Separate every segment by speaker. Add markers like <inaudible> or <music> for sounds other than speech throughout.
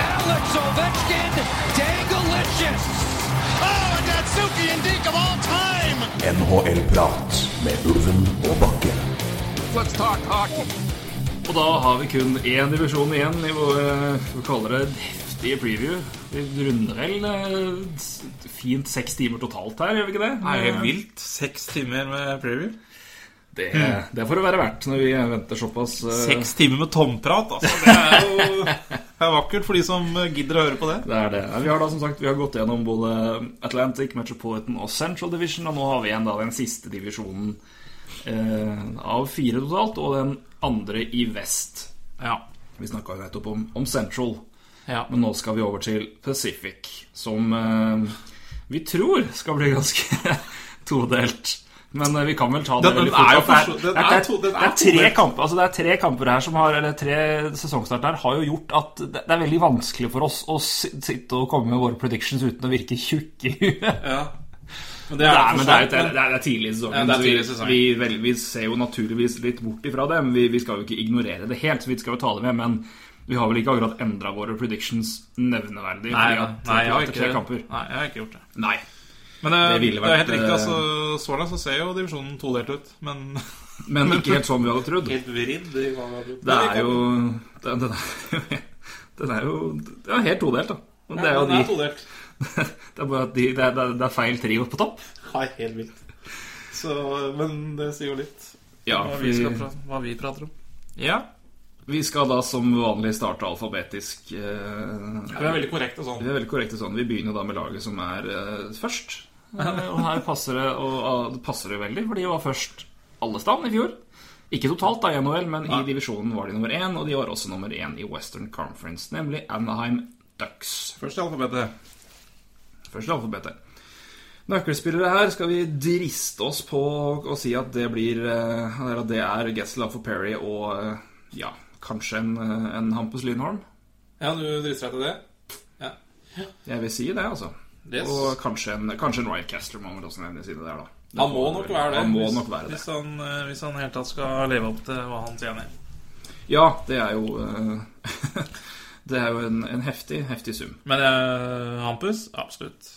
Speaker 1: Alex Ovechkin, Dangalicious! Oh, and Natsuki and Deke of all time!
Speaker 2: NHL-prat med Ulven og Bakke.
Speaker 3: Let's talk hockey.
Speaker 4: Og da har vi kun én divisjon igjen i vår eh, vi kaller det heftige preview. Vi runder vel eh, s- fint seks timer totalt her, gjør vi ikke det?
Speaker 3: Det er helt vilt. Seks timer med preview.
Speaker 4: Det, det får det være verdt når vi venter såpass. eh,
Speaker 3: Seks timer med tomprat, altså. Det er jo det er vakkert for de som gidder å høre på det.
Speaker 4: Det er det. Nei, Vi har da som sagt vi har gått gjennom både Atlantic, Metropolitan og Central Division, og nå har vi igjen da den siste divisjonen eh, av fire totalt, og den andre i vest.
Speaker 3: Ja.
Speaker 4: Vi snakka jo nettopp om, om Central.
Speaker 3: ja.
Speaker 4: Men nå skal vi over til Pacific, som eh, vi tror skal bli ganske <laughs> todelt. Men eh, vi kan vel ta det
Speaker 3: Den- den
Speaker 4: veldig fort.
Speaker 3: er jo
Speaker 4: at det
Speaker 3: forstå-
Speaker 4: det
Speaker 3: den
Speaker 4: er-
Speaker 3: er to- den
Speaker 4: det
Speaker 3: er
Speaker 4: er tre
Speaker 3: todelt.
Speaker 4: kamper Altså det er tre kamper her som har Eller tre sesongstarter her har jo gjort at det det er veldig vanskelig for oss å si- sitte og komme med våre predictions uten å virke tjukke i huet.
Speaker 3: ja. Men det
Speaker 4: Det
Speaker 3: er,
Speaker 4: er, men det er, jo- det er,
Speaker 3: forstått,
Speaker 4: det er- det er tidlig i sesongen.
Speaker 3: Ja, det er
Speaker 4: så
Speaker 3: tidlig i sesongen.
Speaker 4: Vi, vi, vel, vi ser jo naturligvis litt bort ifra det, men vi, vi skal jo ikke ignorere det helt. Så vi skal jo ta det med, men vi har vel ikke akkurat endra våre predictions nevneverdig.
Speaker 3: Nei,
Speaker 4: fordi at-
Speaker 3: nei, jeg har
Speaker 4: etter
Speaker 3: ikke,
Speaker 4: tre kamper.
Speaker 3: nei, jeg har ikke gjort det.
Speaker 4: Nei.
Speaker 3: Men det,
Speaker 4: Det
Speaker 3: det,
Speaker 4: ville
Speaker 3: er
Speaker 4: vært,
Speaker 3: helt riktig.
Speaker 4: eh,
Speaker 3: altså Så langt så ser jo divisjonen todelt ut, men
Speaker 4: Men ikke helt sånn vi hadde trodd.
Speaker 3: Helt vridd.
Speaker 4: Det er jo Den, den, er, <laughs> den er jo ja, helt todelt, da. Men det er jo de
Speaker 3: todelt.
Speaker 4: <laughs> Det er bare at de, det er, det er- det er feil trio på topp.
Speaker 3: Nei, helt vilt. Så, men det sier jo litt
Speaker 4: Ja,
Speaker 3: hva, vi
Speaker 4: vi,
Speaker 3: skal prate, hva vi prater om. Ja,
Speaker 4: vi skal da som vanlig starte alfabetisk. eh,
Speaker 3: vi er veldig korrekte sånn.
Speaker 4: Vi er veldig korrekte sånn. Vi begynner da med laget som er eh, først. Eh, og her passer det, og, ah, det passer det veldig, for de var først alle stand i fjor. Ikke totalt da i NHL, men i divisjonen var de nummer én, og de var også nummer én i Western Conference, nemlig Anaheim Ducks.
Speaker 3: Først i alfabetet.
Speaker 4: Først i alfabetet. Nøkkelspillere her skal vi driste oss på å si at det blir eh, eller at det er Gessel for Perry og eh, ja, kanskje en, eh, en Hampus Lynholm.
Speaker 3: Ja, du driter deg til det?
Speaker 4: Jeg vil si det, altså.
Speaker 3: Yes.
Speaker 4: Og kanskje en, kanskje en Ryan Caster må vel også nevnes i det der, da. Det
Speaker 3: Han må
Speaker 4: får
Speaker 3: nok
Speaker 4: vel-
Speaker 3: være det.
Speaker 4: Han må
Speaker 3: hvis-
Speaker 4: nok være det.
Speaker 3: Hvis han, eh, hvis han i hele tatt skal leve opp til hva han tjener.
Speaker 4: Ja, det er jo eh, <laughs> Det er jo en, en heftig, heftig sum.
Speaker 3: Men eh, Hampus? Absolutt.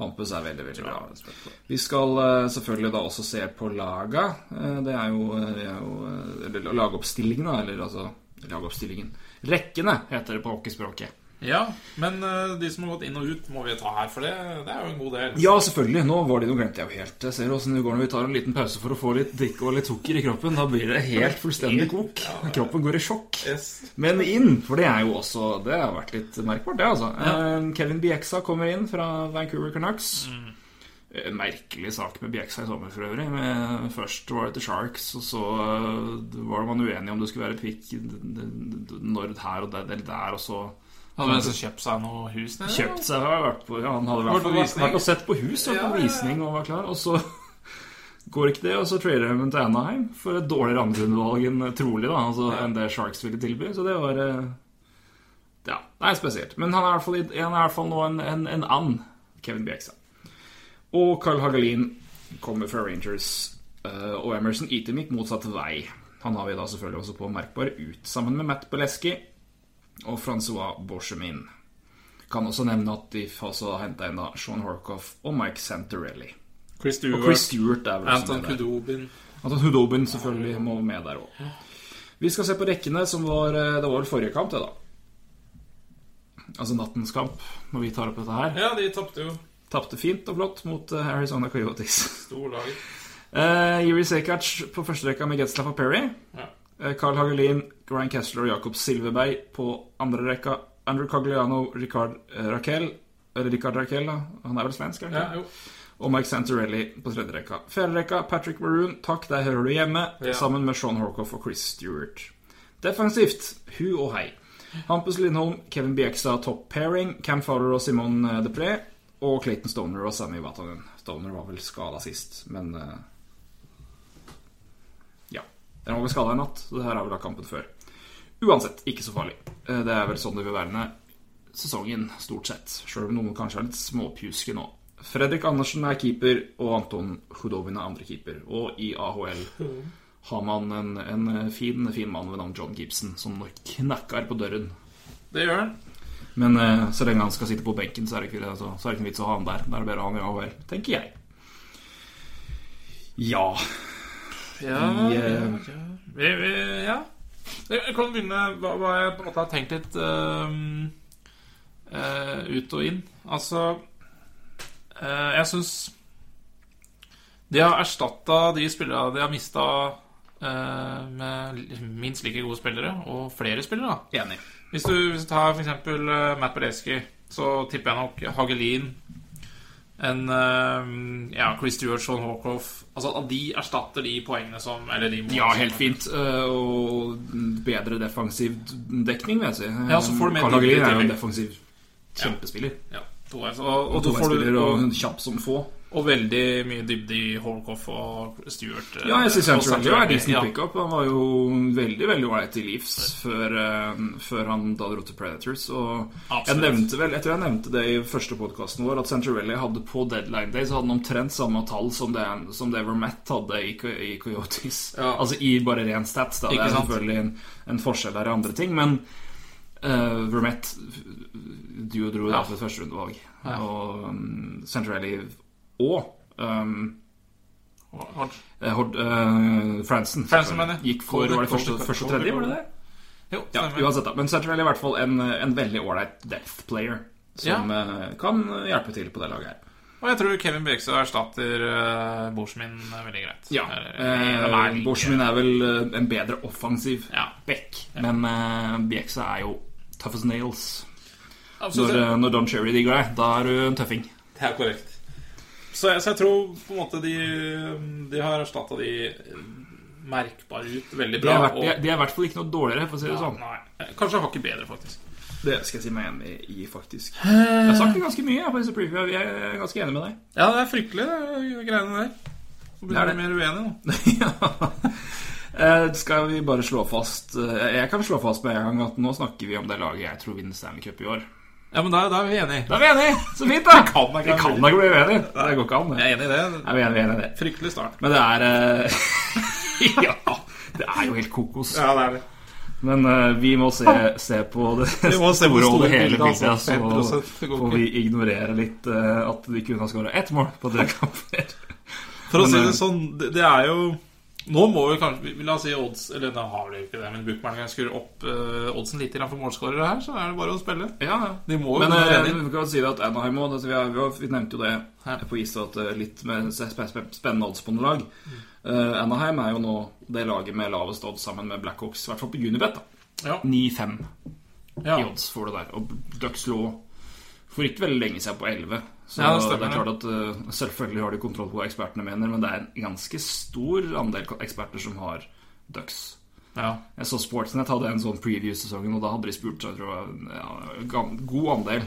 Speaker 4: Hampus er veldig, veldig bra.
Speaker 3: Ja, respekt for det.
Speaker 4: Vi skal eh, selvfølgelig da også se på laga. Eh, Det er jo, eh, det er jo eh, Eller lagoppstillingen, da. Eller altså Lagoppstillingen. Rekkene heter det på hockeyspråket.
Speaker 3: Ja, men eh, de som har gått inn og ut, må vi ta her, for det, det er jo en god del.
Speaker 4: Ja, selvfølgelig. Nå var det noe glemte jeg jo helt. Jeg ser åssen det går når vi tar en liten pause for å få litt drikke og litt sukker i kroppen. Da blir det helt fullstendig kok. Kroppen går i sjokk.
Speaker 3: Yes.
Speaker 4: Men inn, for det er jo også Det har vært litt merkbart, det, altså. Eh, Kevin Bieksa kommer inn fra Vancouver Canucks. Eh, Merkelig sak med Bjeksa i sommer, for øvrig. Men først var det til Sharks, og så eh, var man uenig om det skulle være pick d- d- d- når her og der, eller der, og så
Speaker 3: Hadde en som kjøpt seg noe hus nede?
Speaker 4: kjøpt seg har vært på, ja, Han hadde
Speaker 3: Vært
Speaker 4: vært
Speaker 3: på
Speaker 4: på visning.
Speaker 3: visning.
Speaker 4: Vært og sett på hus og
Speaker 3: Ja, ja,
Speaker 4: på
Speaker 3: ja.
Speaker 4: visning og var klar. Og så <laughs> går ikke det, og så trader de til Anaheim for et dårligere andrerundevalg enn trolig da, altså, enn det Sharks ville tilby. Så det var eh, Ja, det er spesielt. Men han er i hvert fall, i- han er i hvert fall nå en, en, en and, Kevin Bjeksa. Og Carl Hagelin kommer fra Rangers. eh, og Emerson Itemik motsatt vei. Han har vi da selvfølgelig også på merkbar ut, sammen med Matt Beleski og Francois Borchemin. Kan også nevne at de har også henta inn da Sean Horcoff og Mike Santarelli.
Speaker 3: Chris
Speaker 4: Og
Speaker 3: Stewart,
Speaker 4: Chris Stewart er vel også
Speaker 3: Anton
Speaker 4: med der.
Speaker 3: Kudobin
Speaker 4: Anton Hudobin selvfølgelig må med der òg. Vi skal se på rekkene, som var eh, Det var vel forrige kamp, det, da. Altså nattens kamp, når vi tar opp dette her.
Speaker 3: Ja, de tapte jo
Speaker 4: Tapte fint og flott mot eh, Arizona Coyotes. <laughs>
Speaker 3: storlaget.
Speaker 4: Uh, Yuri Sekac på førsterekka med Getzlaff og Perry.
Speaker 3: Ja.
Speaker 4: Eh, Carl Hagelin, Grant Kessler og Jakob Silveberg på andre rekka. Andrew Cagliano, Ricard eh, Raquel Eller Ricard Raquel, da. Han er vel svensk? er han
Speaker 3: Ja,
Speaker 4: ikke?
Speaker 3: jo.
Speaker 4: Og Mike Santarelli på tredje rekka. Fjerde rekka, Patrick Maroon, takk, der hører du hjemme.
Speaker 3: Ja.
Speaker 4: Sammen med Sean Horcoff og Chris Stewart. Defensivt, hu og hei. Hampus Lindholm, Kevin Bjeksa, top pairing. Cam Fowler og Simon eh, Depré. Og Clayton Stoner og Sammy Vatanen. Stoner var vel skada sist, men eh, Ja. Eh, Den var vel skada i natt, så det her har vel hatt kampen før. Uansett, ikke så farlig. Eh, Det er vel sånn det vil være med sesongen, stort sett. Sjøl om noen kanskje er litt småpjuske nå. Fredrik Andersen er keeper, og Anton Hudovin er andre keeper. Og i AHL har man en, en fin, fin mann ved navn John Gibson, som nok knakker på døren
Speaker 3: Det gjør han.
Speaker 4: men eh, så lenge han skal sitte på benken, så er det ikke, altså, så er det ikke noe vits å ha han der. Da er det bedre å ha han i AHL, tenker jeg. Ja
Speaker 3: Ja,
Speaker 4: Vi,
Speaker 3: ja,
Speaker 4: eh,
Speaker 3: ja. Vi, vi, ja. Jeg jeg kan begynne hva, hva jeg på en måte har tenkt litt eh, eh, ut og inn. Altså eh, Jeg syns de har erstatta de spillerne de har mista med minst like gode spillere, og flere spillere, da.
Speaker 4: Enig.
Speaker 3: Hvis du, hvis du tar for eksempel eh, Matt Berleski, så tipper jeg nok Hagelin en eh, ja, Chris Stewart, Sean Hawkhoff Altså at de erstatter de poengene som Eller de målene
Speaker 4: Ja,
Speaker 3: som-
Speaker 4: helt fint. eh, og bedre defensiv dekning, vil jeg si.
Speaker 3: Ja, så får du mer
Speaker 4: Carl Hagelin er
Speaker 3: dybde i
Speaker 4: jo en
Speaker 3: tillegg.
Speaker 4: defensiv kjempespiller.
Speaker 3: Ja, to og, og,
Speaker 4: Og
Speaker 3: og, så får du,
Speaker 4: toveisspiller og
Speaker 3: og,
Speaker 4: kjapp som få.
Speaker 3: og veldig mye dybde i Hawkhoff og Stewart. eh,
Speaker 4: Ja, jeg syns
Speaker 3: og
Speaker 4: Sancho er decent
Speaker 3: ja.
Speaker 4: pickup. Han var jo veldig veldig ålreit i Leafs før, eh, før han da dro til Predators. Og jeg
Speaker 3: Absolutt.
Speaker 4: nevnte vel, jeg tror jeg nevnte det i første podkasten vår, at Santorelli hadde på deadline day så hadde han omtrent samme tall som det, som det Vermette hadde i, Co- i Coyotes.
Speaker 3: Ja.
Speaker 4: Altså i bare ren stats. Da. Det
Speaker 3: Ikke
Speaker 4: er
Speaker 3: sant?
Speaker 4: selvfølgelig en, en forskjell der i andre ting, men uh, Vermette du dro jo da
Speaker 3: Ja.
Speaker 4: for et førsterundevalg.
Speaker 3: Ja.
Speaker 4: Og um, Santorelli og um,
Speaker 3: Og-
Speaker 4: Eh, Hord, eh, Fransen.
Speaker 3: Fransen, mener jeg.
Speaker 4: Gikk for var det første, første og tredje, var det det?
Speaker 3: Jo,
Speaker 4: Ja,
Speaker 3: stemmer.
Speaker 4: uansett da. Men Sattervell er i hvert fall en, en veldig ålreit death player. Som eh, kan hjelpe til på det laget her.
Speaker 3: Og jeg tror Kevin Bjørkstad erstatter uh, Borsmin eh, veldig greit. Eller, eh, de er
Speaker 4: Eh,
Speaker 3: like-
Speaker 4: Borchmin er vel eh, en bedre offensiv
Speaker 3: Ja.
Speaker 4: back, men eh, Bjeksa er jo tough as nails.
Speaker 3: Absolutt.
Speaker 4: Når, eh, når Don Cherry digger deg, da er du en tøffing.
Speaker 3: Det er korrekt. Så jeg, så jeg tror på en måte de, de har erstatta de eh, merkbare ut veldig
Speaker 4: De
Speaker 3: bra.
Speaker 4: er hvert-
Speaker 3: og-
Speaker 4: de er- de er i hvert fall ikke noe dårligere, for å si det sånn.
Speaker 3: Nei, eh, kanskje hakket bedre, faktisk.
Speaker 4: Det skal jeg si meg enig i, faktisk. Jeg har sagt det ganske mye jeg, på disse previewene. Jeg er ganske enig med deg.
Speaker 3: Ja, det er fryktelig, det greiene der. Så blir
Speaker 4: Det er det.
Speaker 3: jeg mer uenig nå.
Speaker 4: <laughs> Ja. Eh, Skal vi bare slå fast eh, Jeg kan slå fast med en gang at nå snakker vi om det laget jeg tror vinner Stanley Cup i år.
Speaker 3: Ja, men da, da er vi enige.
Speaker 4: Da er vi enige! Så fint,
Speaker 3: <laughs>
Speaker 4: da! Vi
Speaker 3: kan da ikke
Speaker 4: kan da ikke bli uenige. Det går ikke an. det.
Speaker 3: Jeg er enig i det.
Speaker 4: Nei, vi er enige i det.
Speaker 3: Fryktelig start.
Speaker 4: Men det er eh, <laughs> Ja. Det er jo helt kokos.
Speaker 3: det er det.
Speaker 4: Men eh, vi må se, se på
Speaker 3: <laughs>
Speaker 4: det
Speaker 3: må se på
Speaker 4: store og
Speaker 3: store
Speaker 4: det hele
Speaker 3: bildet,
Speaker 4: bildet,
Speaker 3: altså.
Speaker 4: så
Speaker 3: 5% det går
Speaker 4: får vi ignorere litt eh, at vi kunne ha skåra ett mål på
Speaker 3: <laughs>
Speaker 4: tre kamper.
Speaker 3: For å
Speaker 4: Men,
Speaker 3: si
Speaker 4: eh,
Speaker 3: det sånn, det, det er jo Nå må vi kanskje vi- La oss si odds Eller nå har vi jo ikke det, men bookmakerne skrur opp eh, oddsen litt grann for målskårere her, så er det bare å spille.
Speaker 4: Ja, ja.
Speaker 3: De må jo
Speaker 4: Men
Speaker 3: kunne
Speaker 4: eh,
Speaker 3: være
Speaker 4: vi
Speaker 3: enige.
Speaker 4: kan si det at Anaheim også, altså, vi, har, vi, har, vi nevnte jo det
Speaker 3: Ja.
Speaker 4: på is at eh, litt med spe- spe- spennende odds på noen lag. Eh, Anaheim er jo nå det laget med lavest odds sammen med Blackhawks, i hvert fall på Unibet. da.
Speaker 3: Ja.
Speaker 4: 9-5
Speaker 3: Ja.
Speaker 4: i odds får du der. Og Ducks lå for ikke veldig lenge siden på 11. Så
Speaker 3: Ja, det
Speaker 4: det,
Speaker 3: stemmer,
Speaker 4: er klart at eh, selvfølgelig har de kontroll på hva ekspertene mener, men det er en ganske stor andel eksperter som har Ducks.
Speaker 3: ja.
Speaker 4: Jeg så Sportsnett hadde en sånn preview-sesongen, og da hadde de spurt jeg tror, jeg, ja, gam- god andel.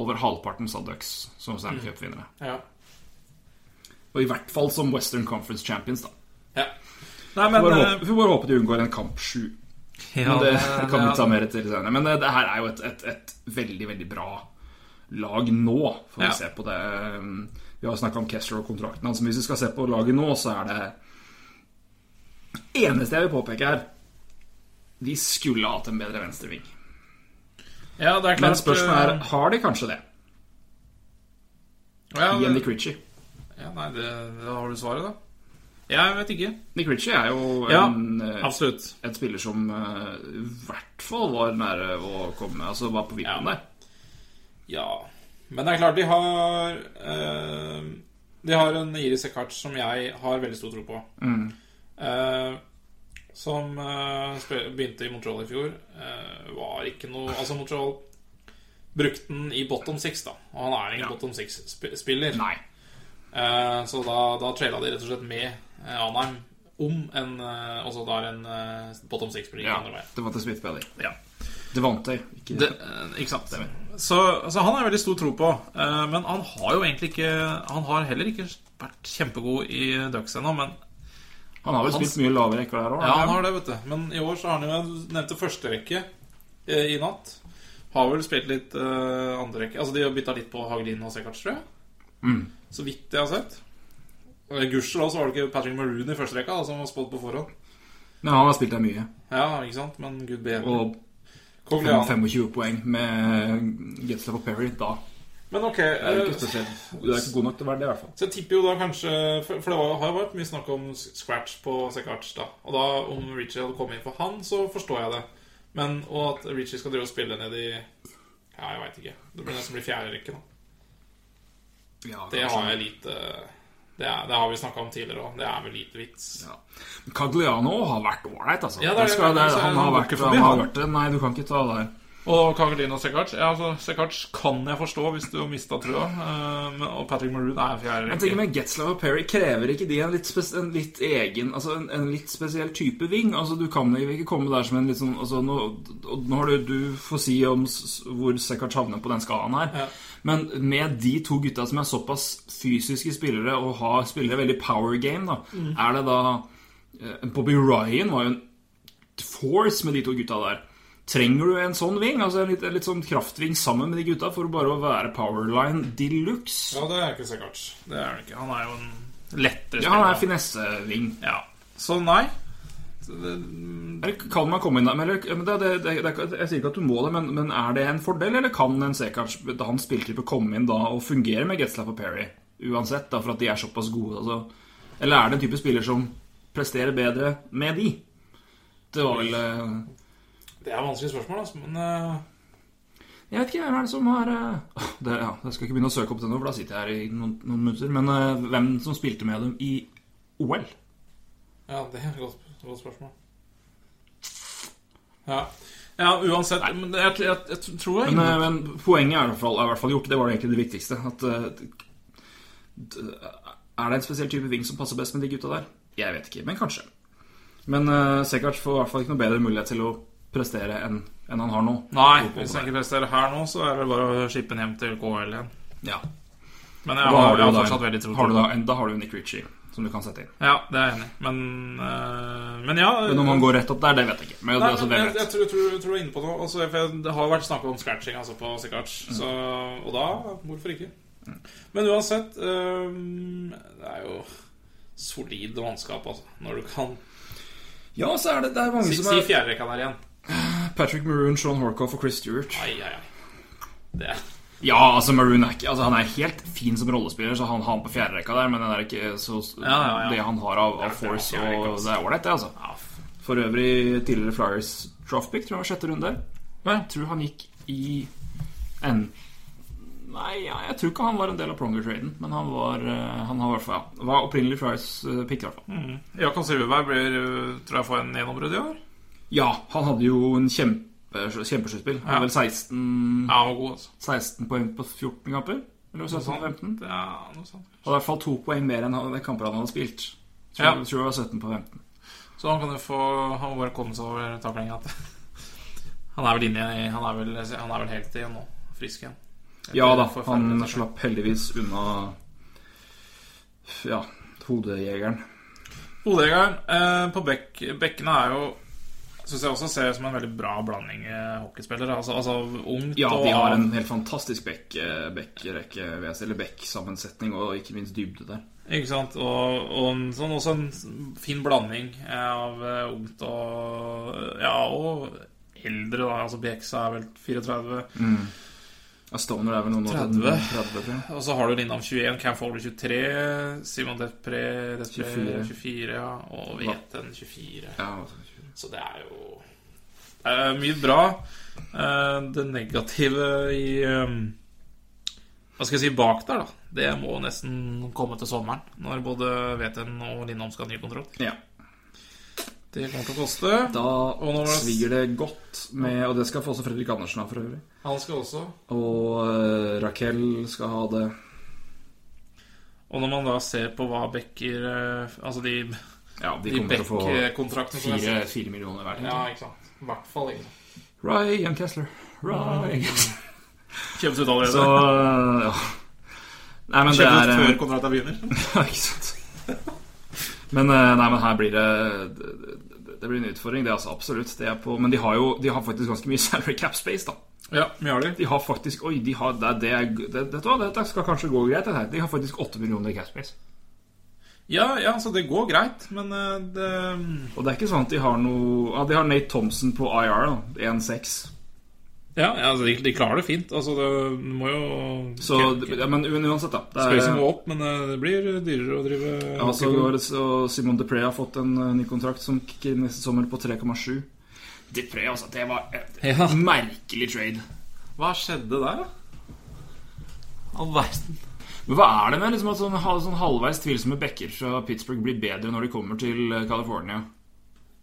Speaker 4: Over halvparten sa Ducks som Stanley
Speaker 3: Mm.
Speaker 4: Cup-vinnere.
Speaker 3: ja.
Speaker 4: Og i hvert fall som Western Conference Champions, da.
Speaker 3: Ja. Nei,
Speaker 4: Vi
Speaker 3: men
Speaker 4: bare <laughs>
Speaker 3: eh,
Speaker 4: håper, vi bare håper de unngår en kamp sju.
Speaker 3: ja,
Speaker 4: Men det
Speaker 3: det-
Speaker 4: <laughs> kan vi
Speaker 3: det-
Speaker 4: ta mer til senere. Men eh, det, det her er jo et, et, et veldig, veldig bra lag nå, får vi
Speaker 3: Ja.
Speaker 4: se på det. Vi har snakka om Kessler og kontrakten hans, men hvis vi skal se på laget nå, så er det Eneste jeg vil påpeke her De skulle hatt en bedre venstreving.
Speaker 3: Ja, det er klart eh,
Speaker 4: Men spørsmålet er har de kanskje det.
Speaker 3: ja,
Speaker 4: I en
Speaker 3: det,
Speaker 4: Nick Ritchie.
Speaker 3: ja, Nei, det, da har du svaret, da. Jeg vet ikke.
Speaker 4: Nick Ritchie er jo
Speaker 3: Ja, altså-
Speaker 4: en, eh,
Speaker 3: Absolutt.
Speaker 4: en spiller som eh, i hvert fall var nære å komme Altså var på vippen
Speaker 3: Ja.
Speaker 4: der.
Speaker 3: Ja. Men det er klart, de har eh, De har en Iris Ekart som jeg har veldig stor tro på.
Speaker 4: Mm.
Speaker 3: Eh, som eh, spe- begynte i Montreal i fjor. Eh, var ikke noe Altså, Montreal brukte den i bottom six, da. Og han er ingen
Speaker 4: Ja.
Speaker 3: bottom six-spiller.
Speaker 4: Nei.
Speaker 3: Eh, Så da, da traila de rett og slett med eh, Anheim om en eh, Altså da er en eh, bottom six-spiller gikk
Speaker 4: Ja,
Speaker 3: andre veien.
Speaker 4: det var til Smith-Belly.
Speaker 3: Ja.
Speaker 4: Det vant jeg. Ikke
Speaker 3: Det, eh, ikke sant. Så, så han har jeg veldig stor tro på. eh, Men han har jo egentlig ikke Han har heller ikke vært kjempegod i Ducks ennå, men
Speaker 4: Han har vel
Speaker 3: Han-
Speaker 4: spilt mye lavere rekker hver år?
Speaker 3: Ja, han har det, vet du. Men i år så har han jo jeg nevnte førsterekke eh, i natt. Har vel spilt litt eh, andre rekke. Altså, de har bytta litt på Hagelin og Sekarts, tror jeg. Så vidt jeg har sett. Eh, Gudskjelov så var det ikke Patrick Maroon i første rekka, da, som var spådd på forhånd.
Speaker 4: Men han har spilt der mye.
Speaker 3: Ja, ikke sant? Men gud bedre.
Speaker 4: Og
Speaker 3: Cogliano.
Speaker 4: 25 poeng med Getslap og Perry da.
Speaker 3: Men ok,
Speaker 4: Det er jo
Speaker 3: eh,
Speaker 4: ikke spesielt. Du er ikke god nok til å være det, i hvert fall.
Speaker 3: så jeg tipper jo da kanskje For for det var, har jo vært mye snakk om scratch på Sekarts, da. Og da om Ritchie hadde kommet inn for han, så forstår jeg det. Men og at Ritchie skal drive og spille ned i Ja, jeg veit ikke. Det blir nesten bli fjerde rekke nå.
Speaker 4: Ja,
Speaker 3: Det
Speaker 4: kanskje.
Speaker 3: har jeg lite Det, er, det har vi snakka om tidligere òg. Det er vel lite vits.
Speaker 4: Ja. Cagliano har vært ålreit, altså.
Speaker 3: Ja, det er
Speaker 4: Jeg skal- det
Speaker 3: det.
Speaker 4: er- han har
Speaker 3: Han går
Speaker 4: vært
Speaker 3: ikke forbi,
Speaker 4: han har
Speaker 3: han.
Speaker 4: vært det. Nei, du kan ikke ta det her.
Speaker 3: Og Kagelin og Sekarts Ja, altså, Sekarts kan jeg forstå hvis du har mista trua. Eh, men- Og Patrick Maroon er fjerde
Speaker 4: Jeg tenker
Speaker 3: rekke.
Speaker 4: med Getzlaff og Perry Krever ikke de en litt, spes en litt egen Altså en, en litt spesiell type ving? Altså Du kan jo ikke komme der som en litt sånn altså, nå, og nå har du, du får si om s- hvor Sekard havner på den skalaen her.
Speaker 3: Ja.
Speaker 4: Men med de to gutta som er såpass fysiske spillere og har, spiller veldig power game, da, er det da eh, Bobby Ryan var jo en force med de to gutta der. Trenger du en sånn ving? Altså en litt, en litt sånn kraftving sammen med de gutta for bare å være powerline de luxe?
Speaker 3: Ja, det er ikke Sekarts Det er han ikke. Han er jo en lettere
Speaker 4: Ja, han er
Speaker 3: spiller.
Speaker 4: finesseving.
Speaker 3: Ja. Så nei. Så det-
Speaker 4: Eller Kan man komme inn der? men- Eller, men det, det, det, det, jeg sier ikke at du må det, men, men er det en fordel, eller kan en Sekac, hans spilltype, komme inn da og fungere med Getzlaff og Perry? Uansett, da, for at de er såpass gode. Altså. Eller er det en type spiller som presterer bedre med de? Det var vel eh,
Speaker 3: Det er vanskelige spørsmål, altså, men eh,
Speaker 4: Jeg vet ikke hvem er det som har eh, det, ja, Jeg skal ikke begynne å søke opp det nå, for da sitter jeg her i noen, noen minutter. Men eh, hvem som spilte med dem i OL?
Speaker 3: ja, det er et godt, godt spørsmål. Ja, ja uansett men det- jeg, jeg, jeg, jeg tror jeg
Speaker 4: Men, eh, men poenget er i, hvert fall, er i hvert fall gjort. Det var egentlig det viktigste. At, eh, d- er det en spesiell type ving som passer best med de gutta der? Jeg vet ikke, men kanskje. Men uh, Sekac får i hvert fall ikke noe bedre mulighet til å prestere enn enn han har nå.
Speaker 3: Nei, hvis jeg ikke presterer her nå, så er det bare å shippe den hjem til KL igjen.
Speaker 4: Ja.
Speaker 3: Men
Speaker 4: Da
Speaker 3: jeg har,
Speaker 4: du
Speaker 3: jeg har
Speaker 4: da
Speaker 3: fortsatt
Speaker 4: en-
Speaker 3: veldig tro
Speaker 4: har
Speaker 3: på
Speaker 4: du da, en, da har du Nick Ritchie, som du kan sette inn.
Speaker 3: Ja, det er jeg enig i. Men, eh, men ja
Speaker 4: Men om han går rett opp der, det vet jeg ikke. Men,
Speaker 3: Nei,
Speaker 4: det, altså,
Speaker 3: men jeg,
Speaker 4: hvem
Speaker 3: jeg
Speaker 4: vet.
Speaker 3: tror, tror, tror du er inne på noe. Altså, for det har jo vært snakk om scratching altså, på Sikarts. Så, og da hvorfor ikke? Men uansett øhm, Det er jo solid vannskap, altså. Når du kan
Speaker 4: Ja, så er det, det er mange
Speaker 3: Si,
Speaker 4: som
Speaker 3: si
Speaker 4: er
Speaker 3: fjerderekka der igjen.
Speaker 4: Patrick Maroon, Sean Horcoff og Chris Stewart.
Speaker 3: Ai, ai, ai. Det er
Speaker 4: Ja, altså Maroon er ikke altså, Han er helt fin som rollespiller, så han har han på fjerderekka der, men det er ikke så
Speaker 3: ja, ja.
Speaker 4: det han har av, av
Speaker 3: det er
Speaker 4: force,
Speaker 3: fjerderekka,
Speaker 4: og
Speaker 3: altså.
Speaker 4: det er ålreit, det, altså.
Speaker 3: ja,
Speaker 4: For øvrig tidligere Flyers Troffic, tror jeg var sjette runde. Og jeg tror han gikk i en Nei, ja, jeg tror ikke han var en del av Pronger-traden, men han var, eh, han har i hvert fall, ja, var opprinnelig Flyers eh, pick, i hvert fall.
Speaker 3: Jakob Silverberg blir, øh, tror jeg får en gjennombrudd i år.
Speaker 4: Ja, han hadde jo en kjempe, kjempeskyttspill. Han hadde Vel 16,
Speaker 3: Ja, han var god, altså.
Speaker 4: 16 poeng på 14 kamper? Eller
Speaker 3: Sånn.
Speaker 4: 17-15?
Speaker 3: Ja, noe sånt.
Speaker 4: Og i hvert fall to poeng mer enn han- de kamper han hadde spilt. Tror,
Speaker 3: Ja.
Speaker 4: jeg tror det var 17 på 15.
Speaker 3: Så han kan jo få Han må bare komme seg over taklinga. <laughs> Han er vel inne i Han er vel, han er vel helt igjen nå. Frisk igjen.
Speaker 4: Ja da,
Speaker 3: Forferdelig
Speaker 4: han
Speaker 3: takling.
Speaker 4: slapp heldigvis unna Ja, hodejegeren.
Speaker 3: Hodejegeren eh, på bekk, bekkene er jo Syns jeg også ser ut som en veldig bra blanding eh, hockeyspillere. Altså, altså ungt
Speaker 4: Ja,
Speaker 3: og
Speaker 4: de har en helt fantastisk bekk, eh, bekkrekke, vil jeg si, eller bekksammensetning, og ikke minst dybde der.
Speaker 3: Ikke sant? Og, og en, sånn, også en fin blanding eh, av eh, ungt og eh, Ja, og eldre, da. Altså Bjeksa er vel 34.
Speaker 4: Mm. Ja, Stoner er vel noen
Speaker 3: 30.
Speaker 4: 30 tror jeg.
Speaker 3: Og så har du Lindahl 21, Cam Fowler 23, Simon Despre 24.
Speaker 4: 24.
Speaker 3: 24 ja, og Veten 24.
Speaker 4: Ja, altså,
Speaker 3: Så det er jo det er mye bra. Eh, Det negative i eh, Hva skal jeg si bak der, da? Det må nesten komme til sommeren, når både VTN og Lindholm skal ha ny kontrakt.
Speaker 4: ja.
Speaker 3: Det kommer til å koste. nå
Speaker 4: Da
Speaker 3: var det-
Speaker 4: svir det godt med Og det skal få også Fredrik Andersen ha, for øvrig.
Speaker 3: Han skal også.
Speaker 4: Og uh, Raquel skal ha det.
Speaker 3: Og når man da ser på hva Becker eh, Altså de,
Speaker 4: Ja, de
Speaker 3: de eh,
Speaker 4: kommer til å få
Speaker 3: Beck-kontraktene som jeg
Speaker 4: fire,
Speaker 3: ser.
Speaker 4: fire millioner hver.
Speaker 3: Ja, ikke sant. I hvert fall ikke sant.
Speaker 4: Ryan Kessler. Ryan
Speaker 3: Kjøpes ut allerede.
Speaker 4: Så ja. Nei, men det
Speaker 3: Kjøpes
Speaker 4: er
Speaker 3: ut
Speaker 4: eh, <laughs>
Speaker 3: før kontrakten begynner.
Speaker 4: ja, Ikke sant. Men, eh, nei, men her blir det det- det- Det blir en utfordring, det, er altså. Absolutt. Det er på, men de har jo de har faktisk ganske mye <laughs> salary cap space, da.
Speaker 3: Ja, mye har de.
Speaker 4: De har faktisk Oi, de har, det, det, er- det, vet du hva, dette skal kanskje gå greit. Det her. De har faktisk 8 millioner i cap space.
Speaker 3: Ja, ja, så det går greit, men eh, det
Speaker 4: Og det er ikke sånn at de har noe Ja, de har Nate Thompson på IR, da. 1-6.
Speaker 3: Ja, ja, altså, de, de klarer det fint. Altså, det må jo
Speaker 4: Så ja, Men uansett, da. Det
Speaker 3: Skal liksom gå opp, men eh, det blir dyrere å drive
Speaker 4: Ja, altså, så går, og Simon Depré har fått en eh, ny kontrakt som kicker inn neste sommer på 3,7. Depré, altså. Det var et
Speaker 3: Ja.
Speaker 4: merkelig trade.
Speaker 3: Hva skjedde der, da? All verden.
Speaker 4: Men hva er det med liksom, at sånn, ha- sånn halvveis tvilsomme backer fra Pittsburgh blir bedre når de kommer til eh, California?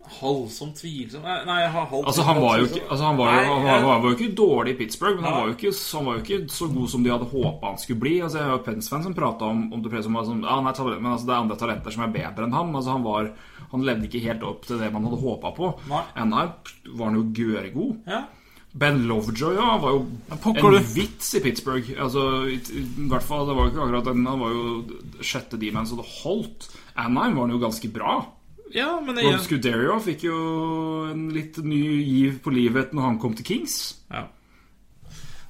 Speaker 3: Halvsom tvilsom Nei, nei, jeg har halvt
Speaker 4: Altså, han var jo ikke, altså, han var, jo-
Speaker 3: Nei,
Speaker 4: han var, han var jo ikke dårlig i Pittsburgh, men han
Speaker 3: Nei.
Speaker 4: var jo ikke, så- han var jo ikke så god som de hadde håpa han skulle bli. Altså, jeg har jo Pence-fan som prata om, om Depré som var sånn Ja, han er talent, men altså, det er andre talenter som er bedre enn ham. Altså, han, var, han levde ikke helt opp til det man hadde håpa på.
Speaker 3: Nei.
Speaker 4: Ennå var han jo gørrgod.
Speaker 3: Ja.
Speaker 4: Ben Lovejoy ja, han var jo
Speaker 3: pokker
Speaker 4: en
Speaker 3: du.
Speaker 4: vits i Pittsburgh. Altså, i, i hvert fall, det var jo ikke akkurat den, Han var jo sjette D-man, så det holdt. Anheim var han jo ganske bra.
Speaker 3: ja, men
Speaker 4: Rob
Speaker 3: igjen
Speaker 4: Scuderio fikk jo en litt ny giv på livet når han kom til Kings.
Speaker 3: ja.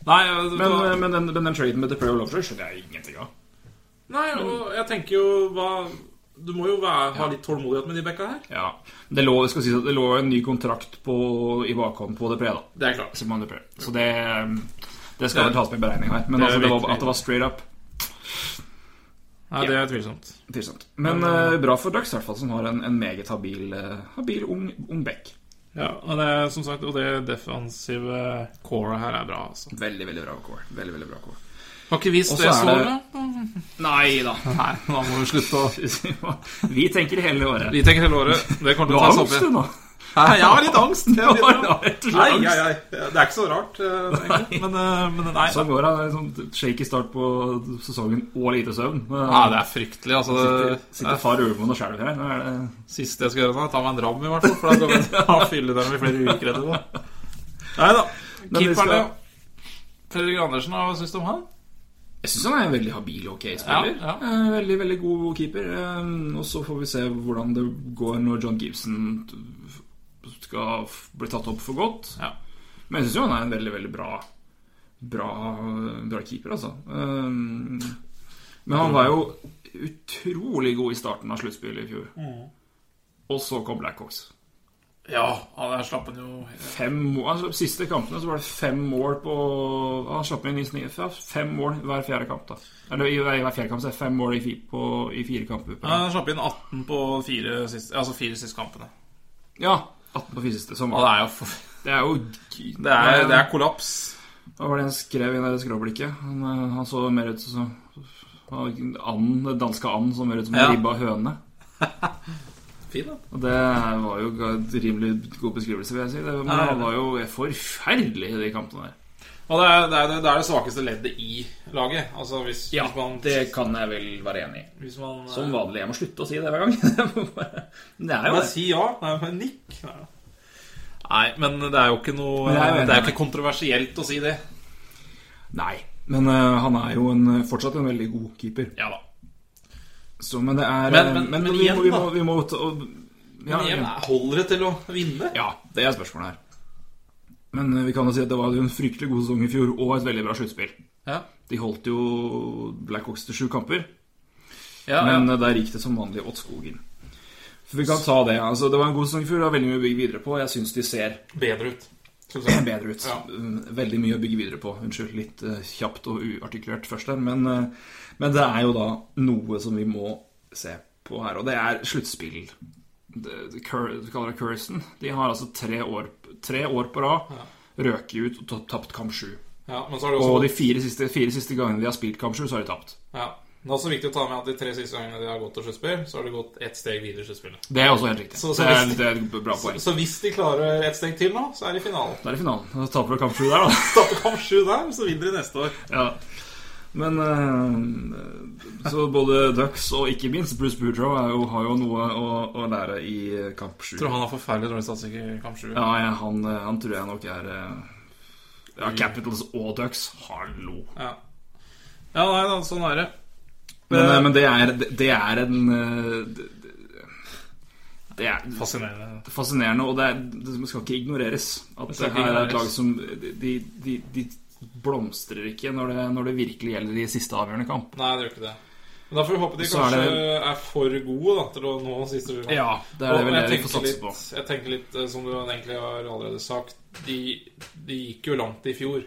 Speaker 3: Nei, altså, det,
Speaker 4: Men,
Speaker 3: var-
Speaker 4: men den, men den traden med Deprey og Lovejoy skjønner jeg ingenting av.
Speaker 3: nei og jeg tenker jo hva Du må jo være, ha litt tålmodighet med de bekka her.
Speaker 4: Ja. Det lå, det skal sies at det lå en ny kontrakt på, i bakhånd på Deprey, da.
Speaker 3: Det er klart.
Speaker 4: Simon Depré. Så det, det skal vel tas med i beregning her. Men
Speaker 3: Det er
Speaker 4: altså, det var,
Speaker 3: virkelig-
Speaker 4: at det var straight up
Speaker 3: Nei, det er tvilsomt.
Speaker 4: Tvilsomt. Men eh, bra for Ducks, i hvert fall, som har en, en meget habil, eh, habil ung, ung back.
Speaker 3: Ja, og det er som sagt Og det defensive coret her er bra, altså.
Speaker 4: Veldig, veldig bra core. Veldig, veldig bra core.
Speaker 3: Har ikke vist
Speaker 4: Og så
Speaker 3: det
Speaker 4: er
Speaker 3: så
Speaker 4: det-
Speaker 3: bra.
Speaker 4: Nei da.
Speaker 3: Nei, da må vi slutte å
Speaker 4: <laughs> Vi tenker hele året.
Speaker 3: Vi tenker hele året. Det kommer
Speaker 4: Du
Speaker 3: til å
Speaker 4: har
Speaker 3: tas opp
Speaker 4: angst, du
Speaker 3: igjen. <laughs>
Speaker 4: nå.
Speaker 3: Nei, Jeg har litt angst. Jeg har
Speaker 4: Du
Speaker 3: litt
Speaker 4: har
Speaker 3: angst.
Speaker 4: rett og
Speaker 3: Nei,
Speaker 4: slett
Speaker 3: nei,
Speaker 4: angst.
Speaker 3: nei, det er ikke så rart. eh, egentlig. Men, eh, men nei.
Speaker 4: Sånn går det. det er en Sånn shaky start på sesongen og lite søvn. Men,
Speaker 3: Ja, det er fryktelig. Altså,
Speaker 4: sitter,
Speaker 3: det,
Speaker 4: sitter far Ulven og skjelver her. Nå er det
Speaker 3: siste jeg skal gjøre nå, er å ta meg en ram, i hvert fall. For da kan vi ha fylle dem i flere uker etterpå. Nei da.
Speaker 4: Men vi
Speaker 3: Keeperen,
Speaker 4: skal-
Speaker 3: ja. Fredrik Andersen, hva syns du om han?
Speaker 4: Jeg syns han er en veldig habil ok spiller.
Speaker 3: Ja, ja.
Speaker 4: Eh, Veldig veldig god keeper. Eh, Og så får vi se hvordan det går når John Gibson t- f- skal f- bli tatt opp for godt.
Speaker 3: Ja.
Speaker 4: Men jeg syns jo han er en veldig veldig bra Bra, bra keeper, altså. Eh, Men han var jo utrolig god i starten av sluttspillet i fjor.
Speaker 3: Mm.
Speaker 4: Og så kom Blackhawks.
Speaker 3: Ja, han der slapp han jo
Speaker 4: Fem mål, altså, de siste kampene så var det fem mål på Han slapp inn i snitt ja, fem mål hver fjerde kamp. da Eller i, i hver fjerde kamp så er det fem mål i, fi- på, i fire kamper. På,
Speaker 3: Ja, Han slapp inn 18 på fire siste, altså fire siste kampene.
Speaker 4: ja, 18 på fire siste. Som
Speaker 3: Og det
Speaker 4: var
Speaker 3: er jo for,
Speaker 4: Det er jo
Speaker 3: det, er, det er kollaps.
Speaker 4: Hva var det han skrev i det skråblikket? Han, eh, han så mer ut som han- anden, den danske anden så mer ut som en
Speaker 3: Ja.
Speaker 4: ribba høne.
Speaker 3: Fin, da.
Speaker 4: Og det var jo en rimelig god beskrivelse, vil jeg si. Det, men
Speaker 3: Ja, ja,
Speaker 4: han
Speaker 3: ja.
Speaker 4: var jo forferdelig i de kampene der.
Speaker 3: Og det er det, er, det er det svakeste leddet i laget. Altså hvis, hvis man
Speaker 4: kan jeg vel være enig i.
Speaker 3: hvis man,
Speaker 4: Som
Speaker 3: eh,
Speaker 4: vanlig. Jeg må slutte å si det hver gang. <laughs> Men det er jo
Speaker 3: Bare
Speaker 4: det.
Speaker 3: si ja. Nei, men nikk. Nei. Nei, men det er jo ikke noe
Speaker 4: Men jeg er jo
Speaker 3: Det
Speaker 4: enig
Speaker 3: er jo
Speaker 4: med
Speaker 3: ikke kontroversielt å si det.
Speaker 4: Nei. Men eh, han er jo en, eh, fortsatt en veldig god keeper.
Speaker 3: Ja da.
Speaker 4: Så, men det er
Speaker 3: Men-
Speaker 4: eh,
Speaker 3: men- men
Speaker 4: vi,
Speaker 3: igjen,
Speaker 4: må, vi,
Speaker 3: da.
Speaker 4: må, vi må ta og, ja,
Speaker 3: Men igjen, holder det til å vinne?
Speaker 4: ja, det er spørsmålet her. Men eh, vi kan jo si at det var jo en fryktelig god sesong i fjor, og et veldig bra sluttspill.
Speaker 3: Ja.
Speaker 4: De holdt jo Blackhawks til sju kamper.
Speaker 3: ja,
Speaker 4: Men
Speaker 3: ja.
Speaker 4: eh, der gikk det som vanlig åt skogen. For vi kan ta det. altså Det var en god sesong i fjor. Det er veldig mye å bygge videre på. Jeg syns de ser
Speaker 3: Bedre ut. Synes jeg.
Speaker 4: bedre ut.
Speaker 3: Ja.
Speaker 4: Mm, Veldig mye å bygge videre på. Unnskyld, litt eh, kjapt og uartikulert først der. Men, eh, men det er jo da noe som vi må se på her, og det er sluttspill. Det- det Cur- Du kaller det Curson. De har altså tre år, tre år på rad røket ut og ta- tapt kamp sju.
Speaker 3: Ja, men så er det også
Speaker 4: Og de fire siste, fire siste gangene de har spilt kamp sju, så har de tapt.
Speaker 3: ja. Det er også viktig å ta med at de tre siste gangene de har gått til sluttspill, så har de gått ett steg videre i sluttspillet.
Speaker 4: Det er også helt riktig.
Speaker 3: Så- så
Speaker 4: det, er,
Speaker 3: hvis-
Speaker 4: det er et bra poeng.
Speaker 3: Så hvis de klarer ett steg til nå, så er de i finalen.
Speaker 4: Da er det finalen. Da taper du kamp sju der, da.
Speaker 3: Taper kamp sju der, så vinner de neste år.
Speaker 4: Ja. Men eh, Så både Ducks og ikke minst Bruce Boudreau er jo, har jo noe å, å lære i kamp 7.
Speaker 3: Tror han har forferdelig dårlig statistikk i kamp sju.
Speaker 4: Ja, ja, han, eh, han tror jeg nok er eh, Ja, Capitals og Ducks. Hallo.
Speaker 3: Ja. ja, nei da, sånn er det.
Speaker 4: Men, eh, men det, er, det er en eh, det- det- Det er
Speaker 3: Fascinerende.
Speaker 4: fascinerende, og det, er, det skal ikke ignoreres. At
Speaker 3: skal
Speaker 4: det
Speaker 3: ikke
Speaker 4: her er et lag
Speaker 3: ignoreres.
Speaker 4: som De, de, de blomstrer ikke når det, når det virkelig gjelder i siste avgjørende kamp.
Speaker 3: Nei, det gjør ikke det. Men da får vi håpe de
Speaker 4: Så er
Speaker 3: kanskje er,
Speaker 4: det-
Speaker 3: for gode da, til å nå siste runde.
Speaker 4: Ja, det er det
Speaker 3: Og
Speaker 4: vel
Speaker 3: jeg
Speaker 4: det vi får
Speaker 3: tenker
Speaker 4: satse
Speaker 3: litt-
Speaker 4: på.
Speaker 3: Jeg tenker litt, eh, som du egentlig har allerede sagt de, de gikk jo langt i fjor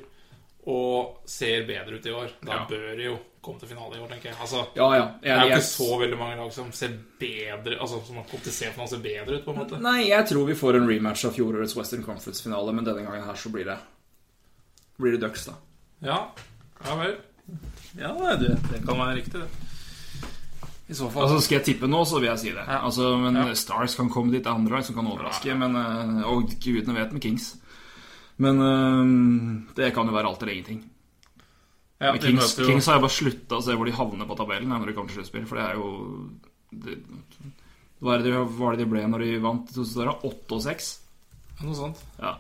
Speaker 3: og ser bedre ut i år. Da
Speaker 4: Ja.
Speaker 3: bør de jo komme til finale i år, tenker jeg. Altså,
Speaker 4: Ja, ja. Jeg,
Speaker 3: det er jo
Speaker 4: jeg-
Speaker 3: ikke så veldig mange lag som ser bedre Altså som har komplisert for å se bedre ut, på en måte.
Speaker 4: Nei, jeg tror vi får en rematch av fjorårets Western Conference-finale, men denne gangen her så blir det Blir det Ducks, da.
Speaker 3: Ja, ja vel. Ja, nei, det, det kan være riktig, det. I så fall.
Speaker 4: Altså, Skal jeg tippe nå, så vil jeg si det.
Speaker 3: Ja.
Speaker 4: Altså, men
Speaker 3: Ja.
Speaker 4: Stars kan komme dit. Det er andre lag som kan overraske. Men, eh, og gudene vet med Kings. Men eh, det kan jo være alt eller ingenting.
Speaker 3: ja,
Speaker 4: Men
Speaker 3: de
Speaker 4: Kings,
Speaker 3: møter jo-
Speaker 4: Kings har jeg bare slutta å se hvor de havner på tabellen når de kommer til sluttspill. For det er jo det, Hva er det de, hva er det de ble når de vant? i 2000? Åtte og seks?
Speaker 3: Noe sånt.
Speaker 4: Ja.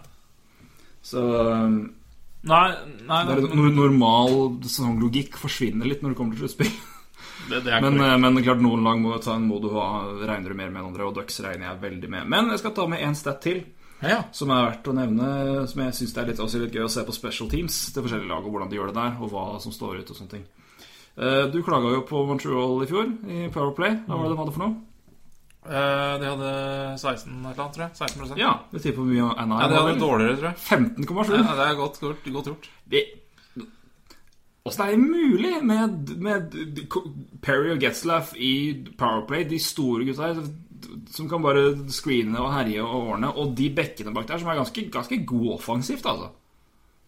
Speaker 4: Så um,
Speaker 3: Nei, nei,
Speaker 4: det er,
Speaker 3: men-
Speaker 4: no- normal sesonglogikk forsvinner litt når det kommer til sluttspill.
Speaker 3: det, det er
Speaker 4: Men,
Speaker 3: korrekt.
Speaker 4: eh, men klart noen lag må, ta, må du ha, regner du mer med enn andre, og Ducks regner jeg veldig med. Men jeg skal ta med én stat til
Speaker 3: ja.
Speaker 4: som er verdt å nevne. Som jeg syns er litt, også litt gøy å se på special teams til forskjellige lag, og hvordan de gjør det der, og hva som står ut og sånne ting. Eh, Du klaga jo på Montreal i fjor, i Power Play. Hva var det de hadde for noe?
Speaker 3: Eh, de hadde 16 et eller annet, tror jeg. 16
Speaker 4: Ja, det tipper mye av
Speaker 3: Nei,
Speaker 4: Anaheim.
Speaker 3: de
Speaker 4: var
Speaker 3: hadde
Speaker 4: vel
Speaker 3: dårligere, tror jeg.
Speaker 4: 15,7.
Speaker 3: Ja, det er godt, godt, godt gjort.
Speaker 4: Det- Åssen er Altså, det mulig med, med Perry og Getzlaff i Powerplay, de store gutta her, som kan bare screene og herje og ordne, og de bekkene bak der, som er ganske, ganske god offensivt, altså.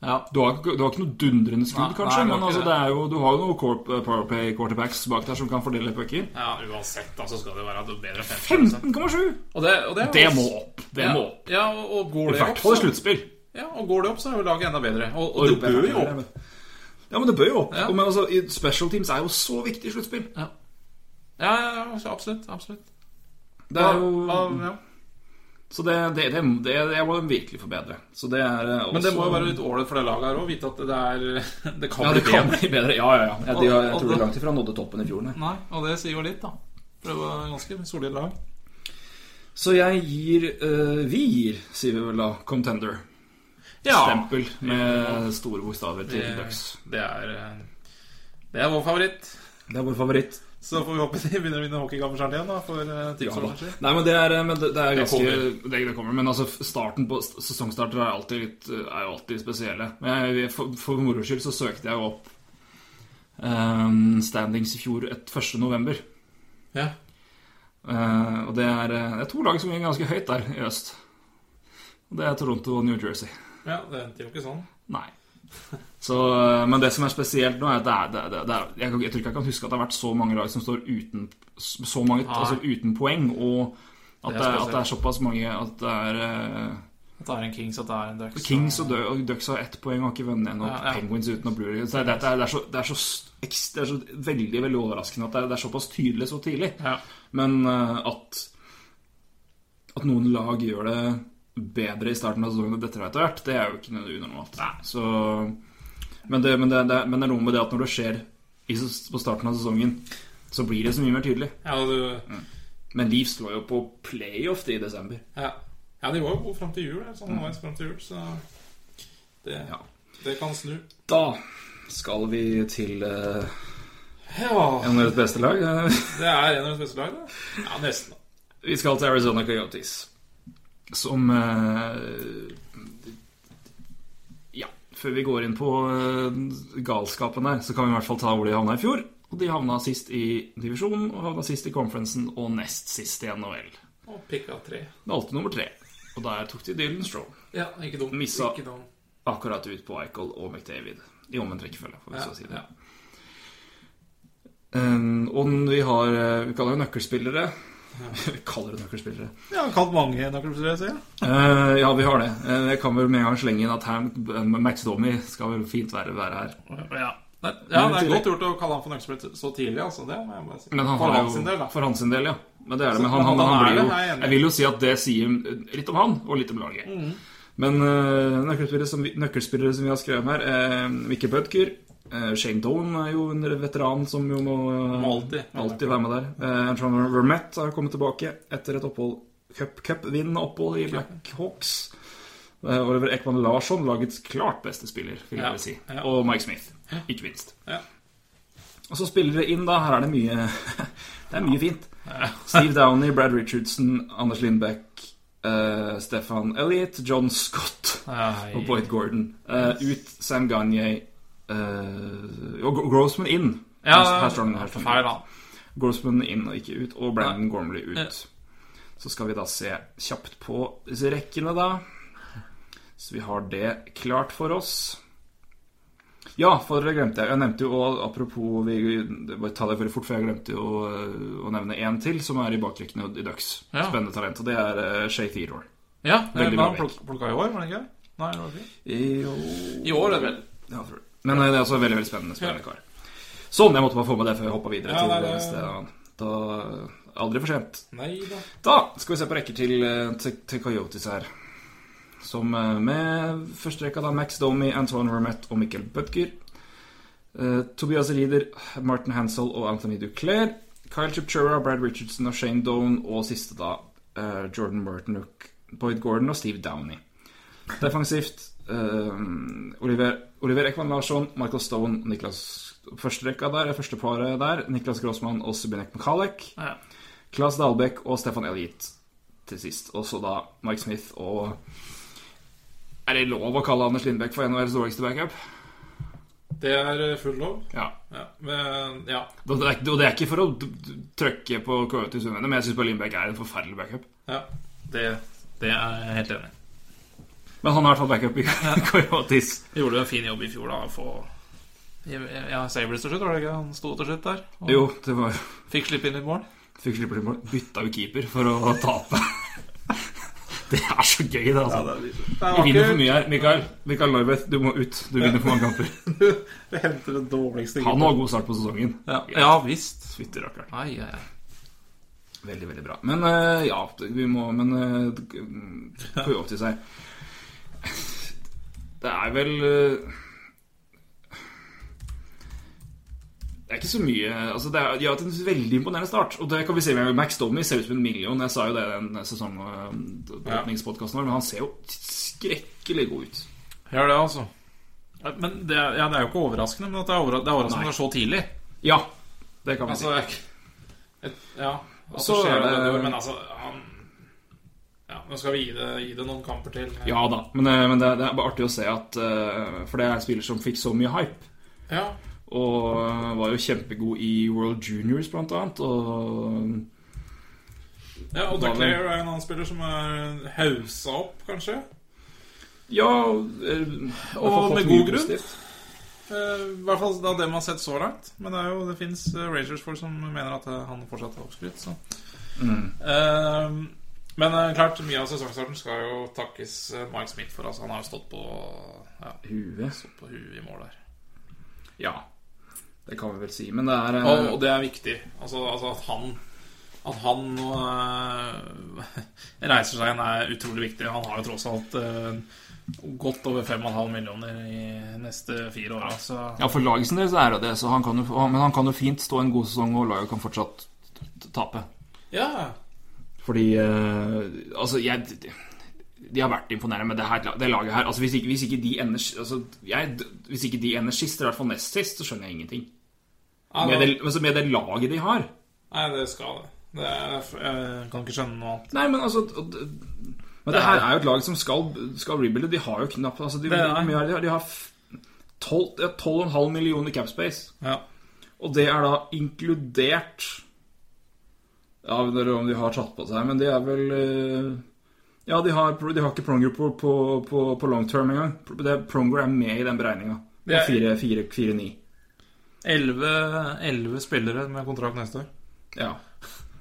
Speaker 3: Ja.
Speaker 4: Du har, ikke- du har ikke noe dundrende
Speaker 3: Nei,
Speaker 4: skudd,
Speaker 3: nei,
Speaker 4: kanskje,
Speaker 3: det er
Speaker 4: men
Speaker 3: ikke
Speaker 4: altså,
Speaker 3: det.
Speaker 4: det er jo, du har jo noen corp- eh, Powerplay quarterbacks bak der som kan fordele pucker.
Speaker 3: uansett, da, så skal det være bedre enn
Speaker 4: 15,7!
Speaker 3: Og det, og det, er
Speaker 4: Det
Speaker 3: også-
Speaker 4: må opp. Det
Speaker 3: ja,
Speaker 4: må opp.
Speaker 3: Ja, og, og går
Speaker 4: I
Speaker 3: det
Speaker 4: hvert
Speaker 3: opp,
Speaker 4: fall i
Speaker 3: så,
Speaker 4: sluttspill.
Speaker 3: ja, og går det opp, så er jo laget enda bedre. Og, og,
Speaker 4: Og
Speaker 3: det
Speaker 4: roper
Speaker 3: bør
Speaker 4: jeg
Speaker 3: jo
Speaker 4: her,
Speaker 3: opp.
Speaker 4: men- Ja, men det bør jo opp.
Speaker 3: Ja.
Speaker 4: Og Men altså, i- special teams er jo så viktig i sluttspill.
Speaker 3: Ja, ja, ja, ja, så absolutt. absolutt.
Speaker 4: Det er jo
Speaker 3: Ja, ja.
Speaker 4: Så det, det, det, det, det må de virkelig forbedre. Så det er eh, også,
Speaker 3: Men det må jo være litt ålreit for det laget her òg, vite at det, er, <laughs> det kan
Speaker 4: ja, det
Speaker 3: bli
Speaker 4: kan
Speaker 3: bedre.
Speaker 4: bli bedre. Ja, ja, ja. Jeg, de, har- jeg
Speaker 3: Og- og
Speaker 4: tror de
Speaker 3: da-
Speaker 4: langt ifra nådde toppen i fjor. nei.
Speaker 3: Nei, og det sier jo litt, da. For det var ganske solid lag.
Speaker 4: Så jeg gir eh, Vi gir, sier vi vel da, Contender. Stempel med store bokstaver til
Speaker 3: Det-
Speaker 4: Ducks.
Speaker 3: Det er, eh, det er vår favoritt.
Speaker 4: Det er vår favoritt.
Speaker 3: Så får vi håpe de begynner å vinne hockeykamper snart igjen. da For eh, tips
Speaker 4: Ja,
Speaker 3: og
Speaker 4: da.
Speaker 3: sjanser.
Speaker 4: Nei, men det er, eh, men det, det er
Speaker 3: Det
Speaker 4: ganske
Speaker 3: kommer.
Speaker 4: Det, det kommer. Men altså, f- starten på s- sesongstarter er, alltid litt, eh, er jo alltid spesielle. Men jeg, for for moro skyld så søkte jeg jo opp eh, standings i fjor et 1. november.
Speaker 3: Ja.
Speaker 4: Eh, og det er, eh, det er to lag som ligger ganske høyt der i øst. Og det er Toronto og New Jersey.
Speaker 3: ja, det endte jo ikke sånn. <laughs>
Speaker 4: Nei. Så, eh, men det som er spesielt nå, er at det er, det er, det er jeg, kan- jeg tror ikke jeg kan huske at det har vært så mange lag som står uten, så mange,
Speaker 3: Nei.
Speaker 4: altså, uten poeng, og at
Speaker 3: Det er
Speaker 4: det, er at
Speaker 3: spesielt.
Speaker 4: det er såpass mange at det er eh,
Speaker 3: At det er en Kings, at det er en Ducks.
Speaker 4: Kings og, Dø- og Ducks har ett poeng og har ikke vunnet ennå.
Speaker 3: Ja, ja.
Speaker 4: Penguins uten å Blue Jays. Det, er- det, er- det, er så- det er så st- ekst- det er så veldig veldig overraskende at det er, det er såpass tydelig så tidlig.
Speaker 3: Ja.
Speaker 4: Men eh, at At noen lag gjør det bedre i starten av sesongen enn dette etter hvert, det er jo ikke noe unormalt. Så, men, det, men, det, det, men det er noe med det at når det skjer i, ses- på starten av sesongen, så blir det så mye mer tydelig.
Speaker 3: Ja, og du,
Speaker 4: Men Leeds lå jo på playoff i desember.
Speaker 3: ja. ja, de var jo gode fram til jul. eller Sånn mm. frem til jul Så det,
Speaker 4: Ja.
Speaker 3: det kan snu.
Speaker 4: Da skal vi til eh,
Speaker 3: Ja, Ah.
Speaker 4: en av deres beste lag. eh.
Speaker 3: Det er en av de beste lag, da. Ja, nesten. da.
Speaker 4: Vi skal til Arizona Coyotes, som eh, Ja, før vi går inn på eh, galskapen der, så kan vi i hvert fall ta hvor de havna i fjor. Og de havna sist i divisjonen, og havna sist i conferencen, og nest sist i NHL.
Speaker 3: Og pikka tre.
Speaker 4: Valgte nummer tre, og der tok de Dylan Straw
Speaker 3: Ja, ikke dum.
Speaker 4: Missa.
Speaker 3: Ikke dum.
Speaker 4: akkurat ut på Eichel og McDavid. I omvendt rekkefølge, får vi
Speaker 3: Ja,
Speaker 4: så si det.
Speaker 3: ja.
Speaker 4: Eh, og vi har eh, Vi kaller det nøkkelspillere. <laughs> vi kaller det nøkkelspillere.
Speaker 3: Ja, kalt mange nøkkelspillere, sier jeg.
Speaker 4: Eh, ja, vi har det. Eh, jeg kan vel med en gang slenge inn at her, Max Domi skal vel fint være, være her.
Speaker 3: Ja. Nei, ja,
Speaker 4: Men
Speaker 3: det
Speaker 4: i
Speaker 3: er
Speaker 4: tillegg-
Speaker 3: godt gjort å kalle han for nøkkelspiller så tidlig, altså. Det må jeg bare si.
Speaker 4: Men han
Speaker 3: for
Speaker 4: har
Speaker 3: hans
Speaker 4: jo,
Speaker 3: sin del, da.
Speaker 4: for hans sin del, ja. Men det er det.
Speaker 3: Så
Speaker 4: Men han, han, han,
Speaker 3: han er
Speaker 4: blir
Speaker 3: det,
Speaker 4: jo
Speaker 3: jeg er enig. Mm.
Speaker 4: Jeg vil jo si at det sier litt om han, og litt om laget. Men eh, nøkkelspillere, som vi, nøkkelspillere som vi har skrevet om her, eh, Mikkel Bødker eh, Shane Doan er jo en veteran som jo må eh,
Speaker 3: Må alltid.
Speaker 4: alltid være med der. Eh, Trond Vermette har kommet tilbake etter et opphold cup- cup-vinn-opphold i Blackhawks. Eh, Oliver Ekman Larsson, lagets klart beste spiller, vil
Speaker 3: Ja,
Speaker 4: jeg vel si.
Speaker 3: ja.
Speaker 4: Og Mike Smith, ikke minst.
Speaker 3: Ja.
Speaker 4: Og så spiller det inn, da. Her er det mye <laughs> Det er mye fint. Steve Downey, Brad Richardson, Anders Lindbekk, eh, Stefan Elliot, John Scott
Speaker 3: Nei.
Speaker 4: og Boyd Gordon. Eh, ut Sam Gagne og Gro- Grossman inn.
Speaker 3: Ja,
Speaker 4: her står den, her står den.
Speaker 3: feil da.
Speaker 4: Grossman inn og ikke ut, og Brandon Gormley ut. Så skal vi da se kjapt på disse rekkene, da. Så vi har det klart for oss. Ja, for det glemte jeg. Jeg nevnte jo, og apropos vi, Bare ta det veldig fort, for jeg glemte jo å, å nevne én til som er i bakrekkene i Ducks.
Speaker 3: Ja.
Speaker 4: Spennende talent. Og det er eh, Shay Theodore.
Speaker 3: Ja,
Speaker 4: Veldig
Speaker 3: det
Speaker 4: bra
Speaker 3: var
Speaker 4: vekk.
Speaker 3: pluk- plukka i år, var det ikke? Nei, det var ikke.
Speaker 4: Jo
Speaker 3: I år, er det vel.
Speaker 4: Ja, tror jeg. Men eh, det er også en veldig, veldig spennende, spennende kar. Sånn, jeg måtte bare få med det før jeg hoppa videre.
Speaker 3: Ja,
Speaker 4: til
Speaker 3: nei,
Speaker 4: det
Speaker 3: det-
Speaker 4: neste. Da, eh, aldri for sent.
Speaker 3: Nei da.
Speaker 4: Da skal vi se på rekker til, eh, til, til Coyotes her. Som eh, med første rekka da Max Domi, Antoine Vermette og Mikkel Bødger. Eh, Tobias Rieder, Martin Hansel og Anthony Duclair. Kyle Chipchura, Brad Richardson og Shane Doan. Og siste da eh, Jordan Murtenook, Boyd Gordon og Steve Downey. Defensivt eh, Oliver, Oliver Ekman Larsson, Michael Stone, Niklas Første rekka der, første paret der, Niklas Grossmann og Subinek Mkalek.
Speaker 3: Ja.
Speaker 4: Klas Dahlbekk og Stefan Elgit til sist. Og så da Mike Smith og Er det lov å kalle Anders Lindbekk for NHLs dårligste backup?
Speaker 3: Det er eh, full lov.
Speaker 4: Ja.
Speaker 3: Ja. Men, ja.
Speaker 4: Og det er, ikke- og det er ikke for å d- d- trykke på Coyotes uvenner, men jeg syns Lindbekk er en forferdelig backup.
Speaker 3: ja. Det, det er jeg helt enig i.
Speaker 4: Men han er i hvert fall backup i <laughs> Coyotes.
Speaker 3: Gjorde en fin jobb i fjor, da. å Få ja, Sabres til slutt, var det ikke? Han sto til slutt der. Og
Speaker 4: Jo, det var
Speaker 3: Fikk slippe inn litt mål.
Speaker 4: Fikk slippe til mål. Bytta jo keeper for å tape. <laughs> Det er så gøy, det, altså. Vi vinner for mye her. Mikael, Mikael Narveth, du må ut. Du vinner for mange kamper.
Speaker 3: Vi henter den dårligste
Speaker 4: Han har god start på sesongen.
Speaker 3: Ja, ja visst.
Speaker 4: Fytti rakkeren.
Speaker 3: Ai, ai, ai.
Speaker 4: Veldig, veldig bra. Men eh, ja, vi må Men uh, Coyotes her Det er vel eh, Det er ikke så mye altså det er, De har hatt en veldig imponerende start. Og det kan vi se med Max Domi ser ut som en million. Jeg sa jo det i den sesongåpningspodkasten vår, men han ser jo skrekkelig god ut.
Speaker 3: Gjør det, altså. Ja, Men det er, ja, det er jo ikke overraskende, men at det er overra- det er overraskende at det er så tidlig.
Speaker 4: Ja, det kan vi
Speaker 3: Altså,
Speaker 4: si.
Speaker 3: jeg, et, ja at
Speaker 4: Så
Speaker 3: det skjer
Speaker 4: er det-
Speaker 3: det, Men altså han, Ja, nå skal vi gi det, gi det noen kamper til.
Speaker 4: Ja da. Men, eh, men det, det er bare artig å se at eh, For det er en spiller som fikk så mye hype.
Speaker 3: ja.
Speaker 4: Og var jo kjempegod i World Juniors, blant annet. Og
Speaker 3: Ja, og
Speaker 4: Da
Speaker 3: Duclair er en annen spiller som er hausa opp, kanskje.
Speaker 4: ja eh,
Speaker 3: Og
Speaker 4: fått
Speaker 3: med
Speaker 4: mye
Speaker 3: god grunn.
Speaker 4: positivt.
Speaker 3: Eh, I hvert fall av det man har sett så langt. Men det, er jo- det fins Ragersford som mener at eh, han fortsatt er oppskrytt, så
Speaker 4: Mm.
Speaker 3: Eh, Men eh, klart, mye av sesongstarten skal jo takkes eh, Mike Smith for. Altså, han har jo stått på, ja,
Speaker 4: Huet.
Speaker 3: stått på huet i mål der.
Speaker 4: Ja. Det kan vi vel si. Men det er eh,
Speaker 3: Og, og det er viktig. Altså, altså at han At han øh, <laughs> reiser seg igjen, er utrolig viktig. Han har jo tross alt øh, godt over 5,5 millioner i neste fire åra, så
Speaker 4: Ja, for laget sin del så er det det. Så han kan jo, han- men han kan jo fint stå en god sesong, og laget kan fortsatt t- tape.
Speaker 3: Ja.
Speaker 4: Fordi eh, Altså, jeg De har vært imponerende med det, her, det laget her. Altså, hvis ikke, hvis ikke de ender altså, jeg, Hvis ikke de ender sist, eller i hvert fall nest sist, så skjønner jeg ingenting.
Speaker 3: ja
Speaker 4: Med
Speaker 3: det,
Speaker 4: det, altså, med det laget de har.
Speaker 3: nei, det skal det. det er, jeg kan ikke skjønne noe annet.
Speaker 4: Nei, men altså og det- Men det her er jo et lag som skal, skal rebuilde. De har jo knapt altså, de,
Speaker 3: Det er-
Speaker 4: hvor mye er det de har de har f- 12 ja, 12,5 millioner capspace.
Speaker 3: Ja.
Speaker 4: Og det er da inkludert Ja, jeg vet ikke om de har tatt på seg, men de er vel eh, Ja, de har, de har ikke Pronger på, på, på, på long term engang. Det er- Pronger er med i den beregninga.
Speaker 3: Det er-
Speaker 4: 4-9.
Speaker 3: Elleve elleve spillere med kontrakt neste år.
Speaker 4: Ja.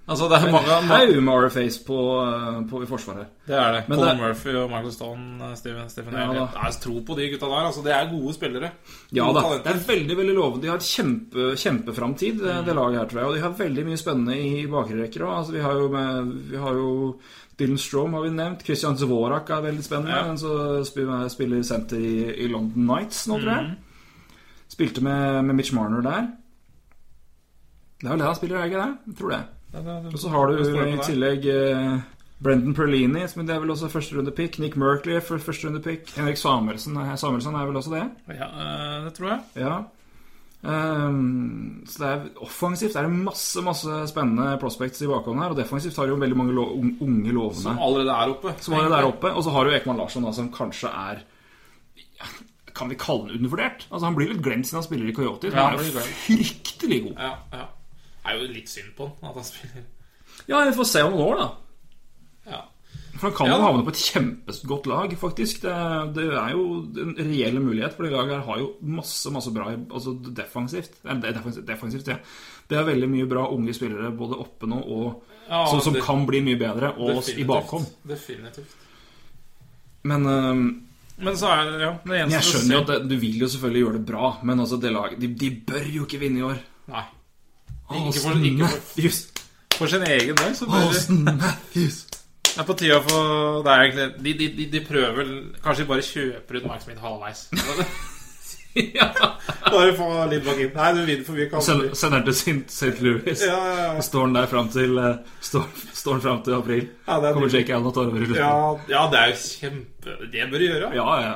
Speaker 3: Altså, det er mange,
Speaker 4: Det er jo med RFAs på, eh, på, i forsvaret.
Speaker 3: Det er det.
Speaker 4: Men
Speaker 3: Colin
Speaker 4: det-
Speaker 3: Murphy og Michael Stone, Stephen, Stephen
Speaker 4: Ja,
Speaker 3: Elliott.
Speaker 4: da.
Speaker 3: Jeg har tro på de gutta der. Altså, det er gode spillere.
Speaker 4: Ja
Speaker 3: Gode
Speaker 4: da,
Speaker 3: talenter.
Speaker 4: det er veldig veldig lovende. De har et kjempe, kjempeframtid, det,
Speaker 3: Mm.
Speaker 4: det laget her, tror jeg. Og de har veldig mye spennende i bakre rekker òg. Altså, vi, har jo med- vi har jo Dylan Strom, har vi nevnt. Christian Zvorak er veldig spennende.
Speaker 3: Ja.
Speaker 4: Han som spiller, spiller senter i, i London Nights nå, tror
Speaker 3: Mm.
Speaker 4: jeg. Spilte med, med Mitch Marner der. Det er vel det han spiller, er det ikke det? Jeg tror det.
Speaker 3: Ja, det- det-
Speaker 4: Og så har
Speaker 3: det
Speaker 4: du
Speaker 3: står
Speaker 4: i
Speaker 3: på der.
Speaker 4: tillegg eh, Brendan Perlini, som det er vel også førsterundepick. Nick Merkley, for førsterundepick. Henrik Samuelsen, er- Samuelsen er vel også det.
Speaker 3: Ja, eh, det tror jeg.
Speaker 4: Ja. Ehm, så det er offensivt er det masse masse spennende prospects i bakhånd her. Og defensivt har du jo veldig mange lo un- unge lovende
Speaker 3: Som allerede er oppe.
Speaker 4: som var der oppe. Og så har du Ekman Larsson, da, som kanskje er Kan vi kalle han undervurdert? Altså Han blir litt glemt siden han spiller i Coyote.
Speaker 3: Ja,
Speaker 4: Han er
Speaker 3: han
Speaker 4: jo
Speaker 3: blir
Speaker 4: fryktelig god.
Speaker 3: Ja, ja. Det er jo litt synd på han at han spiller.
Speaker 4: Ja, vi får se om noen år, da.
Speaker 3: Ja.
Speaker 4: For han kan
Speaker 3: Ja.
Speaker 4: jo havne på et kjempegodt lag, faktisk. Det, det er jo en reell mulighet, for det laget her har jo masse masse bra altså defensivt. Nei, det er defensivt, defensivt ja. Det er veldig mye bra unge spillere, både oppe nå og
Speaker 3: Ja,
Speaker 4: som, som
Speaker 3: det-
Speaker 4: kan bli mye bedre, og oss i
Speaker 3: definitivt.
Speaker 4: bakhånd.
Speaker 3: Definitivt.
Speaker 4: Men øhm,
Speaker 3: Men så er det ja, det eneste
Speaker 4: jeg skjønner jo at det, du vil jo selvfølgelig gjøre det bra, men altså det laget de, de bør jo ikke vinne i år.
Speaker 3: Nei. Ikke for-
Speaker 4: Austin
Speaker 3: ikke for-
Speaker 4: Matthews!
Speaker 3: For sin egen del så bør
Speaker 4: Austin Matthews!
Speaker 3: Det er på tide å få Det er egentlig De, de, de, de prøver vel Kanskje de bare kjøper ut Mark
Speaker 4: <laughs>
Speaker 3: Smith halvveis. <laughs> ja. Bare få litt bak inn. Nei, du vinner for mye
Speaker 4: Send- Sender den til St. St. Louis.
Speaker 3: Ja, ja, ja.
Speaker 4: Står den der fram til, eh, står, står den frem til april?
Speaker 3: Ja, det er
Speaker 4: Kommer
Speaker 3: nydelig.
Speaker 4: Jake Allen og tar over i slutten?
Speaker 3: Ja, ja, det er jo kjempe Det bør de gjøre.
Speaker 4: ja, ja.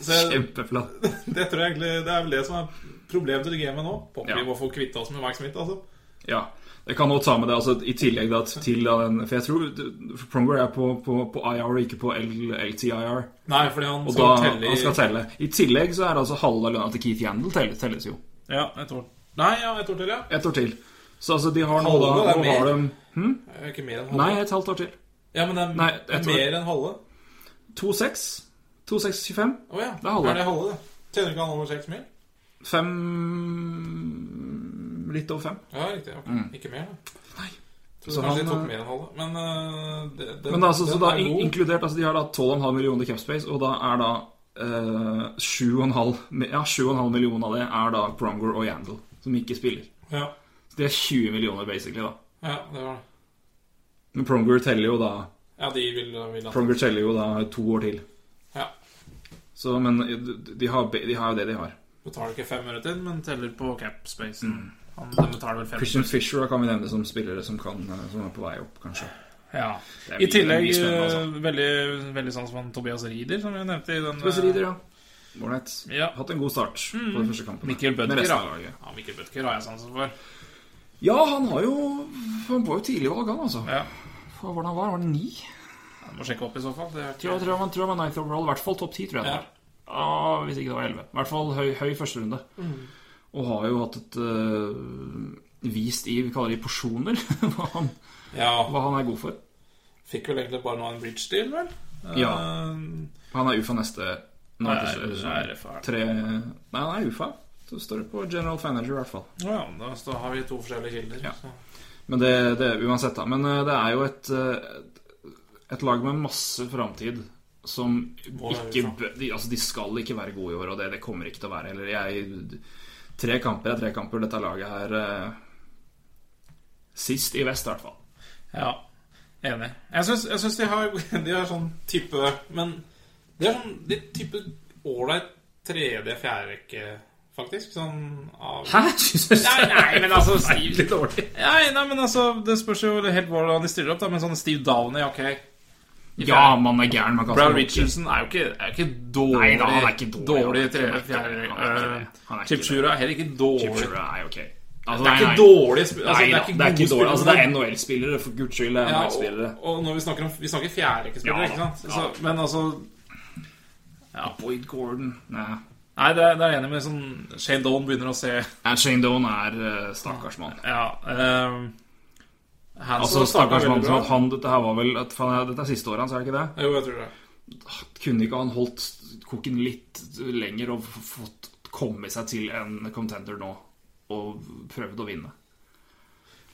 Speaker 3: Så jeg,
Speaker 4: Kjempeflatt.
Speaker 3: det tror jeg egentlig Det er vel det som er problemet til gamet nå. Poppy
Speaker 4: Ja.
Speaker 3: må få kvitte oss med Mark Smith, altså.
Speaker 4: Ja. Jeg kan også ta med det altså, i tillegg da, til da, den For jeg tror Pronger er på, på, på IR, ikke på L, LTIR.
Speaker 3: Nei, fordi han
Speaker 4: Og da
Speaker 3: skal telle i
Speaker 4: han skal telle. I tillegg så er det altså halve lønna til Keith Yandel telles, telles jo.
Speaker 3: Ja, et år Nei, ja, et år til, ja.
Speaker 4: Ett år til. Så altså, de har nå
Speaker 3: Halve,
Speaker 4: da
Speaker 3: det er
Speaker 4: nå har
Speaker 3: mer.
Speaker 4: de,
Speaker 3: Det er Ikke mer enn halve.
Speaker 4: Nei, et halvt år til.
Speaker 3: ja, men det er
Speaker 4: nei, et år.
Speaker 3: mer enn halve.
Speaker 4: 2,6. 2,625.
Speaker 3: Å ja.
Speaker 4: er halve.
Speaker 3: Er det halve, det? Tjener ikke han over seks mil?
Speaker 4: Fem Litt over fem.
Speaker 3: Ja, riktig. ok. Ikke mer, da.
Speaker 4: Mm. Nei.
Speaker 3: Tror
Speaker 4: Så
Speaker 3: kanskje
Speaker 4: han,
Speaker 3: de tok
Speaker 4: eh,
Speaker 3: mer enn halve. Men eh, det, det,
Speaker 4: Men da, altså,
Speaker 3: den
Speaker 4: så da
Speaker 3: er
Speaker 4: in
Speaker 3: god.
Speaker 4: inkludert altså, De har da 12,5 millioner capspace, og da er da eh, 7,5 mi- ja, 7,5 millioner av det er da Pronger og Yandel, som ikke spiller.
Speaker 3: ja.
Speaker 4: Så de er 20 millioner, basically. da
Speaker 3: ja, det var det.
Speaker 4: Men Pronger teller jo da
Speaker 3: Ja, de vil, vil at
Speaker 4: Pronger teller jo da to år til.
Speaker 3: Ja.
Speaker 4: Så, men eh, de har, be- de har jo det de har.
Speaker 3: Betaler ikke fem øre til, men teller på capspacen. Han de betaler vel fem.
Speaker 4: Mm. Christian Fisher da kan vi nevne som spillere som, kan, eh, som er på vei opp, kanskje.
Speaker 3: Ja.
Speaker 4: Det er
Speaker 3: I
Speaker 4: mye-
Speaker 3: tillegg
Speaker 4: mye spennende, altså.
Speaker 3: eh, veldig, veldig sans for han Tobias Rieder, som vi nevnte i den
Speaker 4: Tobias Rieder, ja. Ålreit.
Speaker 3: Ja. Mm.
Speaker 4: Hatt en god start på de første kampene.
Speaker 3: Mikkel
Speaker 4: Med
Speaker 3: Bødker,
Speaker 4: resten
Speaker 3: da.
Speaker 4: av laget.
Speaker 3: eh, Ja, Mikkel Bødker har jeg sansen for.
Speaker 4: Ja, han har jo Han var jo tidlig valg, han, altså.
Speaker 3: Ja.
Speaker 4: Hva var det han var? Var det ni?
Speaker 3: Jeg må sjekke opp i så fall. Det er
Speaker 4: Tror jeg, tror jeg, tror jeg var ninth overall. I hvert fall topp ti, tror jeg det
Speaker 3: Ja.
Speaker 4: var. Ah, hvis ikke det var elleve. I hvert fall høy, høy første runde.
Speaker 3: Mm.
Speaker 4: Og har jo hatt et eh, vist i Vi kaller det porsjoner, <laughs> hva, han,
Speaker 3: Ja,
Speaker 4: hva han er god for.
Speaker 3: fikk vel egentlig bare nå en bridge deal, vel?
Speaker 4: Ja.
Speaker 3: Eh,
Speaker 4: Han er UFA neste Nei,
Speaker 3: Nei,
Speaker 4: første-
Speaker 3: det er RFA.
Speaker 4: tre Nei, han er UFA. Så står det på general manager, i hvert fall.
Speaker 3: Å ja, da så har vi to forskjellige kilder.
Speaker 4: Ja.
Speaker 3: så.
Speaker 4: Men det, det uansett, da. Men eh, det er jo et, eh, et lag med masse framtid som
Speaker 3: være
Speaker 4: ikke bø- de, Altså, de skal ikke være gode i år, og det, det kommer ikke til å være heller. Jeg Tre kamper er tre kamper. Dette laget her eh, Sist i vest, i hvert fall.
Speaker 3: Ja, enig. Jeg syns, jeg syns de, har, <laughs> de har sånn type Men de har sånn de type ålreit tredje, fjerde rekke, faktisk. Sånn av
Speaker 4: Hæ? Synes <laughs> jeg
Speaker 3: Nei, nei, men
Speaker 4: <laughs>
Speaker 3: altså
Speaker 4: Litt
Speaker 3: Steve
Speaker 4: dårlig.
Speaker 3: Nei, nei, men altså Det spørs jo helt hvordan de stiller opp, da, men sånn Steve Downey, ok.
Speaker 4: Ja, man er gæren. Man kan
Speaker 3: Brad
Speaker 4: ikke-
Speaker 3: Richardson er jo ikke, er jo ikke dårlig.
Speaker 4: Nei da, han er ikke dårlig.
Speaker 3: dårlig tredje,
Speaker 4: Han er
Speaker 3: fjerde eh,
Speaker 4: ikke det. Han er ikke det. Han er
Speaker 3: Chip
Speaker 4: ikke det.
Speaker 3: Shura er heller ikke dårlig.
Speaker 4: Chip Shura er jo ok. Altså,
Speaker 3: Det er
Speaker 4: nei,
Speaker 3: ikke
Speaker 4: nei.
Speaker 3: dårlig sp- altså,
Speaker 4: Nei da, det er ikke
Speaker 3: gode
Speaker 4: dårlig. Altså, det er
Speaker 3: spillere.
Speaker 4: NHL-spillere, for guds skyld. Det er
Speaker 3: Ja,
Speaker 4: NHL-spillere.
Speaker 3: og, og når vi snakker om Vi snakker fjerderekkespillere,
Speaker 4: Ja,
Speaker 3: ikke sant?
Speaker 4: da.
Speaker 3: Så, men altså
Speaker 4: Boyd Gordon Nei.
Speaker 3: Nei, det er, det er jeg enig med sånn Shane Doan begynner å se
Speaker 4: Nei, Shane Doan er eh, stakkars mann.
Speaker 3: Ja. ehm, Hanson
Speaker 4: Altså,
Speaker 3: startet
Speaker 4: stakkars mann
Speaker 3: veldig
Speaker 4: som
Speaker 3: bra.
Speaker 4: at han Dette her var vel at, faen, Dette er siste året hans, er det ikke det?
Speaker 3: Jo, jeg tror det.
Speaker 4: Kunne ikke han holdt koken litt lenger og f- fått komme seg til en contender nå og prøvd å vinne?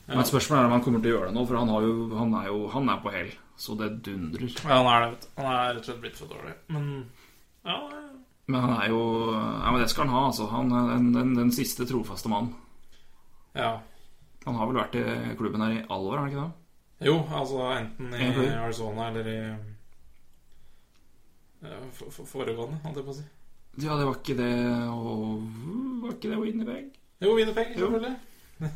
Speaker 4: Men spørsmålet er om han kommer til å gjøre det nå, for han, har jo, han er jo han er på hell. Så det dundrer.
Speaker 3: Ja, han er det, vet du. Han er rett og slett blitt for dårlig. Men ja,
Speaker 4: Men han er jo Ja, men det skal han ha, altså. Han er den, den, den siste trofaste mannen.
Speaker 3: ja.
Speaker 4: Han har vel vært i klubben her i alle år, har han ikke det?
Speaker 3: Jo, altså enten i
Speaker 4: Ja, for-
Speaker 3: Arizona eller i ja, for- for- Foregående, holdt jeg på å si.
Speaker 4: Ja, det var ikke det og Var ikke det Winnerbeg?
Speaker 3: Jo, Winnerpeg, selvfølgelig. <laughs>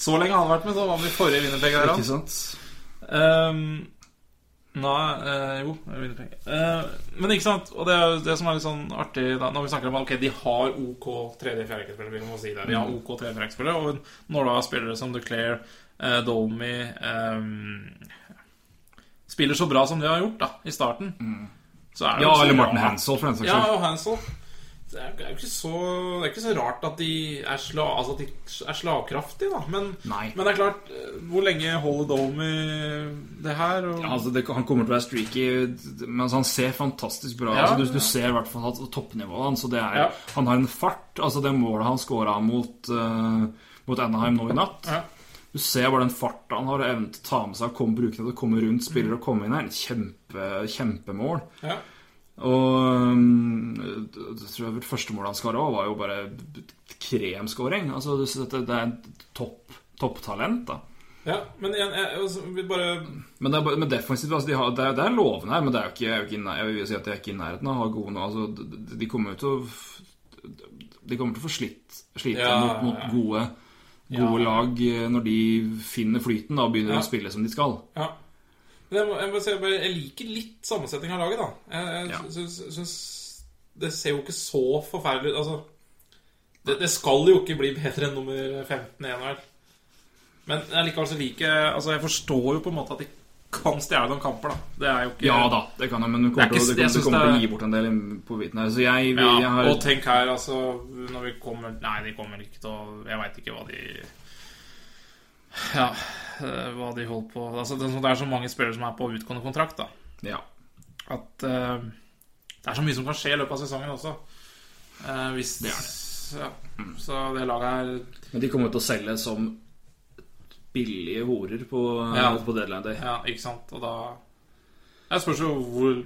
Speaker 3: Så lenge han har vært med, så var han i forrige Winnerpeg.
Speaker 4: Ikke sant?
Speaker 3: Um, Nei, eh, jo, jeg vinner penger. Eh, men ikke sant, og det er jo det som er litt sånn artig da, når vi snakker om at ok, de har OK 3D-4-rekkespillere, vi må si det. De har OK 3D-4-rekkespillere, og når da spillere som Duclair, eh, Domi eh, Spiller så bra som de har gjort da, i starten, så
Speaker 4: Mm. Ja,
Speaker 3: er det jo ikke så
Speaker 4: eller Martin
Speaker 3: rart.
Speaker 4: Hansel, for den saks
Speaker 3: Ja,
Speaker 4: skyld.
Speaker 3: og Hansel. Det er, det er jo ikke så, det er ikke så rart at de er, sla, altså at de er slagkraftige, da. Men,
Speaker 4: Nei.
Speaker 3: men det er klart, eh, hvor lenge holder Domi det her? Og,
Speaker 4: Ja, altså det, han kommer til å være streaky, men altså, han ser fantastisk bra
Speaker 3: Ja.
Speaker 4: altså, du, du ser i hvert fall at toppnivået hans. og det er-
Speaker 3: Ja.
Speaker 4: Han har en fart. altså Det målet han scora mot, eh, mot Anaheim nå i natt
Speaker 3: Ja.
Speaker 4: Du ser bare den farta han har, og evnen til å ta med seg, komme, bruke det til å komme rundt spillere og komme inn her. Kjempe, kjempemål.
Speaker 3: Ja.
Speaker 4: Og um, jeg tror jeg første målet han skåra, var jo bare kremskåring. Altså, du ser at det, det er et topp, topptalent, da.
Speaker 3: Ja, men igjen, jeg, jeg også vil bare
Speaker 4: Men, det er, bare- men defensivt, altså, de har, det, er, det er lovende her, men det er jo ikke, jeg, er jo ikke, i nær- jeg vil si at de er ikke i nærheten av å ha gode nå. Altså, de- de- de kommer jo til å f- De kommer til å få slitt, slite
Speaker 3: Ja,
Speaker 4: mot, mot
Speaker 3: ja.
Speaker 4: gode, gode
Speaker 3: Ja.
Speaker 4: lag eh, når de finner flyten da, og begynner
Speaker 3: Ja.
Speaker 4: å spille som de skal.
Speaker 3: Ja. Men jeg, må, jeg, må si, jeg, bare, jeg liker litt sammensetning av laget, da. Jeg, jeg
Speaker 4: Ja.
Speaker 3: syns, syns Det ser jo ikke så forferdelig ut. Altså det, det skal jo ikke bli bedre enn nummer 15 i NHL. Men jeg likevel så liker jeg Altså, jeg forstår jo på en måte at de kan stjele noen kamper, da. Det er jo ikke
Speaker 4: Ja da, det kan jeg, men du kommer,
Speaker 3: Det er ikke-
Speaker 4: til, å-
Speaker 3: jeg
Speaker 4: du kommer,
Speaker 3: synes
Speaker 4: du kommer til å
Speaker 3: det er-
Speaker 4: gi bort en del i- på hviten her. Så jeg,
Speaker 3: Ja,
Speaker 4: jeg har
Speaker 3: og tenk her, altså Når vi kommer Nei, de kommer ikke til å Jeg veit ikke hva de Ja, eh, hva de holder på altså, det, er så- det er så mange spillere som er på utgående kontrakt, da.
Speaker 4: ja.
Speaker 3: At eh, det er så mye som kan skje i løpet av sesongen også. Eh, hvis
Speaker 4: Det Mm. er
Speaker 3: Ja. Så det laget her
Speaker 4: Men de kommer jo til å selge som billige horer på,
Speaker 3: Ja.
Speaker 4: på deadline day.
Speaker 3: Ja, ikke sant? Og da Jeg spørs jo hvor,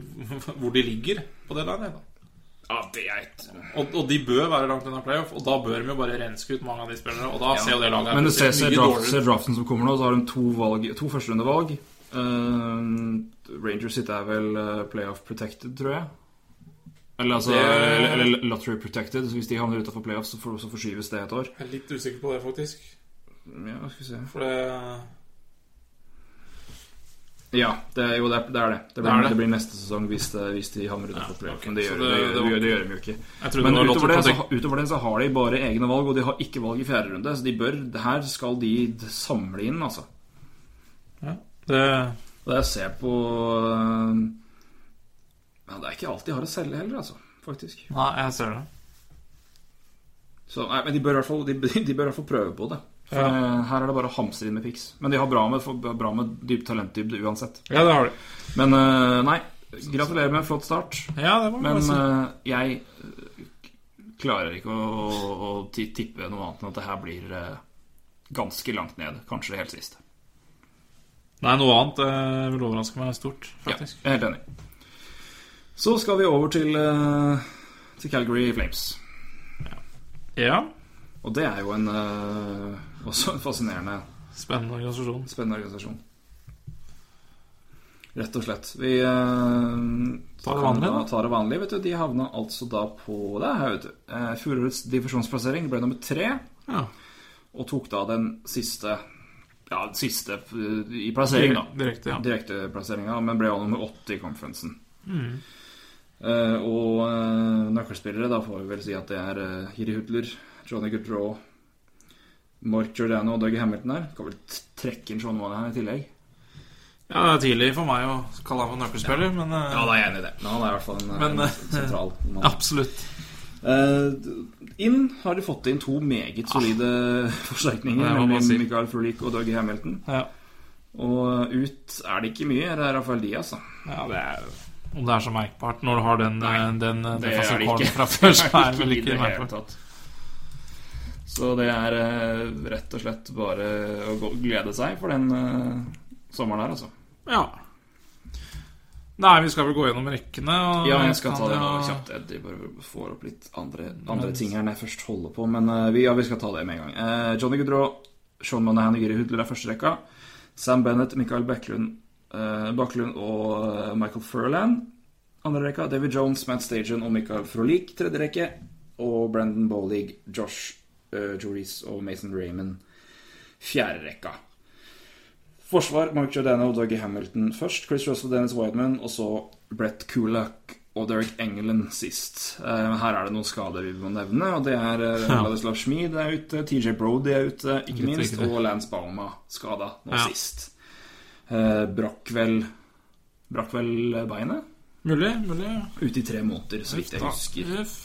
Speaker 3: hvor <laughs> de ligger på det laget. da.
Speaker 4: Ja, det er et
Speaker 3: Og, og de bør være langt unna playoff, og da bør de jo bare renske ut mange av de spillerne. Og da ser jo det laget her
Speaker 4: Men du
Speaker 3: plutselig
Speaker 4: ser, ser,
Speaker 3: mye
Speaker 4: draft,
Speaker 3: dårligere ut.
Speaker 4: ser draften som kommer nå, så har de to, valg, to førsterundevalg. Eh, Rangers sitt er vel eh, playoff protected, tror jeg. Eller, altså,
Speaker 3: Det-
Speaker 4: eller, eller lottery protected, så hvis de havner utafor playoff, så, får- så forskyves det et år.
Speaker 3: Jeg er litt usikker på det, faktisk.
Speaker 4: Ja, skal vi se.
Speaker 3: For det
Speaker 4: Ja, det, er- jo, det er det. Er det. Det, blir,
Speaker 3: Det er
Speaker 4: det,
Speaker 3: det.
Speaker 4: blir neste sesong hvis, det, hvis de havner utafor
Speaker 3: Ja,
Speaker 4: playoff.
Speaker 3: ok.
Speaker 4: Men det
Speaker 3: Så
Speaker 4: gjør,
Speaker 3: det-
Speaker 4: det,
Speaker 3: det
Speaker 4: det,
Speaker 3: var-
Speaker 4: gjør, det gjør de jo ikke.
Speaker 3: Jeg trodde
Speaker 4: Men
Speaker 3: det var
Speaker 4: utover det,
Speaker 3: lottery
Speaker 4: så, utover det så har de bare egne valg, og de har ikke valg i fjerde runde. Så de bør, det her skal de samle inn, altså.
Speaker 3: det,
Speaker 4: Og jeg ser på øh, Ja, det er ikke alt de har å selge heller, altså. Faktisk.
Speaker 3: Nei, jeg ser det.
Speaker 4: Så, nei, men de bør, i hvert fall, de, <laughs> de bør i hvert fall prøve på det. For
Speaker 3: Ja.
Speaker 4: eh, Her er det bare å hamstre inn med pics. Men de har bra med, for- bra med dyp talentdybde uansett.
Speaker 3: Ja, det har du.
Speaker 4: Men eh, nei, gratulerer med en flott start.
Speaker 3: Ja, det må man
Speaker 4: Men
Speaker 3: si.
Speaker 4: eh, jeg eh, klarer ikke å, å, å ti- tippe noe annet enn at det her blir eh, ganske langt ned. Kanskje det helt siste.
Speaker 3: Nei, noe annet eh, vil overraske meg stort, faktisk.
Speaker 4: Ja, jeg er helt enig. Så skal vi over til, eh, til Calgary Flames.
Speaker 3: Ja.
Speaker 4: Og det er jo en eh, <laughs> også en fascinerende,
Speaker 3: Spennende organisasjon.
Speaker 4: spennende organisasjon. Rett og slett. Vi eh,
Speaker 3: Tar det vanlige,
Speaker 4: kan
Speaker 3: da.
Speaker 4: tar det vanlige, vet du. De havna altså da på det her, vet du. Eh, Fjorårets divisjonsplassering ble nummer tre,
Speaker 3: Ja.
Speaker 4: og tok da den siste Ja, den siste eh, i plassering, da.
Speaker 3: Direkte, ja.
Speaker 4: direkteplasseringa, men ble også nummer 80 i konferansen. Eh, og eh, nøkkelspillere, da får vi vel si at det er eh, Hiri Hudler, Johnny Gaudreau, Mark Giordano og Dougie Hamilton her. Kan vel t- trekke inn Sean Monahan her i tillegg.
Speaker 3: ja, det er tidlig for meg å kalle ham for nøkkelspiller, men eh,
Speaker 4: da er jeg enig i det. Men han er i hvert fall en, eh,
Speaker 3: Men, eh,
Speaker 4: en
Speaker 3: <laughs>
Speaker 4: sentral mann.
Speaker 3: absolutt.
Speaker 4: Eh, d- inn har de fått inn to meget solide <laughs> forsterkninger,
Speaker 3: Ah. Det må man
Speaker 4: nemlig
Speaker 3: si.
Speaker 4: Michael Frolik og Dougie Hamilton.
Speaker 3: Ja.
Speaker 4: Og ut er det ikke mye. Det er Rafael Diaz, da.
Speaker 3: ja, det er Om det er så merkbart når du har den, eh, den eh,
Speaker 4: det
Speaker 3: defensive
Speaker 4: er det
Speaker 3: callen
Speaker 4: ikke. <laughs>
Speaker 3: fra før, så er
Speaker 4: Ikke
Speaker 3: det vel
Speaker 4: i
Speaker 3: ikke
Speaker 4: det hele
Speaker 3: merkbart.
Speaker 4: tatt. Så det er eh, rett og slett bare å gå- glede seg for den eh, sommeren her, altså.
Speaker 3: Ja. Nei, vi skal vel gå gjennom rekkene. Og
Speaker 4: Ja, jeg skal ta
Speaker 3: kan
Speaker 4: det nå
Speaker 3: jo-
Speaker 4: kjapt. Jeg bare får opp litt andre, andre ting her når jeg først holder på. Men eh, vi, ja, vi skal ta det med en gang. Eh, Johnny Gaudreau, Sean Monahan og Giri Hudler er første rekka. Sam Bennett, Michael Backlund, eh, Backlund og eh, Michael Furland. Andre rekka. David Jones, Matt Stagen og Michael Frolik. Tredje rekke. Og Brendan Bolig, eh, Josh uh, Joris og Mason Raymond. Fjerde rekka. Forsvar Mark Giordano og Dougie Hamilton først. Chris Russell, Dennis Wideman og så Brett Kulak og Derek Engelen sist. Eh, her er det noen skader vi må nevne, og det er eh, Vladislav Schmid er ute, TJ Brody er ute, ikke
Speaker 3: Litt
Speaker 4: minst,
Speaker 3: riktig.
Speaker 4: og Lance Bauma skada nå
Speaker 3: Ja.
Speaker 4: sist. Eh, brakk vel Brakk vel beinet?
Speaker 3: Mulig, mulig.
Speaker 4: Ute i tre måneder, så vidt jeg husker.
Speaker 3: Uff.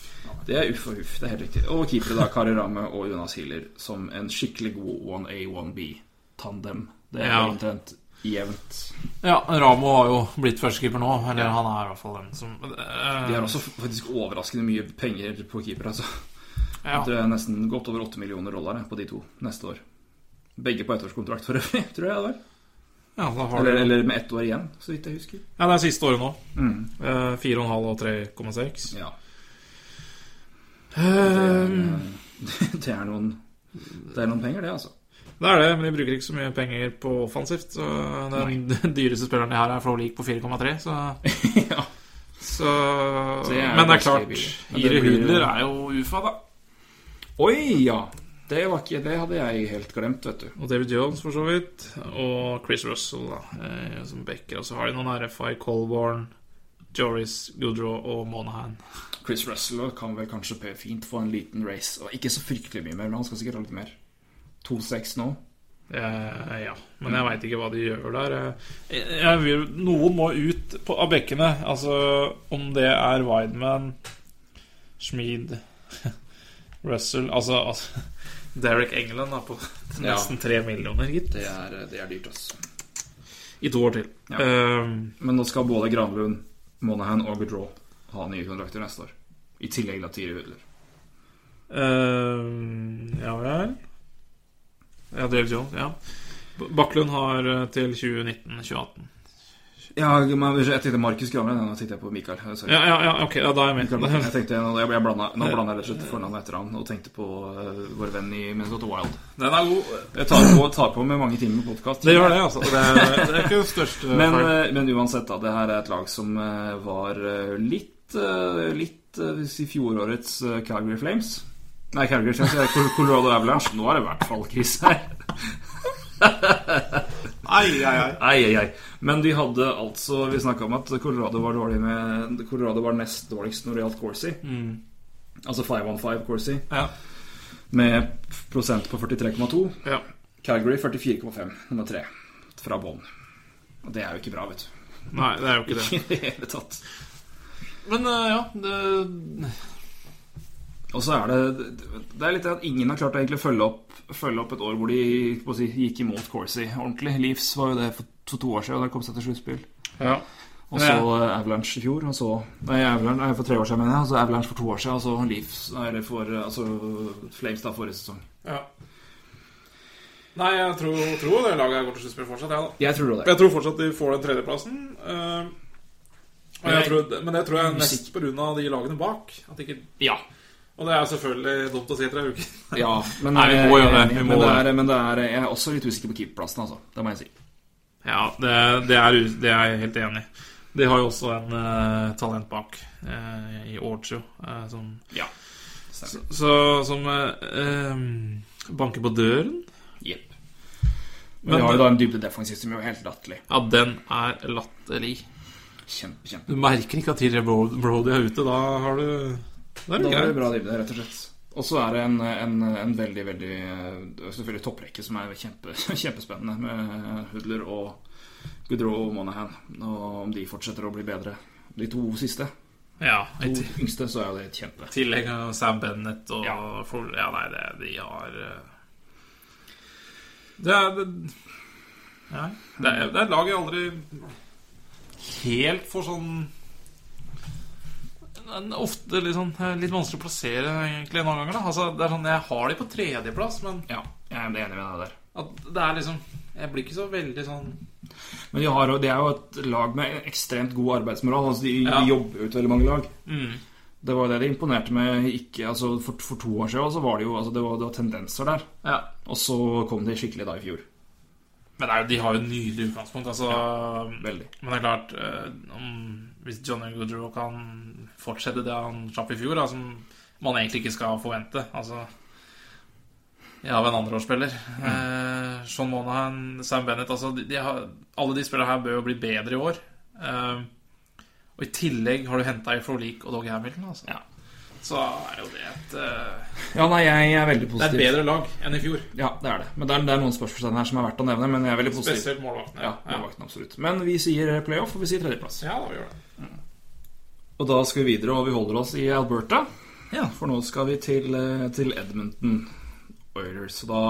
Speaker 4: Det er uff og huff, det er helt riktig. Og keepere, da. Kari Ramme og Jonas Hiller som en skikkelig god 1A-1B-tandem. Det er
Speaker 3: Ja.
Speaker 4: omtrent jevnt.
Speaker 3: Ja, Ramo har jo blitt førstekeeper nå. Eller han er i hvert fall den som eh,
Speaker 4: De har også faktisk overraskende mye penger på keeper. Altså.
Speaker 3: ja.
Speaker 4: Det er nesten godt over 8 millioner dollar på de to neste år. Begge på ettårskontrakt for øvrig, <laughs> tror jeg det var.
Speaker 3: ja, da har
Speaker 4: Eller, Mm.
Speaker 3: du-
Speaker 4: eller med ett år igjen, så vidt jeg husker.
Speaker 3: ja, det er siste året nå. Eh, 4,5 og 3,6.
Speaker 4: Ja, det, er,
Speaker 3: Eh,
Speaker 4: <laughs> det, er noen, det er noen penger, det,
Speaker 3: <laughs>
Speaker 4: altså.
Speaker 3: det er det, men de bruker ikke så mye penger på offensivt. Så den <laughs> dyreste spilleren de har, er Flålik på 4,3, så,
Speaker 4: Ja.
Speaker 3: så
Speaker 4: <laughs> Så jeg er
Speaker 3: Men det er
Speaker 4: ganske
Speaker 3: klart,
Speaker 4: billig. Men det
Speaker 3: Iri
Speaker 4: blir jo-
Speaker 3: Hudler er jo UFA, da.
Speaker 4: Oi, ja! Det, var ikke, det hadde jeg helt glemt, vet du.
Speaker 3: Og David Jones, for så vidt. Og Chris Russell, da, eh, som backer. Og så har de noen RFI, Colborn, Joris, Goodrow og Monahan.
Speaker 4: Chris Russell kan vel kanskje p- fint få en liten race. Og ikke så fryktelig mye mer, men han skal sikkert ha litt mer. 2-6 nå.
Speaker 3: Eh, ja, men jeg veit ikke hva de gjør der. Eh, Jeg vil, noen må ut på, av bekkene. Altså, om det er Wideman, Schmid, <laughs> Russell Altså, altså Derek England er på
Speaker 4: Ja.
Speaker 3: nesten tre millioner, gitt.
Speaker 4: Det er, det er dyrt, altså.
Speaker 3: I to år til.
Speaker 4: Ja.
Speaker 3: Eh,
Speaker 4: Men nå skal både Granlund, Monahan og Goodrow ha nye kontrakter neste år. I tillegg til Tiri Hudler.
Speaker 3: eh, ja vel Ja, David Jones, ja. B- Bakklund har eh, til 2019-2018.
Speaker 4: Ja, men jeg tenkte Markus Granlund. Nå tenkte jeg på Mikael. Sorry.
Speaker 3: Ja, ja, ja, ok, ja, da er jeg
Speaker 4: Mikael Martin.
Speaker 3: med.
Speaker 4: Jeg tenkte, jeg, jeg blanda, nå blanda jeg rett og slett fornavnet etter han og tenkte på eh, vår venn i Minnesota Wild.
Speaker 3: Den er <laughs> god.
Speaker 4: Jeg tar på, tar på med mange timer med podkast.
Speaker 3: Det gjør det, altså. Det er, det er ikke den største
Speaker 4: Men,
Speaker 3: feil.
Speaker 4: eh, men uansett, da. Det her er et lag som eh, var eh, litt eh, Litt eh, hvis i fjorårets eh, Calgary Flames. Nei, Calgary Flames det er Col- Colorado Avalanche. Nå er det i hvert fall krise her.
Speaker 3: Ai, ai, ai.
Speaker 4: Ei, ei, ei. Men de hadde altså Vi snakka om at Colorado var dårlig med Colorado var nest dårligst når det gjaldt Corsi.
Speaker 3: Mm.
Speaker 4: Altså 515 Corsi,
Speaker 3: Ja.
Speaker 4: med prosent på 43,2.
Speaker 3: ja.
Speaker 4: Calgary 44,5, nummer tre. Fra bånn. Og det er jo ikke bra, vet du.
Speaker 3: Nei, det er jo ikke det.
Speaker 4: I det hele tatt.
Speaker 3: <laughs> Men eh, ja, det
Speaker 4: Og så er det Det er litt det at ingen har klart å egentlig følge opp, følge opp et år hvor de på å si, gikk imot Corsi ordentlig. Leaves var jo det for to, to år siden, da de kom seg til sluttspill.
Speaker 3: Ja.
Speaker 4: Og så eh, Avalanche i fjor, og så Nei, Avalanche nei, for tre år siden, mener jeg. Og så Avalanche for to år siden, og så Leaves Eller for eh, altså Flames da forrige sesong.
Speaker 3: ja. Nei, jeg tror, tror det laget går til sluttspill fortsatt, jeg, da.
Speaker 4: Jeg tror det.
Speaker 3: Jeg tror fortsatt de får den tredjeplassen. eh, og jeg tror, men det tror jeg er mest pga. de lagene bak. At ikke,
Speaker 4: Ja.
Speaker 3: og det er selvfølgelig dumt å si etter ei uke.
Speaker 4: ja men,
Speaker 3: Nei, vi må
Speaker 4: jeg er
Speaker 3: gjøre det,
Speaker 4: enig,
Speaker 3: vi må
Speaker 4: Men, det
Speaker 3: det.
Speaker 4: er, men det er, jeg er også litt usikker på keeperplassen, altså. Det må jeg si.
Speaker 3: <laughs> Ja, det, det, er, u- det er jeg helt enig i. De har jo også en eh, talent bak eh, i Orcho, eh, som
Speaker 4: Ja.
Speaker 3: Så, så- som eh, ehm, banker på døren
Speaker 4: Jepp. Men,
Speaker 3: Men-
Speaker 4: vi har jo da en dybde defensiv som jo er helt latterlig.
Speaker 3: Ja, den er latterlig.
Speaker 4: Kjempe, kjempe.
Speaker 3: Du merker ikke at TJ Bro- Brody er ute. Da har du
Speaker 4: Da
Speaker 3: Da er du
Speaker 4: blir det
Speaker 3: grei.
Speaker 4: bra dybde, rett og slett. Og så er det en, en, en veldig, veldig eh, Selvfølgelig topprekke som er kjempe, <laughs> kjempespennende, med Hudler og Goodrow og Monahan. Og om de fortsetter å bli bedre. De to siste,
Speaker 3: Ja, I
Speaker 4: to
Speaker 3: ti-
Speaker 4: yngste, så er jo det et kjempe.
Speaker 3: tillegg av Sam Bennett og
Speaker 4: Ja.
Speaker 3: for, Ja, nei, det, de har eh, Det er det, nei, det, er, det er et lag jeg aldri helt får sånn men Ofte litt sånn eh, Litt vanskelig å plassere, egentlig, noen ganger. da Altså, det er sånn, Jeg har de på tredjeplass, men
Speaker 4: Ja, jeg er enig med deg der.
Speaker 3: At det er liksom Jeg blir ikke så veldig sånn
Speaker 4: Men de, har, jo- de er jo et lag med ekstremt god arbeidsmoral. Altså de,
Speaker 3: Ja.
Speaker 4: de jobber ut veldig mange lag.
Speaker 3: Mm.
Speaker 4: Det var jo det de imponerte med ikke, altså for, for to år siden. Så var det jo altså det var, det var tendenser der.
Speaker 3: Ja.
Speaker 4: Og så kom de skikkelig da i fjor.
Speaker 3: Men det er, jo- de har jo et nydelig utgangspunkt, altså.
Speaker 4: Veldig.
Speaker 3: Men det er klart eh, om, Hvis Johnny Goodrow kan fortsette det han slapp i fjor, da, som man egentlig ikke skal forvente Altså Ja, av en andreårsspiller. Eh, Sean Monahan, Sam Bennett altså, de, de har, Alle de spillerne her bør jo bli bedre i år. Eh, og i tillegg har du henta i Frolik og Doggy Hamilton. Altså.
Speaker 4: Ja.
Speaker 3: Så er jo det et eh,
Speaker 4: Ja, nei, jeg er veldig
Speaker 3: Det er
Speaker 4: positiv.
Speaker 3: et bedre lag enn i fjor.
Speaker 4: Ja, det er det. Men det er, det er noen spørsmålstegn her som er verdt å nevne, men jeg er veldig positiv.
Speaker 3: Spesielt målvaktene.
Speaker 4: Ja, målvakten, absolutt. Men vi sier playoff, og vi sier tredjeplass.
Speaker 3: ja, da vi gjør det.
Speaker 4: Og da skal vi videre, og vi holder oss i Alberta.
Speaker 3: Ja.
Speaker 4: For nå skal vi til, eh, til Edmonton Oilers. Og da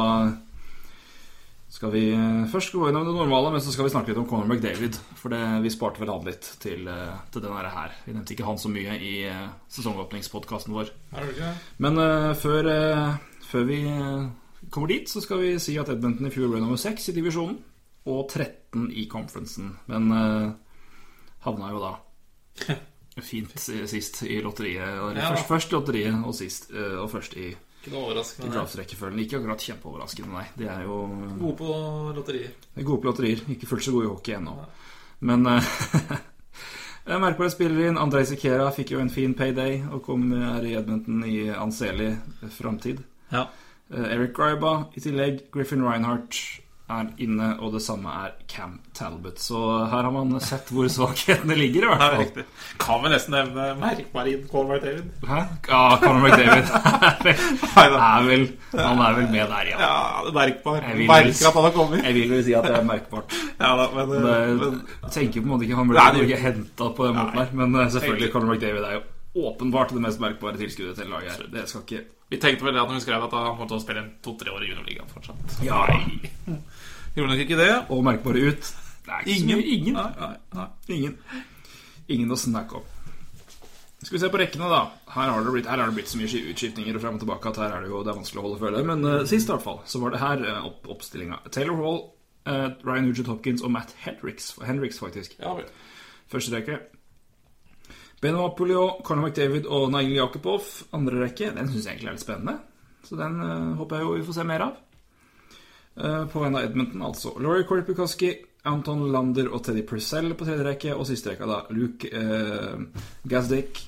Speaker 4: skal vi eh, først gå innom det normale, men så skal vi snakke litt om Conor McDavid. For det, vi sparte vel han litt til, eh, til den her her. Vi nevnte ikke han så mye i eh, sesongåpningspodkasten vår.
Speaker 3: Er det ikke det?
Speaker 4: Men eh, før, eh, før vi eh, kommer dit, så skal vi si at Edmonton i fjor ble nummer 6 i divisjonen. Og 13 i conferencen. Men eh, havna jo da fint si- sist i lotteriet. Eller
Speaker 3: Ja da.
Speaker 4: først, først i lotteriet, og sist eh, og først i,
Speaker 3: Ikke noe
Speaker 4: i
Speaker 3: overraskende.
Speaker 4: draftrekkefølgen. Ikke akkurat kjempeoverraskende, nei. De er jo eh,
Speaker 3: Gode på lotterier.
Speaker 4: gode på lotterier. Ikke fullt så gode i hockey ennå. Men eh, <laughs> jeg merker bare spiller inn. Andrej Sikera fikk jo en fin payday og kom her i Edmonton i anselig framtid.
Speaker 3: Ja.
Speaker 4: Eh, Eric Griba i tillegg. Griffin Reinhardt er inne, og det samme er Cam Talbot. Så her har man sett hvor svakhetene ligger, i
Speaker 3: Det er
Speaker 4: hvert fall.
Speaker 3: riktig. Kan vel nesten nevne merkmarin Colmar David.
Speaker 4: Hæ? Ja, Conor
Speaker 3: <laughs>
Speaker 4: McDavid er vel, han er vel med der, ja.
Speaker 3: Ja, det er merkbar.
Speaker 4: Jeg vil-
Speaker 3: Merker at han har kommet.
Speaker 4: Jeg vil vel si at det er merkbart.
Speaker 3: Ja da, men, eh,
Speaker 4: Det,
Speaker 3: men
Speaker 4: jeg tenker på en måte ikke Han ble
Speaker 3: Nei, det-
Speaker 4: ikke henta på den måten
Speaker 3: Nei.
Speaker 4: her. Men eh, selvfølgelig, Conor McDavid er jo åpenbart det mest merkbare tilskuddet til laget her. Det skal ikke
Speaker 3: Vi tenkte vel det at når vi skrev at han kom til å spille en to-tre år i juniorligaen fortsatt.
Speaker 4: Ja,
Speaker 3: Gjorde nok ikke det.
Speaker 4: Og merkbare ut. Det er ikke så mye. Ingen.
Speaker 3: Nei, nei, nei.
Speaker 4: Ingen. Ingen å snakke om. Skal vi se på rekkene, da. Her har det blitt, her har det blitt så mye ski- utskiftninger og frem og tilbake at her er det jo det er vanskelig å holde følge. Men eh, sist, i hvert fall, så var det her eh, opp, oppstillinga. Taylor Hall, eh, Ryan Hugent Hopkins og Matt Hendricks, Hendricks faktisk.
Speaker 3: Ja vel.
Speaker 4: Første rekke. Benoit Pouliot, Conor McDavid og Nail Jakubov. Andre rekke. Den syns jeg egentlig er litt spennende, så den eh, håper jeg jo vi får se mer av. Eh, på vegne av Edmonton, altså. Laurie Korpikoski, Anton Lander og Teddy Purcell på tredje rekke. Og siste rekka, da. Luke uh, Gazdik,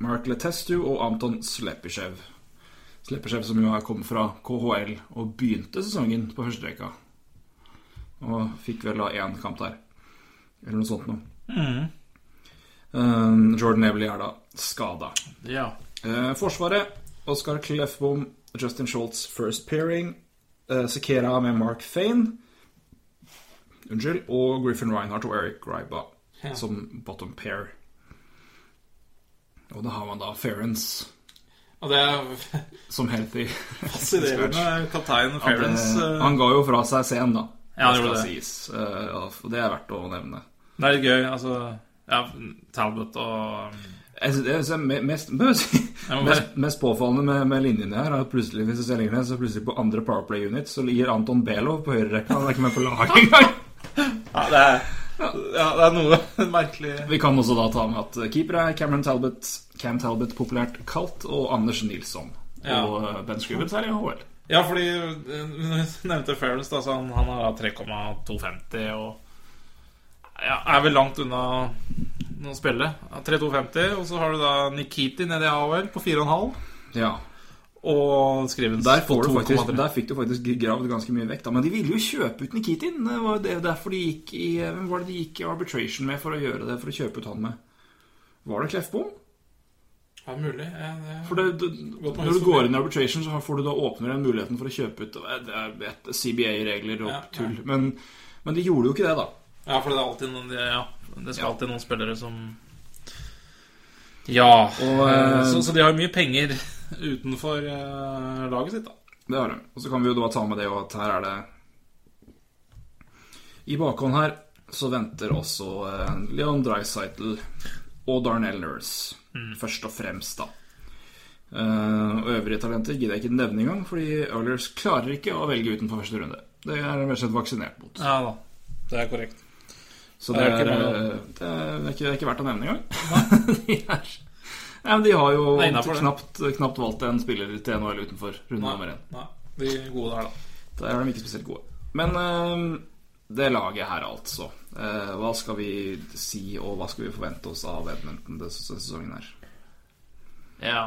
Speaker 4: Mark Letestu og Anton Slepyshev. Slepyshev som jo har kommet fra KHL og begynte sesongen på første rekka. Og fikk vel da én kamp der, eller noe sånt noe. Eh, Jordan Ebley er da skada.
Speaker 3: Ja.
Speaker 4: Eh, forsvaret Oskar Kleffbom, Justin Schultz first pairing. eh, Sekera med Mark Fane. Unnskyld. Og Griffin Reinhardt og Eric Griba
Speaker 3: Ja.
Speaker 4: som bottom pair. Og da har man da Ference
Speaker 3: Og det er <laughs>
Speaker 4: som healthy.
Speaker 3: fascinerende kaptein
Speaker 4: At, eh,
Speaker 3: Ferrens
Speaker 4: han ga jo fra seg sen, da.
Speaker 3: Ja, han
Speaker 4: skal
Speaker 3: gjorde det.
Speaker 4: sies. Eh, ja, for det er verdt å nevne.
Speaker 3: Det er litt gøy, altså. Ja, Talbot og
Speaker 4: Jeg synes, jeg synes Altså, det er me- mest, <laughs> må jeg si,
Speaker 3: Jeg må
Speaker 4: mest, mest påfallende med, med linjene her er at plutselig hvis du ser lenger ned, så plutselig på andre Powerplay unit så ligger Anton Belov på høyrerekka. Han er ikke med på
Speaker 3: <laughs>
Speaker 4: laget engang.
Speaker 3: Ja, det er, ja, det er noe <laughs> merkelig
Speaker 4: Vi kan også da ta med at keeper er Cameron Talbot, Cam Talbot populært kalt, og Anders Nilsson.
Speaker 3: Ja.
Speaker 4: Og eh, Ben Scrivens er i HL.
Speaker 3: Ja, fordi eh, <laughs> du nevnte Ferrens, da, så han, han har da 3,250 og ja, er vel langt unna å spille. Ja, 3,250, og så har du da Nikiti nede i AHL på 4,5,
Speaker 4: Ja.
Speaker 3: og Skrivens
Speaker 4: Der,
Speaker 3: på
Speaker 4: får du faktisk,
Speaker 3: 2,3.
Speaker 4: der fikk du faktisk gravd ganske mye vekk, da. Men de ville jo kjøpe ut Nikitin. Det var jo det- derfor de gikk i eh, Hvem var det de gikk i arbitration med for å gjøre det, for å kjøpe ut han med? Var det Kleffbom?
Speaker 3: Ja, mulig. Ja, det,
Speaker 4: For det, det,
Speaker 3: Godt med
Speaker 4: Når du
Speaker 3: historie.
Speaker 4: går inn i arbitration, så får du da åpner den muligheten for å kjøpe ut og det er et CBA-regler og
Speaker 3: Ja,
Speaker 4: tull. Men, men de gjorde jo ikke det, da.
Speaker 3: ja for det er alltid noen Ja, det skal
Speaker 4: Ja.
Speaker 3: alltid noen spillere som Ja.
Speaker 4: eh,
Speaker 3: så, så de har jo mye penger <laughs> utenfor eh, laget sitt, da.
Speaker 4: Det har de. Og så kan vi jo da ta med det og at her er det I bakhånd her så venter også eh, Leon Dreisaitl og Darnell Nurse,
Speaker 3: Mm.
Speaker 4: først og fremst, da. Eh, og øvrige talenter gidder jeg ikke nevne engang, fordi Oilers klarer ikke å velge utenfor første runde. Det er de rett og slett vaksinert mot.
Speaker 3: Ja da. Det er korrekt.
Speaker 4: Så
Speaker 3: Det
Speaker 4: det
Speaker 3: er
Speaker 4: er,
Speaker 3: ikke mange.
Speaker 4: eh, det er, det er, ikke, det er ikke verdt å nevne engang. <laughs> de, er, nei, men de har jo
Speaker 3: Det er innenfor, det.
Speaker 4: knapt, knapt valgt en spiller til NHL utenfor runde nummer én.
Speaker 3: Nei, de gode der, da.
Speaker 4: Der er de ikke spesielt gode. Men eh, det laget her, altså. Eh, hva skal vi si, og hva skal vi forvente oss av Edmonton denne sesongen her?
Speaker 3: Ja.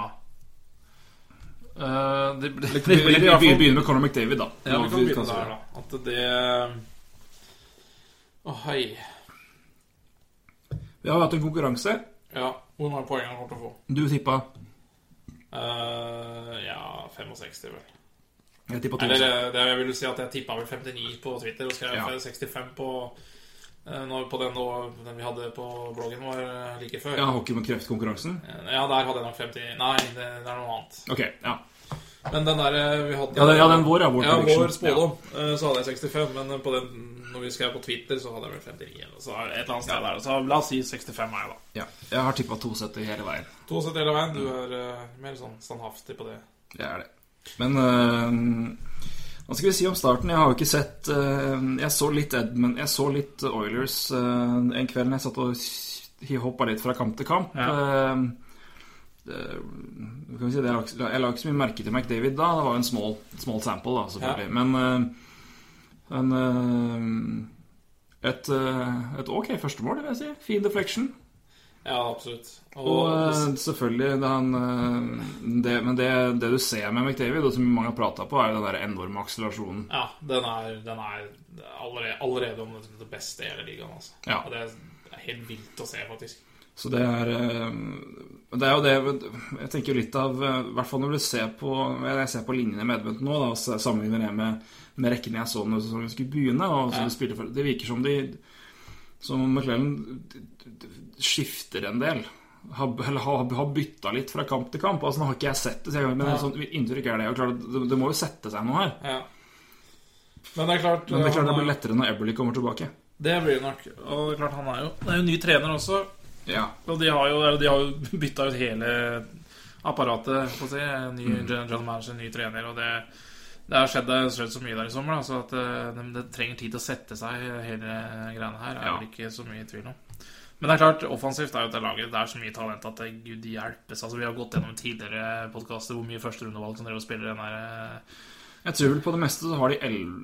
Speaker 3: Eh, det, det, det,
Speaker 4: Vi, vi,
Speaker 3: i hvert fall-
Speaker 4: begynner med Conor McDavid, da.
Speaker 3: Ja, vi
Speaker 4: Nå,
Speaker 3: kan begynne
Speaker 4: si
Speaker 3: der,
Speaker 4: det.
Speaker 3: da. At det Å, hei.
Speaker 4: Vi har hatt en konkurranse.
Speaker 3: Ja, hvor mange poeng han kommer til å få?
Speaker 4: Du tippa
Speaker 3: Eh, ja, 65, vel.
Speaker 4: Jeg tippa
Speaker 3: Eller
Speaker 4: 2.
Speaker 3: eh, det jeg vil si at jeg tippa vel 59 på Twitter og skrev
Speaker 4: Ja.
Speaker 3: 65 på eh, når, På den, nå- den vi hadde på bloggen vår eh, like før.
Speaker 4: Ja, hockey mot kreft-konkurransen.
Speaker 3: Eh, ja, der hadde jeg nok 50 Nei, det, det er noe annet.
Speaker 4: Ok, ja.
Speaker 3: Men den der eh, vi hadde
Speaker 4: Ja, den- ja, den vår, ja, vår
Speaker 3: ja,
Speaker 4: prediction.
Speaker 3: vår spådom. eh, Så hadde jeg 65, men eh, på den, når vi skrev på Twitter, så hadde jeg vel 59. Eller, så er det et eller annet sted der, så la oss si 65 er jeg, da.
Speaker 4: ja. Jeg har tippa 2,70 hele veien.
Speaker 3: To sett hele veien. Du
Speaker 4: Mm.
Speaker 3: er eh, mer sånn standhaftig på det.
Speaker 4: Det er det. Men øh, hva skal vi si om starten? Jeg har jo ikke sett øh, Jeg så litt Edmund Jeg så litt Oilers øh, en kveld når jeg satt og hoppa litt fra kamp til kamp. Øh, det- hva kan vi si, det, jeg, la, ikke- jeg la ikke så mye merke til McDavid da. Det var jo en small, small sample, da, selvfølgelig. Men, øh, men øh, et, øh, et ok førstemål, vil jeg si. Fin deflection.
Speaker 3: Ja, absolutt. Og,
Speaker 4: Og eh, selvfølgelig det han, eh, det, Men det, det du ser med McDavid, og som mange har prata på, er jo den der enorme akselerasjonen.
Speaker 3: ja, den er, den er allerede, allerede om det, det beste i hele ligaen, altså.
Speaker 4: Ja.
Speaker 3: Og det, er, det er helt vilt å se, faktisk.
Speaker 4: Så det er eh, Det er jo det Jeg tenker jo litt av eh, I hvert fall når du ser på Jeg ser på linjene med Edmund nå, da, og så sammenligner det med, med rekkene jeg så når sesongen skulle begynne. Og som
Speaker 3: Ja.
Speaker 4: de spilte for, det virker som de Som McLellan skifter en del. Har, eller har, har bytta litt fra kamp til kamp. Altså Nå har ikke jeg sett det, så jeg, men
Speaker 3: Ja.
Speaker 4: sånn, mitt inntrykk er det. Og klart, det. Det må jo sette seg noe her.
Speaker 3: Ja. Men det er klart,
Speaker 4: Men det er klart
Speaker 3: han
Speaker 4: det
Speaker 3: er-
Speaker 4: blir lettere når Eberly kommer tilbake.
Speaker 3: det blir det nok. Og det er klart, han er jo, han er jo ny trener også.
Speaker 4: Ja.
Speaker 3: Og de har jo, eller de har jo bytta ut hele apparatet, får si. Ny general manager, ny trener, og det det har skjedd, det har skjedd så mye der i sommer, da, så at eh, det, det trenger tid til å sette seg, hele greiene her. er
Speaker 4: Ja.
Speaker 3: det ikke så mye i tvil om. Men det er klart, offensivt er jo det laget. Det er så mye talent at det, gud hjelpes. Altså, vi har gått gjennom tidligere podkaster hvor mye førsterundevalg som dere spiller den der eh,
Speaker 4: Jeg tror vel på det meste så har de el...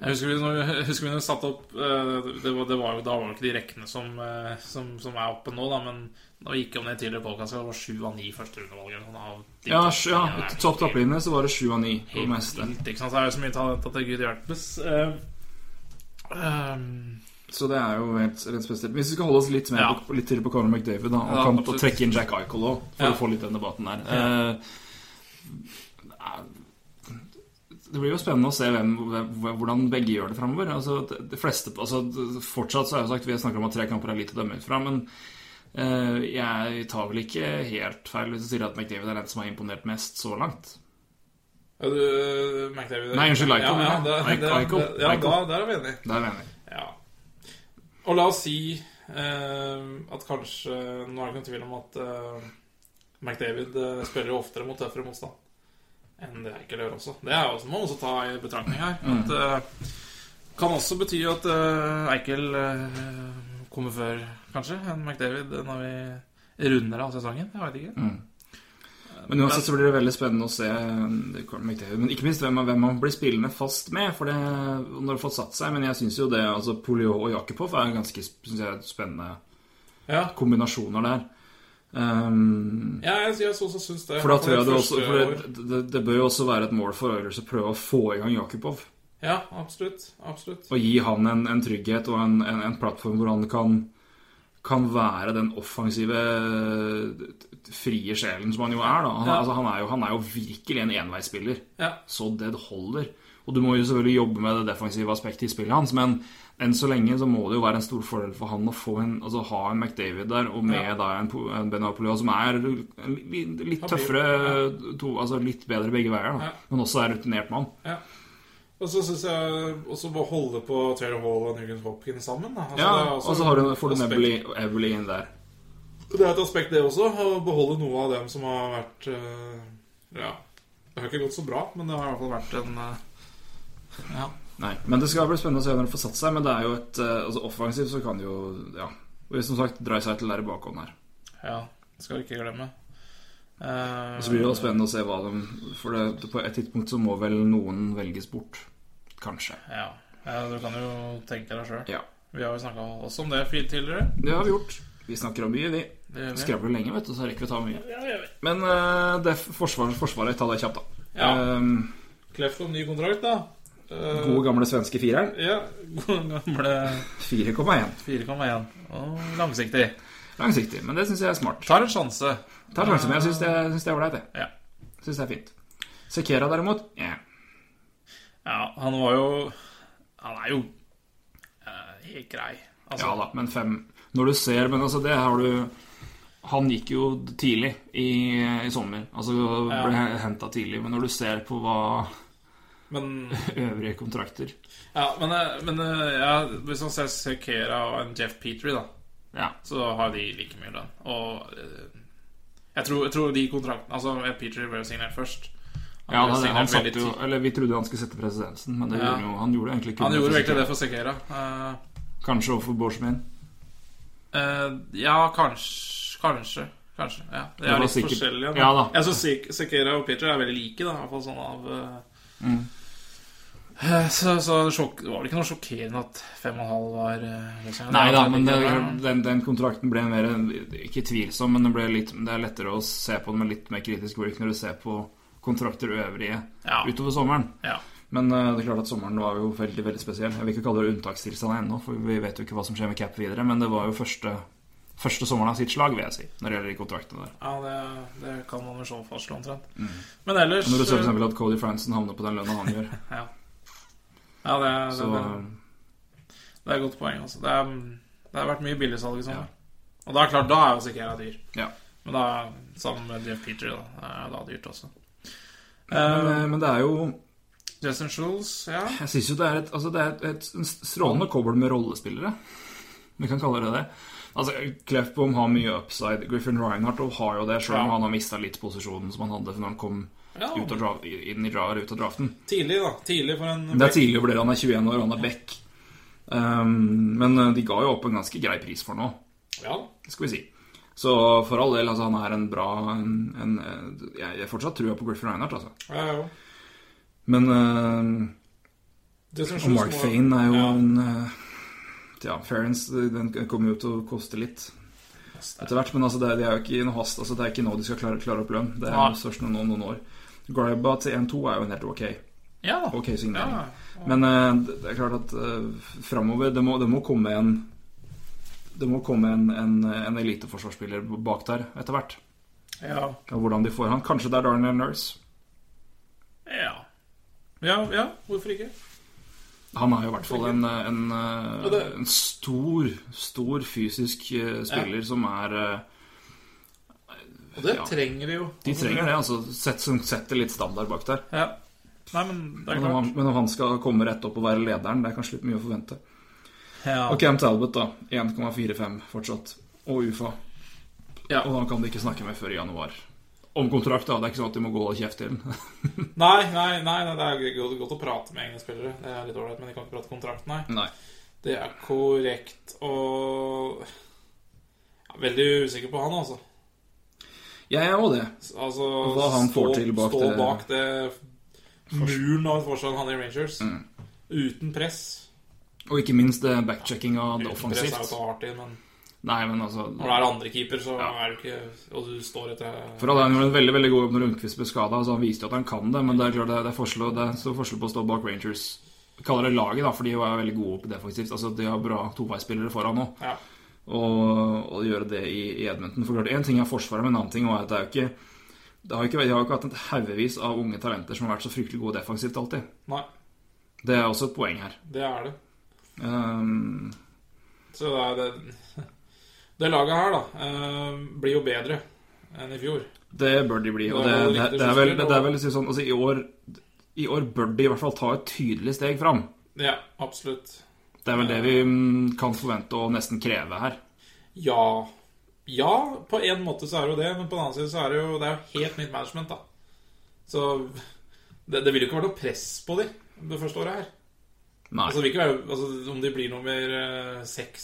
Speaker 3: Jeg husker vi, når, jeg husker vi når vi satte opp eh, det var, det var, jo- Da var det ikke de rekkene som, eh, som, som er oppe nå, da, men da vi gikk om det i tidligere podkast, det var sju av ni førsterundevalg. eller noe sånt av de
Speaker 4: Ja,
Speaker 3: topp-
Speaker 4: sj- ja
Speaker 3: det er
Speaker 4: topp
Speaker 3: helt-
Speaker 4: topplinje så var det sju av ni på det
Speaker 3: Helt
Speaker 4: meste.
Speaker 3: vilt, ikke sant? Så er det så mye talent at det gud hjelpes. Eh, ehm,
Speaker 4: Så det er jo helt, helt spesielt. Hvis vi skal holde oss litt, mer
Speaker 3: Ja.
Speaker 4: på, litt til på Conor McDavid, da, og,
Speaker 3: Ja,
Speaker 4: kan, og
Speaker 3: absolutt.
Speaker 4: trekke inn Jack Eichel òg, for
Speaker 3: Ja.
Speaker 4: å få litt den debatten der
Speaker 3: Ja.
Speaker 4: Eh, Det blir jo spennende å se hvem, hvem, hvordan begge gjør det framover. Altså, de, de fleste, altså, d- fortsatt så er jo sagt vi snakker om at tre kamper er lite å dømme ut fra, men eh, jeg tar vel ikke helt feil hvis jeg sier at McDavid er den som har imponert mest så langt.
Speaker 3: ja, du, eh, McDavid
Speaker 4: Nei, unnskyld, Eichel.
Speaker 3: Ja, ja, det, det,
Speaker 4: Eichel, Eichel,
Speaker 3: det, ja
Speaker 4: Eichel.
Speaker 3: da, der er vi enige.
Speaker 4: Det er jeg enig i.
Speaker 3: Ja. Og la oss si eh, at kanskje Nå er det ikke noen tvil om at eh, McDavid eh, spiller jo oftere mot tøffere motstand enn det Eichel gjør også. Det er jo også, må man også ta i betraktning her.
Speaker 4: Mm.
Speaker 3: At, eh, kan også bety at eh, Eichel eh, kommer før, kanskje, enn McDavid eh, når vi runder av sesongen. Jeg veit ikke.
Speaker 4: Mm. Men uansett så blir det veldig spennende å se eh, Conor McDavid, Men ikke minst hvem, hvem han blir spillende fast med, for det, når det har fått satt seg. Men jeg syns jo det altså Polio og Jakupov er ganske synes jeg, spennende
Speaker 3: Ja,
Speaker 4: kombinasjoner der. Ehm,
Speaker 3: ja jeg, jeg, også syns det.
Speaker 4: for da tror jeg det også
Speaker 3: Første
Speaker 4: for
Speaker 3: år.
Speaker 4: det, det, det bør jo også være et mål for Oilers å prøve å få i gang Jakupov.
Speaker 3: Ja, absolutt. Absolutt.
Speaker 4: Og gi han en, en trygghet og en, en, en plattform hvor han kan, kan være den offensive, eh, frie sjelen som han jo er. Da. Han,
Speaker 3: Ja.
Speaker 4: altså, han, er jo, han er jo virkelig en enveisspiller.
Speaker 3: Ja.
Speaker 4: Så det holder. Og du må jo selvfølgelig jobbe med det defensive aspektet i spillet hans, men enn så lenge så må det jo være en stor fordel for han å få en, altså ha en McDavid der, og med
Speaker 3: Ja.
Speaker 4: da en, Po- en Ben Apollo som er en li- litt
Speaker 3: Han blir-
Speaker 4: tøffere, to, altså litt bedre begge veier, da.
Speaker 3: Ja.
Speaker 4: men også er rutinert mann.
Speaker 3: Og så syns jeg også må holde på Taylor Hall og Nugent Hopkins sammen. Da. Altså,
Speaker 4: Ja,
Speaker 3: det er også
Speaker 4: og så har du, får du
Speaker 3: aspekt-
Speaker 4: Nebly og Everly inn der.
Speaker 3: Det er et aspekt, det også. Å beholde noe av dem som har vært eh, Ja. Det har ikke gått så bra, men det har i hvert fall vært en eh, Ja.
Speaker 4: Nei, men det skal bli spennende å se når det får satt seg. Men det er jo et eh, altså offensivt så kan det jo Ja. Og som sagt, Drycytle er i bakhånd her.
Speaker 3: ja. Skal du ikke glemme. Eh,
Speaker 4: Og så blir det jo spennende å se hva de For det, på et tidspunkt så må vel noen velges bort. Kanskje.
Speaker 3: Ja. ja. Du kan jo tenke deg sjøl.
Speaker 4: Ja.
Speaker 3: Vi har jo snakka også om det tidligere.
Speaker 4: Det har vi gjort. Vi snakker om mye, vi.
Speaker 3: Det gjør vi.
Speaker 4: Skravler lenge, vet du, så rekker vi å ta mye.
Speaker 3: Ja, det gjør vi.
Speaker 4: Men eh, det er forsvaret, forsvaret, ta det kjapt, da.
Speaker 3: Ja.
Speaker 4: Ehm,
Speaker 3: Klefton, ny kontrakt, da. Eh,
Speaker 4: gode, gamle svenske fireren.
Speaker 3: Ja, god <laughs> gamle
Speaker 4: 4,1.
Speaker 3: 4,1. Og langsiktig.
Speaker 4: Langsiktig. Men det syns jeg er smart.
Speaker 3: Tar en sjanse.
Speaker 4: Tar sjanse, men jeg syns det, synes det er ålreit, det.
Speaker 3: Ja.
Speaker 4: Syns det er fint. Sekera, derimot eh.
Speaker 3: ja, han var jo Han er jo eh, helt grei. Altså,
Speaker 4: Ja da, men fem Når du ser Men altså, det har du Han gikk jo tidlig i, i sommer. Altså ble
Speaker 3: Ja.
Speaker 4: henta tidlig. Men når du ser på hva
Speaker 3: Men
Speaker 4: øvrige kontrakter
Speaker 3: Ja, men, eh, men eh, ja, hvis man ser Sekera og en Jeff Petrie, da,
Speaker 4: Ja.
Speaker 3: så har de like mye lønn. Og eh, jeg tror, jeg tror de kontraktene Altså, eh, Petrie ble jo signert først. Han
Speaker 4: Ja,
Speaker 3: ble
Speaker 4: han,
Speaker 3: signert
Speaker 4: han satte
Speaker 3: veldig
Speaker 4: jo
Speaker 3: tid-
Speaker 4: Eller vi trodde han skulle sette presedensen, men det
Speaker 3: Ja.
Speaker 4: gjorde han jo, han gjorde egentlig kun
Speaker 3: Han gjorde
Speaker 4: for
Speaker 3: jo egentlig
Speaker 4: Sekera.
Speaker 3: det for Sekera. Eh,
Speaker 4: Kanskje overfor Borsmin.
Speaker 3: eh, ja, kanskje Kanskje. Kanskje. Ja. Det
Speaker 4: var
Speaker 3: er litt
Speaker 4: sikkert-
Speaker 3: forskjellig.
Speaker 4: Ja da.
Speaker 3: Jeg syns Sek- Sekera og Petrie er veldig like, da. I hvert fall sånn av eh,
Speaker 4: Mm.
Speaker 3: eh, Så, så sjokk, det var vel ikke noe sjokkerende at 5,5 var eh, løsningen.
Speaker 4: Nei da,
Speaker 3: Det er
Speaker 4: men det,
Speaker 3: like bra.
Speaker 4: den, den kontrakten ble mer Ikke tvilsom, men det, ble litt, det er lettere å se på den med litt mer kritisk blikk når du ser på kontrakter øvrige
Speaker 3: Ja.
Speaker 4: utover sommeren.
Speaker 3: Ja.
Speaker 4: Men eh, det er klart at sommeren var jo veldig veldig spesiell. Jeg vil ikke kalle det unntakstilstand ennå, for vi vet jo ikke hva som skjer med Cap videre. Men det var jo første, første sommeren av sitt slag, vil jeg si, når det gjelder de kontraktene der.
Speaker 3: Ja, det, det kan man vel så fastslå omtrent. Men ellers
Speaker 4: Når Mm. du ser for
Speaker 3: eh,
Speaker 4: eksempel at Cody Franson havner på den lønna han gjør,
Speaker 3: Ja, ja det, er-
Speaker 4: så
Speaker 3: det, det, det er et godt poeng. Altså. Det, er, det har vært mye billigsalg i sommer. Og da er klart, da er jo Sikera dyr.
Speaker 4: Ja.
Speaker 3: Men da, sammen med Jeff Petrie, da, er da dyrt også.
Speaker 4: men,
Speaker 3: Eh,
Speaker 4: eh, men det er jo
Speaker 3: Justin Schultz, ja.
Speaker 4: Jeg syns jo det er, et, altså det er et, et, en strålende kobbel med rollespillere. Vi kan kalle det det. Altså, Klefbom har mye upside. Griffin Reinhardt har jo det, selv om
Speaker 3: Ja.
Speaker 4: han har mista litt posisjonen som han hadde når han kom
Speaker 3: ja.
Speaker 4: ut av, dra- inn i, dra- ut av draften.
Speaker 3: Tidlig, da. Tidlig for en
Speaker 4: Det er tidlig å bli han er 21 år, han er back. Um, men eh, de ga jo opp en ganske grei pris for nå,
Speaker 3: Ja.
Speaker 4: skal vi si. Så for all del, altså, han er en bra en, en, eh, Jeg jeg fortsatt trua på Griffin Reinhardt, altså.
Speaker 3: ja, ja.
Speaker 4: Men eh,
Speaker 3: Justin
Speaker 4: Og
Speaker 3: Schultz
Speaker 4: Mark
Speaker 3: må-
Speaker 4: Fane er jo
Speaker 3: ja.
Speaker 4: en eh, Ja, Ferrens den kommer jo til å koste litt etter hvert. Men altså, det, er, det er jo ikke i noe hast. Altså, det er ikke nå de skal klare, klare opp lønn. Det er
Speaker 3: Nei.
Speaker 4: jo størst om noen, noen år. Garba til 1-2 er jo en helt ok,
Speaker 3: Ja.
Speaker 4: ok
Speaker 3: ja.
Speaker 4: signering. Men eh, det det er klart at uh, framover det, må- det må komme en det må komme en, en, en eliteforsvarsspiller bak der etter hvert.
Speaker 3: ja.
Speaker 4: Og hvordan de får han. Kanskje det er Darnell Nurse.
Speaker 3: Ja. Ja, ja. Hvorfor ikke?
Speaker 4: Han er jo i hvert fall en, eh, en, eh,
Speaker 3: Og det-
Speaker 4: en stor, stor fysisk eh, spiller som er eh,
Speaker 3: Og det
Speaker 4: Ja.
Speaker 3: trenger de jo.
Speaker 4: De trenger det, altså. Sett, som setter litt standard bak der.
Speaker 3: Ja. Nei, men det er
Speaker 4: Men om, han,
Speaker 3: klart.
Speaker 4: men om han skal komme rett opp og være lederen, det er kanskje litt mye å forvente.
Speaker 3: Ja.
Speaker 4: Og Cam Talbot, da. 1,45 fortsatt. Og UFA.
Speaker 3: Ja.
Speaker 4: Og han kan de ikke snakke med før i januar. Om kontrakt, da. Det er ikke sånn at de må gå og kjefte til den.
Speaker 3: Nei, nei, nei, nei, det er godt, godt å prate med egne spillere. Det er litt ålreit, men de kan ikke prate kontrakt, <laughs> nei.
Speaker 4: Nei.
Speaker 3: Det er korrekt og Jeg er Veldig usikker på han, altså.
Speaker 4: Jeg er òg det.
Speaker 3: altså
Speaker 4: Hva han får
Speaker 3: stå,
Speaker 4: til bak
Speaker 3: stå
Speaker 4: det-
Speaker 3: bak det muren av et forsvar han har i Rangers.
Speaker 4: Mm.
Speaker 3: Uten press.
Speaker 4: Og ikke minst eh, backcheckinga av det
Speaker 3: Uten press er jo
Speaker 4: offensivt.
Speaker 3: så hardt i, men
Speaker 4: Nei, men altså
Speaker 3: når det er andre keeper, så
Speaker 4: Ja.
Speaker 3: er det ikke Og du står etter
Speaker 4: For alle, Han gjorde en veldig veldig god jobb når Lundqvist ble skada. Altså han viste jo at han kan det, men det er klart det er, det er, forskjell, det er stor forskjell på å stå bak Rangers. Jeg Kaller det laget, da, for de var veldig gode på defensivt. Altså De har bra toveisspillere foran nå.
Speaker 3: Ja.
Speaker 4: Og, og gjøre det i, i Edmonton. For klart, Én ting er Forsvaret, men en annen ting er at det er jo ikke det har jo ikke, De har jo ikke hatt et haugevis av unge talenter som har vært så fryktelig gode defensivt alltid.
Speaker 3: Nei,
Speaker 4: Det er også et poeng her.
Speaker 3: det er det.
Speaker 4: Ehm,
Speaker 3: Så det er det Det laget her, da, eh, blir jo bedre enn i fjor.
Speaker 4: det bør de bli. Og det, det, det, er vel, det, er vel å si sånn altså, i, år, I år bør de i hvert fall ta et tydelig steg fram.
Speaker 3: Ja, absolutt.
Speaker 4: Det er vel det vi mm, kan forvente og nesten kreve her.
Speaker 3: Ja. Ja, på en måte så er det jo det, men på den annen side så er det jo Det er jo helt nytt management, da. Så det, det vil jo ikke være noe press på de det første året her.
Speaker 4: Nei.
Speaker 3: Altså, det vil ikke være, altså Om de blir nummer eh, seks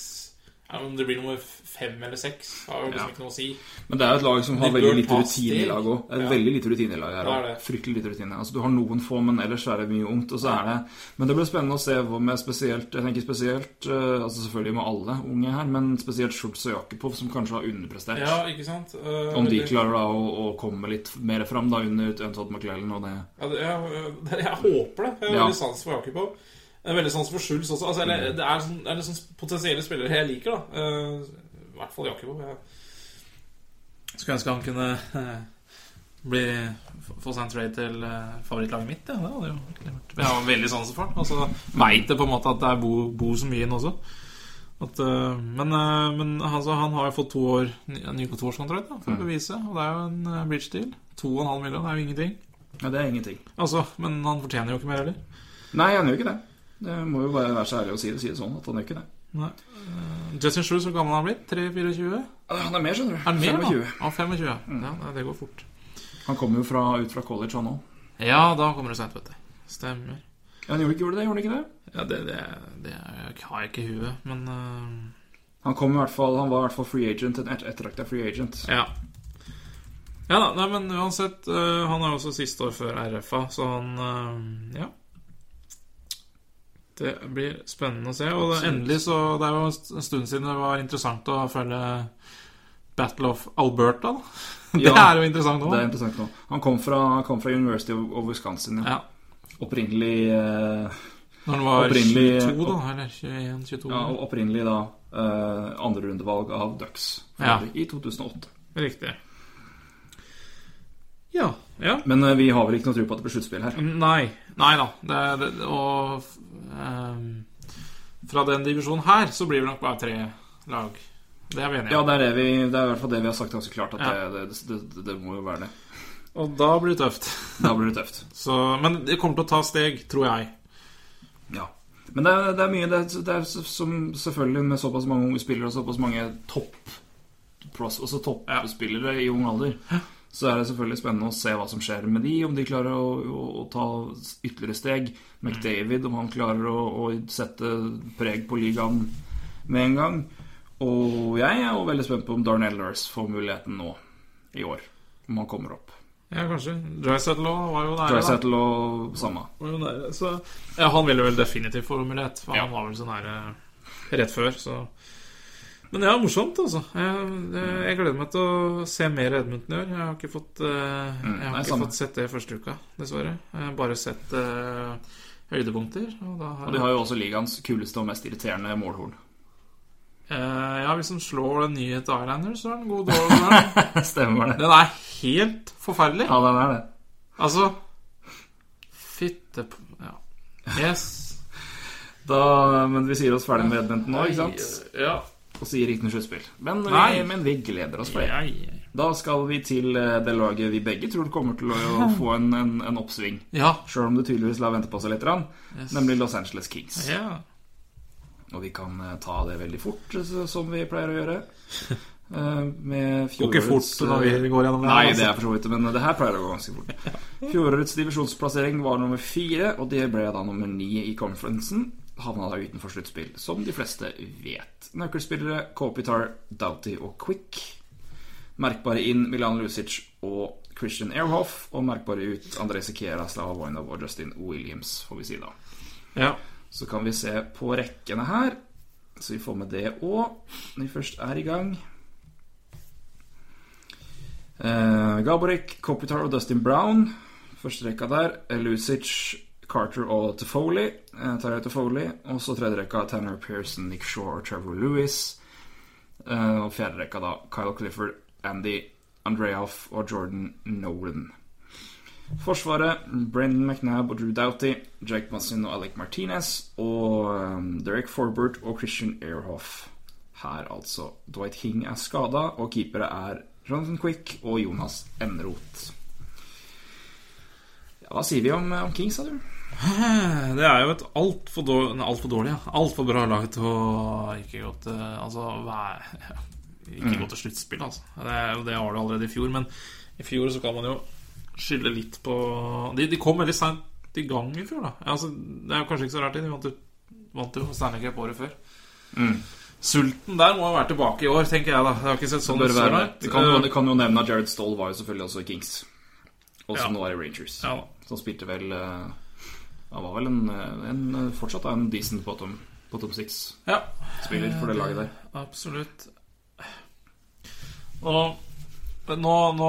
Speaker 3: Ja, om det blir nummer f- fem eller seks, har jo liksom
Speaker 4: Ja.
Speaker 3: ikke noe å si.
Speaker 4: Men det er jo et lag som har
Speaker 3: De
Speaker 4: veldig
Speaker 3: bør
Speaker 4: lite
Speaker 3: ta
Speaker 4: rutine i
Speaker 3: steg.
Speaker 4: lag òg. Det er
Speaker 3: Ja.
Speaker 4: Veldig lite rutine i lag her
Speaker 3: Det er
Speaker 4: også.
Speaker 3: det.
Speaker 4: Fryktelig lite rutine. Altså, du har noen få, men ellers er det mye ungt. Og så er det Men det blir spennende å se hva med spesielt Jeg tenker spesielt eh, Altså selvfølgelig med alle unge her, men spesielt Schultz og Jakubov, som kanskje har underprestert.
Speaker 3: Ja, ikke sant? Eh,
Speaker 4: Om de
Speaker 3: eller-
Speaker 4: klarer da å, å komme litt mer fram da under Untold McLellan og det
Speaker 3: Ja, det, jeg, det, jeg håper det. Jeg
Speaker 4: Ja.
Speaker 3: har veldig sans for Jakubov. Jeg har veldig sans for Schulz også. Altså, eller, det er, sånn, det er liksom potensielle spillere jeg liker, da. Eh, I hvert fall Jakubov. Jeg skulle ønske han kunne eh, bli, få- få seg en trade til eh, favorittlaget mitt. Ja. Det hadde jo virkelig vært Men Jeg har veldig sansen for han. Og så veit jeg på en måte at det er bor bo så mye inn også. At, eh, men eh, men altså, han har jo fått to år ny, ny på toårskontrakt da, for å bevise, og det er jo en eh, bridge deal. 2,5 millioner det er jo ingenting.
Speaker 4: Ja, det er ingenting.
Speaker 3: Altså, Men han fortjener jo ikke mer heller.
Speaker 4: Nei, han gjør ikke det. Det må jo bare være så ærlig å si det, si det sånn, at han gjør ikke det.
Speaker 3: Nei. Eh, Justin Shrews, hvor gammel har han blitt? 3-24?
Speaker 4: Ah, Han er mer, skjønner du.
Speaker 3: Er han mer,
Speaker 4: 25.
Speaker 3: da? Ja, 25. Ja, nei, det går fort.
Speaker 4: Han kommer jo fra, ut fra college, han òg.
Speaker 3: Ja, da kommer det seint, vet du. Stemmer.
Speaker 4: Ja, han gjorde ikke, gjorde det, gjorde han ikke det?
Speaker 3: Ja, det, det, det er- jeg har jeg ikke i huet, men eh,
Speaker 4: Han, kom i hvert fall, han var i hvert fall free agent, en et- ettertraktet free agent.
Speaker 3: Ja. Ja da, nei, men uansett. eh, han er jo også siste år før RFA, så han eh, Ja. Det blir spennende å se. Og det, endelig så Det er jo en stund siden det var interessant å følge Battle of Alberta, da. Det
Speaker 4: <laughs> Ja.
Speaker 3: er jo interessant
Speaker 4: Det er
Speaker 3: òg.
Speaker 4: interessant nå. Han kom fra, han kom fra University of, of Wisconsin, ja.
Speaker 3: Ja.
Speaker 4: Opprinnelig, eh,
Speaker 3: Når han var
Speaker 4: Opprinnelig-
Speaker 3: 22, da. Eller 21-22.
Speaker 4: ja, og opprinnelig da eh, andrerundevalg av Ducks
Speaker 3: Ja.
Speaker 4: i 2008.
Speaker 3: Riktig. Ja. ja.
Speaker 4: Men eh, vi har vel ikke noe tro på at det blir sluttspill
Speaker 3: Mm.
Speaker 4: her.
Speaker 3: Nei. Nei da. Det, det, og ehm, fra den divisjonen her så blir det nok bare tre lag. Det er vi enige
Speaker 4: Ja,
Speaker 3: om.
Speaker 4: det er, det, vi, det er i hvert fall det vi har sagt ganske klart, at
Speaker 3: Ja.
Speaker 4: det, det, det, det, det må jo være det.
Speaker 3: Og da blir det tøft.
Speaker 4: Da blir det tøft.
Speaker 3: Så, men det kommer til å ta steg, tror jeg.
Speaker 4: Ja. Men det er, det er mye det er, det er s- som selvfølgelig med såpass mange unge spillere og såpass mange topp pros- også toppspillere i ung alder, så er det selvfølgelig spennende å se hva som skjer med de, om de klarer å, å, å ta s- ytterligere steg. McDavid, om han klarer å, å sette preg på ligaen med en gang. Og jeg er jo veldig spent på om Darnell Nurse får muligheten nå i år, om han kommer opp.
Speaker 3: Ja, kanskje. Drysettle òg var jo nære. da.
Speaker 4: Drysettle og samme.
Speaker 3: Var jo nære. Så, ja, han ville vel definitivt få mulighet. For Han var vel så nære rett før, så Men ja, morsomt, altså. Jeg, jeg, jeg gleder meg til å se mer Edmundton i år. Jeg har ikke fått, eh, jeg
Speaker 4: nei,
Speaker 3: har ikke
Speaker 4: Mm, samme.
Speaker 3: fått sett det første uka, dessverre. Jeg har bare sett eh, høydepunkter. Og da
Speaker 4: Og
Speaker 3: har,
Speaker 4: de har jo også ligaens kuleste og mest irriterende målhorn.
Speaker 3: Eh, ja, hvis han slår den nye Dyliner, så er han
Speaker 4: <laughs>
Speaker 3: god dårlig.
Speaker 4: <laughs> Stemmer det.
Speaker 3: Den er helt forferdelig.
Speaker 4: Ja, den er det.
Speaker 3: Altså Fytte på Ja.
Speaker 4: <laughs>
Speaker 3: Yes.
Speaker 4: Da, men vi sier oss ferdig med Edmonton nå, ikke sant?
Speaker 3: Ja.
Speaker 4: Og sier ikke noe sluttspill. Men, vi-
Speaker 3: Nei.
Speaker 4: men vi gleder oss for det.
Speaker 3: Ja, ja.
Speaker 4: Da skal vi til eh, det laget vi begge tror kommer til å
Speaker 3: <laughs>
Speaker 4: å få en, en, en oppsving.
Speaker 3: ja.
Speaker 4: Sjøl om det tydeligvis lar vente på seg litt, grann,
Speaker 3: Yes.
Speaker 4: nemlig Los Angeles Kings.
Speaker 3: Ja.
Speaker 4: Og vi kan eh, ta det veldig fort, så- som vi pleier å
Speaker 3: <laughs>
Speaker 4: gjøre. Eh, Med
Speaker 3: Går ikke fort
Speaker 4: fjorårets,
Speaker 3: når
Speaker 4: eh,
Speaker 3: vi går gjennom
Speaker 4: Nei, det er for så vidt det, men det her pleier å gå ganske fort. Fjorårets divisjonsplassering var nummer fire, og det ble da nummer ni i conferencen. Havna da utenfor sluttspill, som de fleste vet. Nøkkelspillere Kopitar, Doughty og Quick. Merkbare inn Milan Lucic og Christian Airhoff. Og merkbare ut Andrej Sikera, Slava Voinov og Justin Williams, får vi si da.
Speaker 3: Ja.
Speaker 4: Så kan vi se på rekkene her. Så vi får med det òg, når vi først er i gang. Eh, Gaborek, Kopitar og Dustin Brown. Første rekka der. eh, Lucic, Carter og Tefoli. Eh, Tarjei Tefoli. Og så tredje rekka Tanner Pearson, Nick Shaw og Trevor Lewis. Eh, og fjerde rekka da Kyle Clifford, Andy Andreoff og Jordan Nolan. Forsvaret Brendan McNab og Drew Doughty, Jake Massin og Alec Martinez og um, Derek Forbert og Christian Airhoff. Her altså. Dwight King er skada, og keepere er Jonathan Quick og Jonas Emroth. Ja, hva sier vi om, om Kings, sa du?
Speaker 3: Det er jo et altfor dårlig Nei, altfor dårlig, ja. Altfor bra lag til å ikke gå til Altså være
Speaker 4: Mm.
Speaker 3: Ikke gå til sluttspill, altså. Det, det har du allerede i fjor, men i fjor så kan man jo skylde litt på De, de kom veldig seint i gang
Speaker 4: Mm.
Speaker 3: i fjor, da. Altså, det er jo kanskje ikke så rart, de vant jo, vant jo Stanley Cup året før. Sulten der må jo være tilbake i år, tenker jeg da. Jeg har ikke sett sånn
Speaker 4: Bør
Speaker 3: ut så
Speaker 4: være.
Speaker 3: langt.
Speaker 4: Vi kan,
Speaker 3: Eh,
Speaker 4: vi kan jo nevne at Jared Stoll var jo selvfølgelig også i Kings. Og som nå er i Rangers.
Speaker 3: ja da.
Speaker 4: Som spilte vel eh, Han var vel en, eh, en eh, fortsatt da, en decent bottom, bottom six-spiller
Speaker 3: Ja,
Speaker 4: for det laget der.
Speaker 3: absolutt. Og nå, nå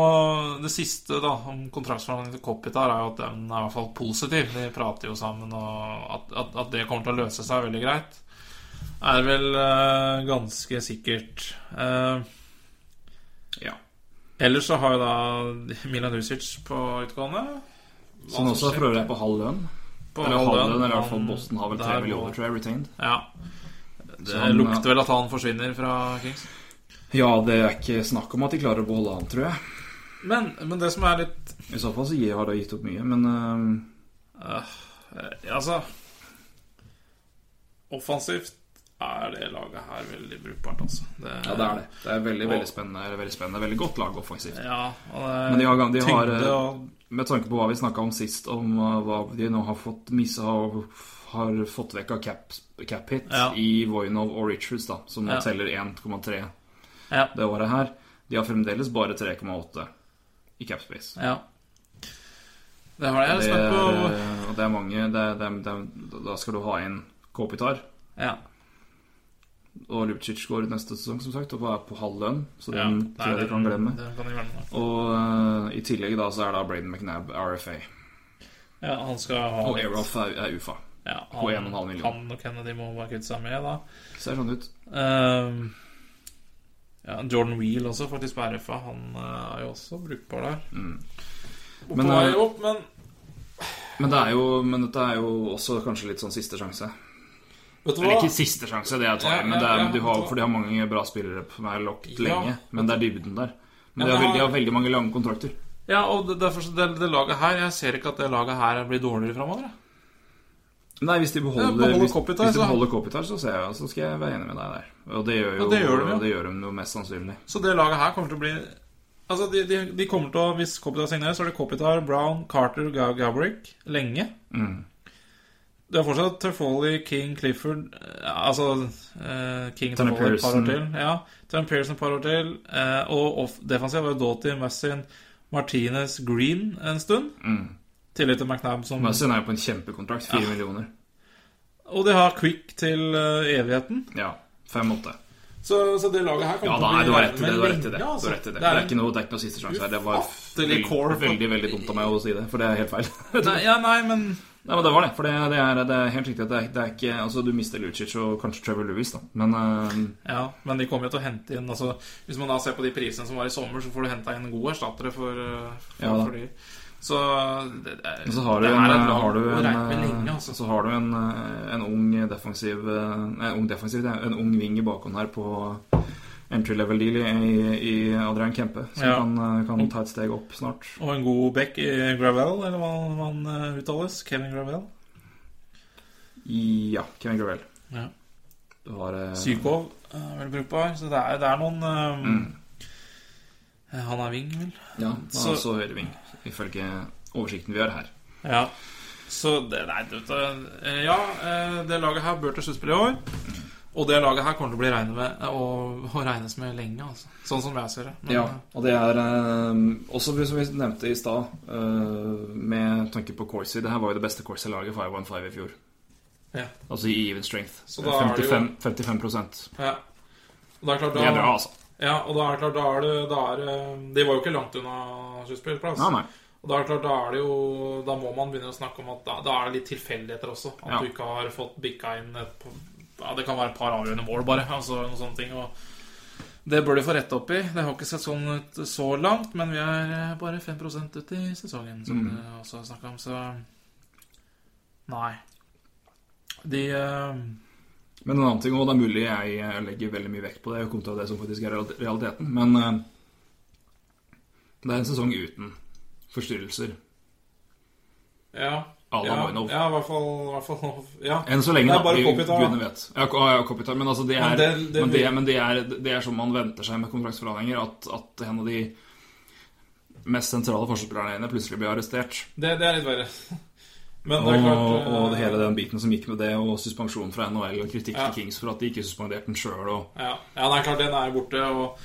Speaker 3: Det siste da om kontraktsforhandlingene til Coppitar er jo at den er i hvert fall positiv. De prater jo sammen, og at, at, at det kommer til å løse seg veldig greit, er vel eh, ganske sikkert. Eh,
Speaker 4: Ja.
Speaker 3: ellers så har jo da Milan Husic på utgående. Hva
Speaker 4: Som også
Speaker 3: skjer
Speaker 4: for øvrig er på halv lønn.
Speaker 3: på
Speaker 4: Eller
Speaker 3: halv
Speaker 4: halv
Speaker 3: lønn,
Speaker 4: lønn, eller i hvert fall
Speaker 3: han-
Speaker 4: Boston har vel
Speaker 3: der
Speaker 4: tre
Speaker 3: må-
Speaker 4: millioner, tror jeg, retained.
Speaker 3: Ja. Det
Speaker 4: han-
Speaker 3: lukter vel at han forsvinner fra Kings.
Speaker 4: Ja, det er ikke snakk om at de klarer å beholde han, tror jeg.
Speaker 3: Men, men det som er litt
Speaker 4: I så fall så gir- har de gitt opp mye, men eh,
Speaker 3: eh, Altså Offensivt er det laget her veldig brukbart, altså. Det,
Speaker 4: ja, det er det. Det er veldig, veldig spennende. eller Veldig spennende, veldig godt lag offensivt.
Speaker 3: Ja, og det
Speaker 4: Men de har gang- de har,
Speaker 3: tyngde
Speaker 4: eh,
Speaker 3: og
Speaker 4: Med tanke på hva vi snakka om sist, om uh, hva de nå har fått missa og har fått vekk av cap, cap hit
Speaker 3: Ja.
Speaker 4: i Voinov og Richards, da, som nå
Speaker 3: Ja.
Speaker 4: teller 1,3
Speaker 3: Ja.
Speaker 4: det året her. De har fremdeles bare 3,8 i cap space.
Speaker 3: Ja. Det har jeg
Speaker 4: Det
Speaker 3: snakket
Speaker 4: er,
Speaker 3: på
Speaker 4: eh, og det er mange det er, det er, det er, Da skal du ha inn Kopitar.
Speaker 3: Ja.
Speaker 4: Og Lubcic går ut neste sesong, som sagt, og er på halv lønn. Så
Speaker 3: ja.
Speaker 4: den
Speaker 3: Nei,
Speaker 4: tror jeg
Speaker 3: det-
Speaker 4: du kan glemme.
Speaker 3: det kan de glemme.
Speaker 4: Og eh, i tillegg da så er da Braden McNab RFA.
Speaker 3: Ja, han skal ha
Speaker 4: Og
Speaker 3: litt-
Speaker 4: Aeroff er, er UFA.
Speaker 3: ja,
Speaker 4: på 1,5
Speaker 3: han,
Speaker 4: million.
Speaker 3: han og Kennedy må bare kutte seg med, da.
Speaker 4: Ser sånn ut.
Speaker 3: Ehm, ja, Jordan Wheel også, faktisk på RFA. Han eh, er jo også brukbar der. Og
Speaker 4: Mm. Men,
Speaker 3: på vei
Speaker 4: eh,
Speaker 3: opp, men
Speaker 4: Men, det er jo, men dette er jo også kanskje litt sånn siste sjanse.
Speaker 3: vet du
Speaker 4: Eller
Speaker 3: hva?
Speaker 4: ikke siste sjanse, det er å ta
Speaker 3: Ja,
Speaker 4: i, men det
Speaker 3: ja,
Speaker 4: er,
Speaker 3: ja,
Speaker 4: du har,
Speaker 3: ja.
Speaker 4: for de har mange bra spillere på meg lokket
Speaker 3: Ja.
Speaker 4: lenge. Men det er dybden der. Men
Speaker 3: Ja,
Speaker 4: de har,
Speaker 3: men
Speaker 4: veld- de
Speaker 3: har-
Speaker 4: har veldig mange lange kontrakter.
Speaker 3: Ja, og det, derfor så det, det laget her Jeg ser ikke at det laget her blir dårligere framover.
Speaker 4: Nei, hvis de beholder,
Speaker 3: Ja, beholder
Speaker 4: hvis,
Speaker 3: Kopitar,
Speaker 4: hvis de
Speaker 3: så-
Speaker 4: beholder Kopitar, så, ser jeg, så skal jeg være enig med deg der. Og det gjør, jo,
Speaker 3: Ja, det gjør de, ja.
Speaker 4: og det gjør de jo mest sannsynlig.
Speaker 3: Så det laget her kommer til å bli Altså, de, de, de kommer til å Hvis Kopitar signerer, så er det Kopitar, Brown, Carter, Ga- Gabrick lenge. Det er fortsatt Trefoli, King, Clifford eh, Altså eh, King
Speaker 4: Tanner
Speaker 3: Trefoli et par
Speaker 4: Pearson.
Speaker 3: år til. Ja, Tanner Pearson et par år til. Eh, og off, defensiv var jo Doughty, Messin, Martinez, Green en stund. Tillit til McNab som
Speaker 4: Messin er jo på en kjempekontrakt. Fire millioner.
Speaker 3: Og de har Quick til eh, evigheten.
Speaker 4: Ja. Fem-åtte.
Speaker 3: Så, så det laget her
Speaker 4: Ja,
Speaker 3: kommer
Speaker 4: da, nei, du
Speaker 3: til å
Speaker 4: har
Speaker 3: bli
Speaker 4: rett i det. Du har rett i det. Du
Speaker 3: Ja, altså,
Speaker 4: har rett i det. Det er
Speaker 3: en-
Speaker 4: ikke noe, det er ikke noe siste sjanse her. Det var
Speaker 3: ufattelig core
Speaker 4: veldig, veldig, veldig dumt av meg å si det, for det er helt feil. <laughs>
Speaker 3: Nei, ja, nei, men
Speaker 4: Nei, men det var det. For det, det, er, det er helt riktig at det er, det er ikke Altså, du mister Lucic og kanskje Trevor Lewis, da. Men eh,
Speaker 3: Ja, men de kommer jo til å hente inn altså, Hvis man da ser på de prisene som var i sommer, så får du henta inn gode erstattere for, eh, for,
Speaker 4: Ja da.
Speaker 3: for de. Så det, det, er-
Speaker 4: så har du
Speaker 3: det
Speaker 4: en, eh,
Speaker 3: her er et lag
Speaker 4: har du
Speaker 3: å
Speaker 4: en,
Speaker 3: regne med lenge,
Speaker 4: eh,
Speaker 3: altså.
Speaker 4: så har du en, eh, en ung defensiv eh, En ung defensiv, det er en ung ving i bakhånd her på entry level deal i, i Adrian Kempe, som
Speaker 3: Ja.
Speaker 4: kan, eh, kan ta et steg opp snart.
Speaker 3: Og en god back i Gravel, eller hva han eh, uttales. Kevin Gravel.
Speaker 4: Ja, Kevin Gravel.
Speaker 3: Ja.
Speaker 4: Du har eh,
Speaker 3: Sykov er vel brukbar. Så det er, det er noen eh,
Speaker 4: Mm.
Speaker 3: eh, Han er wing, vel?
Speaker 4: Ja, han
Speaker 3: Så-
Speaker 4: er også høyreving, ifølge oversikten vi har her.
Speaker 3: Ja. Så det Nei, du vet eh, Ja, eh, det laget her bør til sluttspill i år. Og det laget her kommer til å bli regnet med og, og regnes med lenge, altså. Sånn som jeg ser det. Men,
Speaker 4: Ja,
Speaker 3: eh,
Speaker 4: og det er eh, også som vi nevnte i stad, eh, med tanke på Corsi. Det her var jo det beste Corsi-laget 515 i fjor.
Speaker 3: Ja.
Speaker 4: Altså i even strength.
Speaker 3: Så da er det jo-
Speaker 4: 55, 55
Speaker 3: Ja. Og det er klart, da,
Speaker 4: Det er bra, altså.
Speaker 3: Ja, og da er det klart, da er det, da er det De var jo ikke langt unna sluttspillplass.
Speaker 4: Nei, nei.
Speaker 3: Og da er det klart, da er det jo Da må man begynne å snakke om at da, da er det litt tilfeldigheter også. At
Speaker 4: Ja.
Speaker 3: du ikke har fått bikka inn et ja, Det kan være et par avgjørende mål, bare. Altså noen sånne ting. Og det bør de få rette opp i. Det har ikke sett sånn ut så langt, men vi er eh, bare 5 ut i sesongen, som du også har snakka om, så Nei. De eh,
Speaker 4: Men en annen ting, og det er mulig jeg eh, legger veldig mye vekt på det, kontra det som faktisk er real- realiteten, men eh, det er en sesong uten forstyrrelser.
Speaker 3: Ja.
Speaker 4: Adam
Speaker 3: ja,
Speaker 4: Wojnov.
Speaker 3: ja, i hvert fall, i hvert fall ja.
Speaker 4: Enn så lenge,
Speaker 3: Det
Speaker 4: da.
Speaker 3: er bare
Speaker 4: Vi-
Speaker 3: Kopitar, da.
Speaker 4: Gudene vet. Ja, K- ja, Kopitar, men altså, det er,
Speaker 3: Men
Speaker 4: men
Speaker 3: det-
Speaker 4: det,
Speaker 3: det
Speaker 4: men det,
Speaker 3: vil-
Speaker 4: er, det er som man venter seg med kontraktsforhandlinger, at, at en av de mest sentrale forsvarsspillerne dine plutselig blir arrestert.
Speaker 3: Det, det er litt verre. <laughs> Men det er klart,
Speaker 4: Og,
Speaker 3: eh,
Speaker 4: og hele den biten som gikk med det, og suspensjon fra NHL og kritikk
Speaker 3: Ja.
Speaker 4: til Kings for at de ikke suspenderte den sjøl. Og...
Speaker 3: Ja, ja det er klart, den er borte. Og,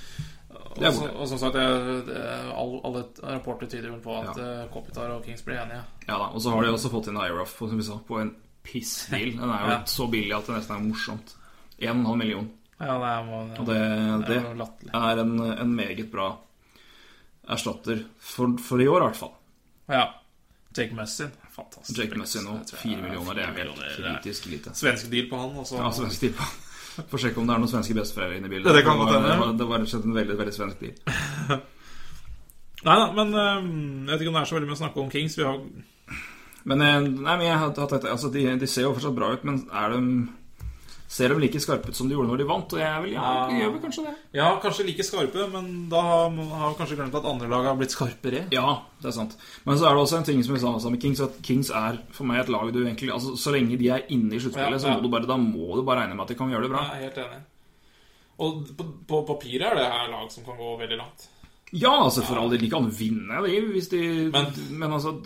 Speaker 3: og,
Speaker 4: Det er
Speaker 3: så-
Speaker 4: borte.
Speaker 3: og som sagt, det, det, all, alle rapporter tyder vel på at
Speaker 4: Ja.
Speaker 3: ja. Kopitar og Kings blir enige.
Speaker 4: Ja, da. og så har de også fått inn IRAF på, som vi sa, på en pissdeal. Den er jo
Speaker 3: Ja.
Speaker 4: så billig at det nesten er morsomt. 1,5 million.
Speaker 3: Ja, det er, må,
Speaker 4: Og det,
Speaker 3: det
Speaker 4: det
Speaker 3: er jo latterlig.
Speaker 4: er en, en meget bra erstatter for, for i år, i hvert fall.
Speaker 3: Ja. Jake Messin. Fantastisk.
Speaker 4: Jake Messi nå.
Speaker 3: Jeg tror jeg-
Speaker 4: 4 millioner, det er
Speaker 3: fire
Speaker 4: helt
Speaker 3: millioner, det er-
Speaker 4: kritisk lite.
Speaker 3: Svensk deal på han, altså.
Speaker 4: Ja, svensk deal. Får sjekke om det er noen svenske besteforeldre inne i bildet.
Speaker 3: Ja, det kan godt
Speaker 4: var-
Speaker 3: hende.
Speaker 4: det var- Det var rett og slett en veldig, veldig svensk deal.
Speaker 3: Nei da, men øhm, jeg vet ikke om det er så veldig mye å snakke om Kings. Vi har
Speaker 4: Men, eh, nei, men jeg har tatt etter, altså, de, de ser jo fortsatt bra ut, men er de, ser de like skarpe ut som de gjorde når de vant? Og jeg vil gjerne
Speaker 3: Ja.
Speaker 4: gjør vel kanskje det.
Speaker 3: ja, kanskje like skarpe, men da har man har kanskje glemt at andre lag har blitt skarpere.
Speaker 4: Ja, det er sant. Men så er det også en ting som vi sa også med Kings, at Kings er for meg et lag du egentlig altså, Så lenge de er inne i sluttspillet,
Speaker 3: Ja,
Speaker 4: så
Speaker 3: ja.
Speaker 4: må du bare, da må du bare regne med at de kan gjøre det bra.
Speaker 3: Jeg er helt enig. Og på, på papiret er det her lag som kan gå veldig langt.
Speaker 4: Ja, altså, for all del, de kan vinne, de, hvis de Men,
Speaker 3: Men-
Speaker 4: altså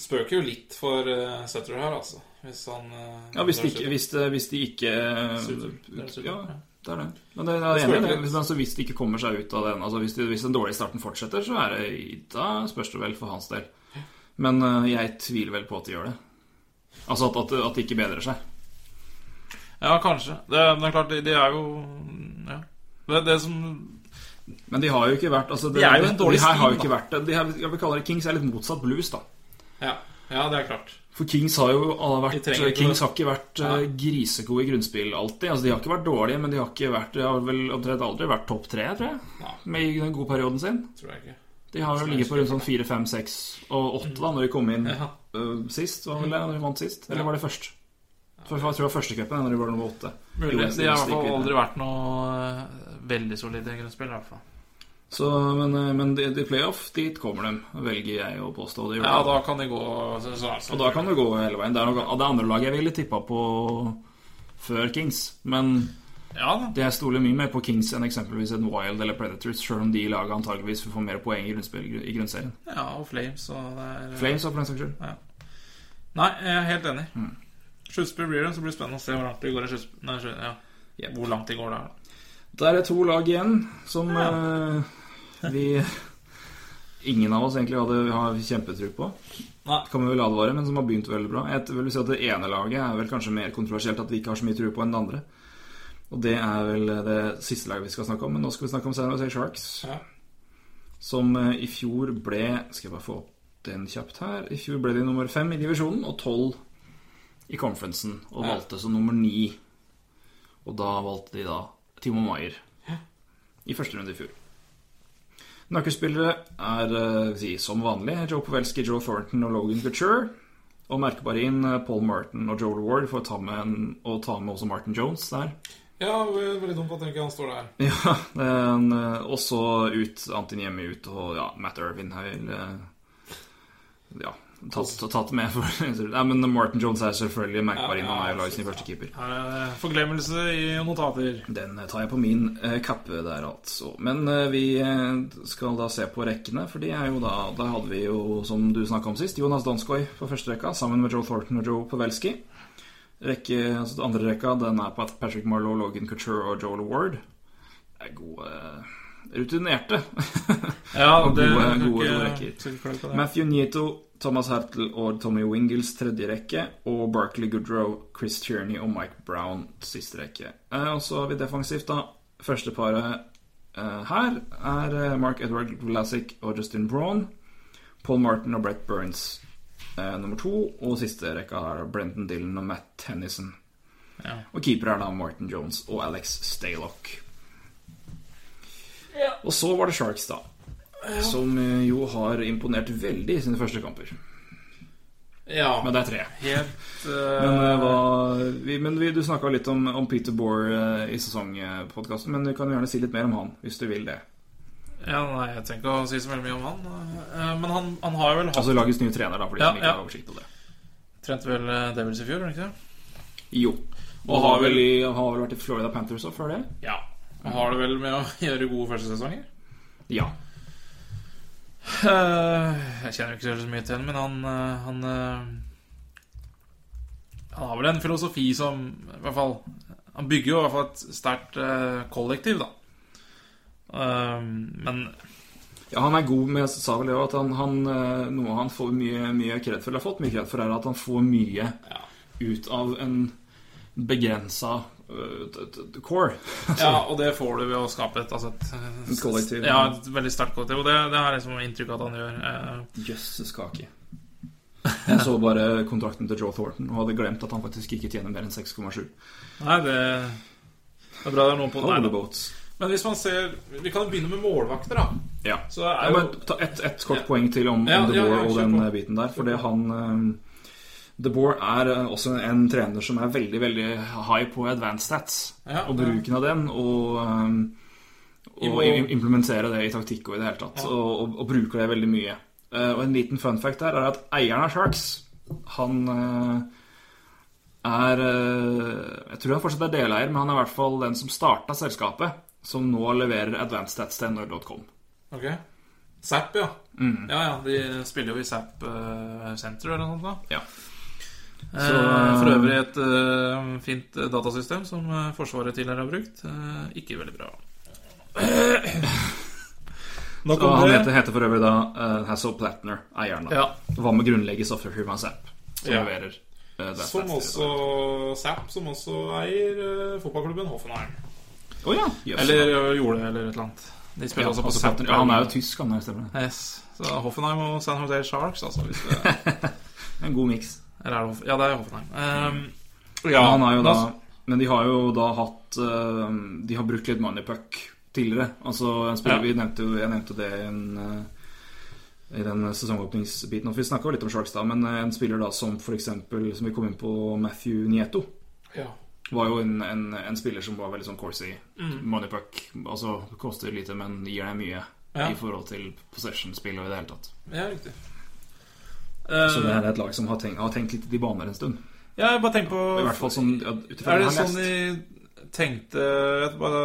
Speaker 3: spøker jo litt for uh, Sutter her, altså. Hvis han eh,
Speaker 4: Ja, hvis de
Speaker 3: det
Speaker 4: ikke, hvis de, hvis de ikke eh,
Speaker 3: Sutter. Det er Sutter,
Speaker 4: Ja,
Speaker 3: ja.
Speaker 4: det er det. Men det, det er enig, i
Speaker 3: Det spøker
Speaker 4: det.
Speaker 3: litt.
Speaker 4: Hvis, altså, hvis de ikke kommer seg ut av den altså, hvis, de, hvis den dårlige starten fortsetter, så er det, da spørs det vel for hans del. Men eh, jeg tviler vel på at de gjør det. Altså at, at, at de ikke bedrer seg.
Speaker 3: Ja, kanskje. Det, men det er klart, de, de er jo Ja. Det, det som
Speaker 4: Men de har jo ikke vært altså, det,
Speaker 3: De er jo en dårlig
Speaker 4: de her har jo
Speaker 3: stil,
Speaker 4: ikke vært det. De her, jeg vil kalle det Kings er litt motsatt blues, da.
Speaker 3: Ja, ja det er klart.
Speaker 4: For Kings har jo alle vært,
Speaker 3: De trenger ikke
Speaker 4: Kings
Speaker 3: det.
Speaker 4: har ikke vært
Speaker 3: Ja.
Speaker 4: eh, grisegode i grunnspill alltid. Altså, de har ikke vært dårlige, men de har, ikke vært, de har vel omtrent aldri vært topp tre, tror jeg.
Speaker 3: Nei.
Speaker 4: Med i den gode perioden sin.
Speaker 3: Tror jeg ikke.
Speaker 4: De har jo ligget på rundt sånn fire, fem, seks og åtte da når de kom inn
Speaker 3: Ja.
Speaker 4: øh, sist. Var vel det, når de vant sist? Eller
Speaker 3: Ja.
Speaker 4: var det først? For Jeg tror det var førstecupen når de var nummer åtte.
Speaker 3: Mulig.
Speaker 4: Jo, jeg
Speaker 3: De har i hvert fall
Speaker 4: stikker
Speaker 3: aldri
Speaker 4: videre.
Speaker 3: vært noe eh, veldig solide grunnspill, i hvert fall.
Speaker 4: Så, men, øh, men de, de playoff, dit kommer de, velger jeg å påstå. Det gjorde
Speaker 3: Ja,
Speaker 4: de.
Speaker 3: da kan de gå så, så, så.
Speaker 4: Og da kan det gå hele veien. Det er noe, det andre laget jeg ville tippa på før Kings. Men
Speaker 3: Ja da.
Speaker 4: det jeg stoler mye mer på Kings enn eksempelvis en Wild eller Predators, sjøl om de laget antageligvis vil få mer poeng i, grunnspill, i grunnserien.
Speaker 3: Ja, og Flames og det er
Speaker 4: Flames, for den saks skyld.
Speaker 3: Nei, jeg er helt enig.
Speaker 4: Mm.
Speaker 3: Sluttspill blir det, så blir det spennende å se hvor langt de går i sluttspill. Nei, slutt- ja.
Speaker 4: Jep.
Speaker 3: Hvor langt de går der, da.
Speaker 4: Der er to lag igjen som eh, vi Ingen av oss egentlig hadde har kjempetro på.
Speaker 3: Nei.
Speaker 4: Kan vi vel advare, men som har begynt veldig bra. Jeg vil si at Det ene laget er vel kanskje mer kontroversielt at vi ikke har så mye tro på enn det andre. Og det er vel det siste laget vi skal snakke om. Men nå skal vi snakke om San Jose Sharks,
Speaker 3: Ja.
Speaker 4: som eh, i fjor ble Skal jeg bare få opp den kjapt her. I fjor ble de nummer fem i divisjonen og tolv i conferencen, og
Speaker 3: Ja.
Speaker 4: valgte som nummer ni. Og da valgte de da Timo Maier i første runde i fjor. Nøkkelspillere er eh, si, som vanlig Joe Pavelski, Joe Thornton og Logan Couture. Og merkbare inn eh, Paul Martin og Joel Ward for å ta med, en, og ta med også Martin Jones der. <laughs>
Speaker 3: ja, det er veldig dumt at ikke han står der.
Speaker 4: Ja, en, eh, og så ut Antin Hjemme ut, og ja, Matt Irvin har vel eh, Ja, tatt, tatt med for <laughs> Nei, men Martin Jones er selvfølgelig merkbar inn, han er jo lagets nye første keeper.
Speaker 3: Her er det Forglemmelse i notater.
Speaker 4: Den tar jeg på min eh, kappe der, altså. Men eh, vi eh, skal da se på rekkene, for de er jo da Da hadde vi jo, som du snakka om sist, Jonas Danskoj på første rekka sammen med Joe Thornton og Joe Pavelski. Rekke, altså den andre rekka den er på Patrick Marlowe, Logan Couture og Joel Ward. Det er gode eh, rutinerte. <laughs>
Speaker 3: Ja,
Speaker 4: Og
Speaker 3: det eh,
Speaker 4: gode-
Speaker 3: kan
Speaker 4: gode
Speaker 3: ikke-
Speaker 4: rekker.
Speaker 3: skal ikke klage på det.
Speaker 4: Matthew Nieto, Thomas Hertel og Tommy Wingles tredje rekke. Og Barkley Goodrow, Chris Tierney og Mike Brown siste rekke. Eh, og så har vi defensivt, da. Første paret eh, her er eh, Mark Edward Vlasic og Justin Braun. Paul Martin og Brett Burns eh, nummer to. Og siste rekka er Brendan Dillon og Matt Tennison.
Speaker 3: Ja.
Speaker 4: Og keeper er da Martin Jones og Alex Staylock. Og så var det Sharks, da. Som eh, jo har imponert veldig i sine første kamper.
Speaker 3: Ja,
Speaker 4: Men det er tre.
Speaker 3: helt
Speaker 4: Men,
Speaker 3: eh,
Speaker 4: eh, hva, vi, men vi, du snakka litt om, om Peter Boer eh, i sesongpodkasten, men du kan jo gjerne si litt mer om han, hvis du vil det.
Speaker 3: eh, Ja, nei, jeg trenger ikke å si så veldig mye om han. eh, Men han, han har vel hatt
Speaker 4: Altså lages nye trener, da, for de
Speaker 3: Ja,
Speaker 4: som ikke
Speaker 3: ja.
Speaker 4: har oversikt over det.
Speaker 3: Trent vel eh, Devils i fjor, gjorde han ikke det?
Speaker 4: Jo. Og har vel, i, har vel vært i Florida Panthers òg før det?
Speaker 3: Ja. Han har det vel med å <laughs> gjøre gode første sesonger.
Speaker 4: Ja.
Speaker 3: Eh, Jeg kjenner jo ikke så mye til ham, men han, eh, han eh, Han har vel en filosofi som i hvert fall, Han bygger jo i hvert fall et sterkt eh, kollektiv, da. Eh, men
Speaker 4: Ja, han er god med sa vel det også, at han, han, eh, noe han får mye, mye kred for, eller har fått mye kred for, er at han får mye ut av en begrensa eh, t- t- t- core.
Speaker 3: Ja, og det får du ved å skape et, altså et
Speaker 4: Et kollektiv.
Speaker 3: Ja, et veldig sterkt kollektiv. Og det, det har jeg liksom inntrykk av at han gjør. Eh,
Speaker 4: Jøsses kake. Jeg så bare kontrakten til Joe Thornton og hadde glemt at han faktisk ikke tjener mer enn 6,7.
Speaker 3: Nei, det, det er bra det er noen på
Speaker 4: Han
Speaker 3: Nei,
Speaker 4: er
Speaker 3: da.
Speaker 4: boats.
Speaker 3: Men hvis man ser Vi kan jo begynne med målvakter, da.
Speaker 4: Ja.
Speaker 3: Så er
Speaker 4: Jeg
Speaker 3: jo
Speaker 4: må ta ett et kort poeng til om, om
Speaker 3: Ja,
Speaker 4: The
Speaker 3: ja,
Speaker 4: Boer
Speaker 3: ja,
Speaker 4: og
Speaker 3: kjør
Speaker 4: den
Speaker 3: på.
Speaker 4: eh, biten der. Fordi han eh, The Boer er eh, også en trener som er veldig veldig high på advanced stats.
Speaker 3: Ja,
Speaker 4: og
Speaker 3: ja.
Speaker 4: bruken av den, og, eh, og
Speaker 3: I-
Speaker 4: im- implementere det i taktikk og i det hele tatt. Og, og, og bruker det veldig mye. Eh, og en liten fun fact der er at eieren av Sharks, han eh, er eh, Jeg tror han fortsatt er deleier, men han er i hvert fall den som starta selskapet, som nå leverer advanced stats til nr.com.
Speaker 3: Ok. Zapp, ja. Ja, ja, de spiller jo i Zapp eh, Center eller noe sånt. da
Speaker 4: Ja.
Speaker 3: Så, eh, For øvrig et eh, fint eh, datasystem som eh, Forsvaret tidligere har brukt. Eh, ikke veldig bra. Nok
Speaker 4: Og
Speaker 3: om
Speaker 4: han
Speaker 3: det.
Speaker 4: heter, heter for øvrig da eh, Hassel Platner, eieren. da.
Speaker 3: Ja.
Speaker 4: Hva med grunnlegger softwarefirmaet Zapp, som
Speaker 3: Ja.
Speaker 4: leverer eh, det
Speaker 3: Som også Zapp, som også eier eh, fotballklubben Hoffenheim.
Speaker 4: Å ja. Jøss.
Speaker 3: Eller uh, gjorde eller et eller annet. De
Speaker 4: ja,
Speaker 3: spiller også på
Speaker 4: altså,
Speaker 3: Zapp.
Speaker 4: Platner- ja, han er jo tysk, han der, stemmer det.
Speaker 3: Yes. Så Hoffenheim og San Jose Sharks, altså. Hvis det,
Speaker 4: <laughs> En god miks.
Speaker 3: eller er det Hoff- Ja, det er Hoffenheim. Ehm,
Speaker 4: Ja, han er jo da,
Speaker 3: da-
Speaker 4: men de har jo da hatt eh, De har brukt litt moneypuck tidligere. Altså, en spiller,
Speaker 3: Ja.
Speaker 4: vi nevnte jo, Jeg nevnte det i en eh, i den sesongåpningsbiten. Og Vi snakka litt om Sharks da, men eh, en spiller da som for eksempel, som vi kom inn på, Matthew Nieto.
Speaker 3: ja.
Speaker 4: var jo en, en, en spiller som var veldig sånn Corsi.
Speaker 3: Mm.
Speaker 4: Money puck. Altså koster lite, men gir deg mye
Speaker 3: Ja.
Speaker 4: i forhold til possession-spill og i det hele tatt.
Speaker 3: Ja, riktig.
Speaker 4: Så det
Speaker 3: Eh,
Speaker 4: her er et lag som har tenkt, har tenkt litt i de baner en stund.
Speaker 3: Ehm, ja, jeg bare tenk på
Speaker 4: I hvert fall sånn ja, ut ifra
Speaker 3: Er
Speaker 4: det jeg
Speaker 3: det
Speaker 4: har
Speaker 3: sånn
Speaker 4: lest.
Speaker 3: de tenkte jeg bare,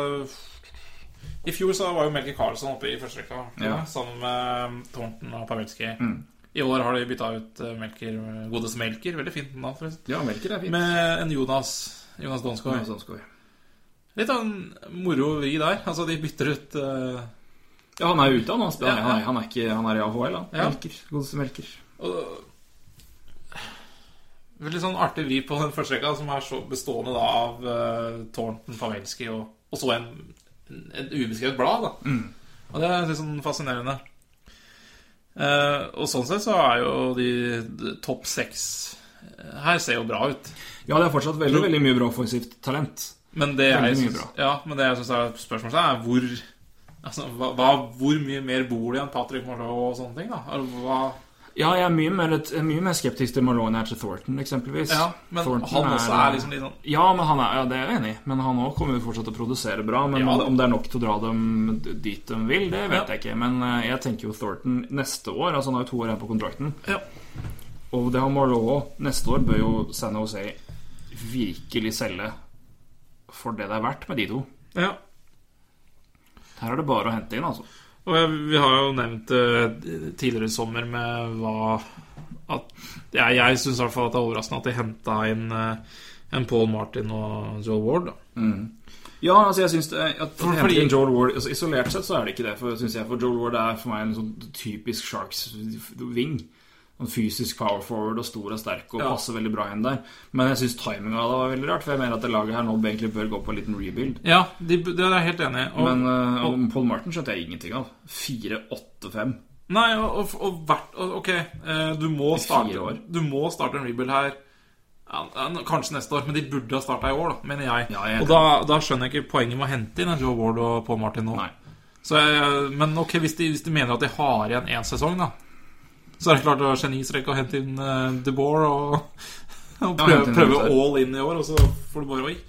Speaker 3: I fjor så var jo Melke Karlsson oppe i første rekka
Speaker 4: Ja. Mm.
Speaker 3: sammen med um, Thornton og Pavelski. I år har de bytta ut eh, Melker, Godes Melker, veldig fint navn forresten,
Speaker 4: Ja, Melker er fint.
Speaker 3: med en Jonas. Jonas
Speaker 4: Ja,
Speaker 3: Donsgaard.
Speaker 4: sånn skal vi.
Speaker 3: Litt av en moro vri der. Altså, de bytter ut eh,
Speaker 4: ja, han er jo ute, han. Han,
Speaker 3: Ja, ja.
Speaker 4: han, er, han, er, ikke, han er i AHL, han.
Speaker 3: Ja.
Speaker 4: Melker. Godeste Melker.
Speaker 3: og, Veldig sånn artig vri på den første rekka, som er så bestående da av eh, Thornton, Pavelski og, og så en, en, et ubeskrevet blad. da
Speaker 4: Mm.
Speaker 3: Og det er litt sånn fascinerende. Eh, og sånn sett så er jo de, de topp seks eh, her ser jo bra ut.
Speaker 4: Ja, det er fortsatt
Speaker 3: Mm.
Speaker 4: veldig veldig mye bra offensivt talent.
Speaker 3: Men det jeg
Speaker 4: Veldig mye
Speaker 3: syns
Speaker 4: bra.
Speaker 3: ja, men det jeg synes er spørsmålet, er hvor Altså, hva, hva- hvor mye mer bor det i en Patrick Marlowe og sånne ting? da? Altså, hva,
Speaker 4: Ja, jeg er mye mer, jeg er mye mer skeptisk til Malone enn til Thornton, eksempelvis.
Speaker 3: ja, men
Speaker 4: Thornton
Speaker 3: han også er liksom litt sånn
Speaker 4: Ja, men han er, ja, det er jeg enig i. Men han også kommer jo fortsatt til å produsere bra. Men
Speaker 3: Ja.
Speaker 4: om- om det er nok til å dra dem dit de vil, det vet
Speaker 3: Ja.
Speaker 4: jeg ikke. Men eh, jeg tenker jo Thornton neste år Altså Han har jo to år igjen på kontrakten.
Speaker 3: Ja.
Speaker 4: Og det har Marlowe òg. Neste år bør jo San Jose virkelig selge for det det er verdt med de to.
Speaker 3: Ja.
Speaker 4: Her er det bare å hente inn, altså.
Speaker 3: Og jeg, vi har jo nevnt eh, tidligere i sommer med hva at, Jeg, jeg syns i hvert fall at det er overraskende at de henta inn eh, en Paul Martin og Joel Ward. Da.
Speaker 4: Ja, altså jeg synes det, at,
Speaker 3: For-
Speaker 4: at
Speaker 3: fordi-
Speaker 4: hente inn Joel Ward altså Isolert sett så er det ikke det, for, synes jeg, for Joel Ward er for meg en sånn typisk Sharks-ving. En fysisk power forward og stor og sterk og
Speaker 3: Ja.
Speaker 4: passer veldig bra inn der. Men jeg syns timinga av det var veldig rart, for jeg mener at det laget her nå egentlig bør gå på en liten rebuild.
Speaker 3: Ja, de, det er jeg helt enig i. Og,
Speaker 4: Men eh, om Paul Martin skjønte jeg ingenting av. 4-8-5.
Speaker 3: nei, og, og, og hvert og, Ok, eh, du må,
Speaker 4: fire
Speaker 3: starte,
Speaker 4: år.
Speaker 3: du må starte en rebuild her. Ja, ja, kanskje neste år, men de burde ha starta i år, da, mener jeg.
Speaker 4: Ja, jeg er
Speaker 3: og da, da skjønner jeg ikke poenget med å hente inn en Joel Ward og Paul Martin nå.
Speaker 4: Nei.
Speaker 3: Så jeg, men ok, hvis de, hvis de mener at de har igjen én sesong, da Så er det klart å genistreke og hente inn uh, De Boer og, <laughs>
Speaker 4: Ja,
Speaker 3: og prøve,
Speaker 4: hente inn
Speaker 3: prøve
Speaker 4: Luther.
Speaker 3: all in i år, og så får du bare Oi! <laughs>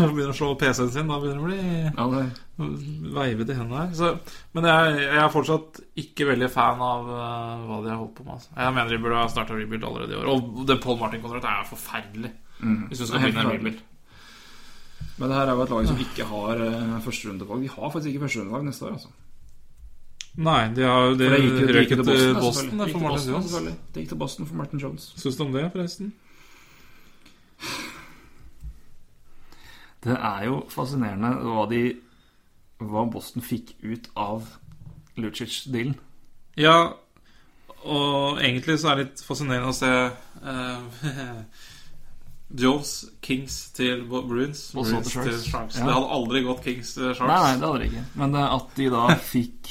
Speaker 3: Begynner å slå PC-en sin. Da begynner det
Speaker 4: Ja, det,
Speaker 3: å bli veivete i hendene her. Så, men jeg, jeg er fortsatt ikke veldig fan av eh, hva de har holdt på med. Altså. Jeg mener de burde ha starta rebuild allerede i år. Og den Paul Martin-kontrakten er forferdelig. Hvis du
Speaker 4: Mm. Det er
Speaker 3: skal
Speaker 4: helt
Speaker 3: begynne en
Speaker 4: klart.
Speaker 3: rebuild.
Speaker 4: men det her er jo et lag som ikke har uh, førsterundevalg. De har faktisk ikke førsterundevalg neste år, altså.
Speaker 3: Nei, de har de
Speaker 4: For det gikk jo det gikk
Speaker 3: røyket
Speaker 4: til
Speaker 3: til Boston,
Speaker 4: Boston, da, selvfølgelig. Gikk til Boston,
Speaker 3: Boston for Martin Jones.
Speaker 4: selvfølgelig. Det gikk til Boston for Martin Jones.
Speaker 3: Syns du om det, forresten?
Speaker 4: Det er jo fascinerende hva, de, hva Boston fikk ut av Lucic-dealen.
Speaker 3: Ja, og egentlig så er det litt fascinerende å se eh, <laughs> Jones, Kings til Bo- Bruins.
Speaker 4: Og så til
Speaker 3: Bruins
Speaker 4: Sharks. Ja.
Speaker 3: Det hadde aldri gått Kings til Sharks.
Speaker 4: Nei, nei, det hadde de ikke. Men det at de <laughs> da fikk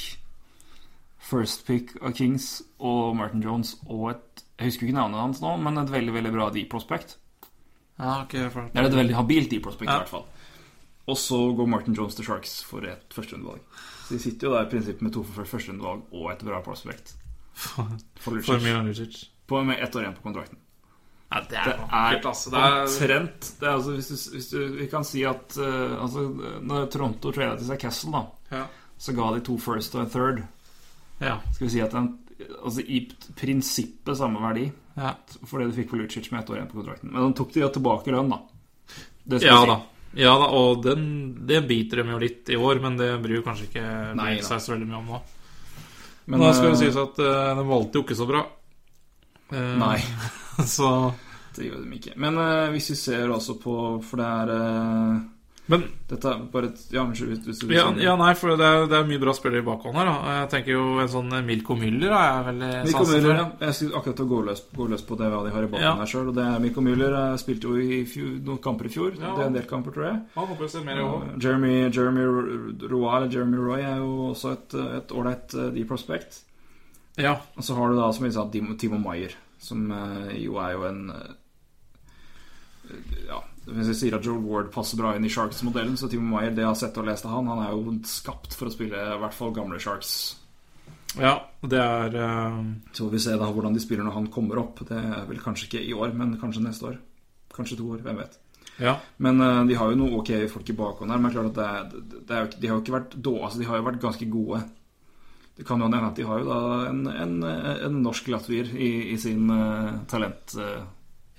Speaker 4: first pick av Kings og Martin Jones og et Jeg husker ikke navnet hans nå, men et veldig veldig bra D-prospect.
Speaker 3: Ja, ok, for...
Speaker 4: Det er et veldig habilt D-prospect,
Speaker 3: Ja.
Speaker 4: i hvert fall. Og så går Martin Jones til Sharks for et førsterundevalg. Så de sitter jo da i prinsippet med to for førsterundevalg og et bra prospect. For Lucic.
Speaker 3: for Milan Lucic.
Speaker 4: På med ett år igjen på kontrakten.
Speaker 3: Ja, det
Speaker 4: Det
Speaker 3: er
Speaker 4: er
Speaker 3: vakkert, altså. Det er...
Speaker 4: omtrent det er altså, hvis, du, hvis du Vi kan si at eh, altså, når Toronto trada til seg Castle, da,
Speaker 3: Ja.
Speaker 4: så ga de to first og en third.
Speaker 3: Ja.
Speaker 4: Skal vi si at den, altså, I prinsippet samme verdi
Speaker 3: Ja.
Speaker 4: for det du fikk på Lucic med ett år igjen på kontrakten. Men de tok de da tilbake lønn, da. Det skal
Speaker 3: ja
Speaker 4: vi si.
Speaker 3: da. Ja da, og den, det biter dem jo litt i år, men det bryr kanskje ikke
Speaker 4: Nei
Speaker 3: Bruins
Speaker 4: da.
Speaker 3: seg så veldig mye om nå.
Speaker 4: Men,
Speaker 3: Men da skal det
Speaker 4: eh,
Speaker 3: sies at eh, den valgte jo ikke så bra. Eh,
Speaker 4: <laughs> Nei.
Speaker 3: <laughs> Så
Speaker 4: Det gjorde de ikke. Men eh, hvis vi ser også på For det er eh,
Speaker 3: Men
Speaker 4: Dette er bare et Ja, unnskyld. hvis- hvis du-
Speaker 3: ja, ja, nei, for det er, det er mye bra spillere i bakhånd her. Da. Jeg tenker jo en sånn Milko Müller da, er veldig
Speaker 4: Mikko
Speaker 3: sansen for.
Speaker 4: Müller, ja. Jeg skulle akkurat til å gå løs, gå løs på det hva de har i baken
Speaker 3: Ja.
Speaker 4: her selv Og det er Mikko Müller eh, spilte jo i fjor, noen kamper i fjor.
Speaker 3: Ja.
Speaker 4: Det er en del kamper, tror jeg.
Speaker 3: Han håper å se mer i år.
Speaker 4: Eh, Jeremy, Jeremy Ro- Roy, eller Jeremy Roy er jo også et eh, et ålreit eh, deep prospect.
Speaker 3: Ja.
Speaker 4: Og så har du da, som vi sa, Dim- Timo Maier, som eh, jo er jo en eh, Ja, hvis jeg sier at Joel Ward passer bra inn i Sharks-modellen, så Timo Maier, det jeg har sett og lest av han, han er jo skapt for å spille i hvert fall gamle Sharks.
Speaker 3: ja, det er eh,
Speaker 4: Så får vi se da hvordan de spiller når han kommer opp. Det er vel kanskje ikke i år, men kanskje neste år. Kanskje to år, hvem vet.
Speaker 3: Ja.
Speaker 4: Men eh, de har jo noen ok folk i bakhånd her, men klart at det, er- det er jo, ikke- de har jo ikke vært da, altså de har jo vært ganske gode. Det kan jo hende at de har jo da en, en, en norsk latvier i, i sin uh, talent... eh,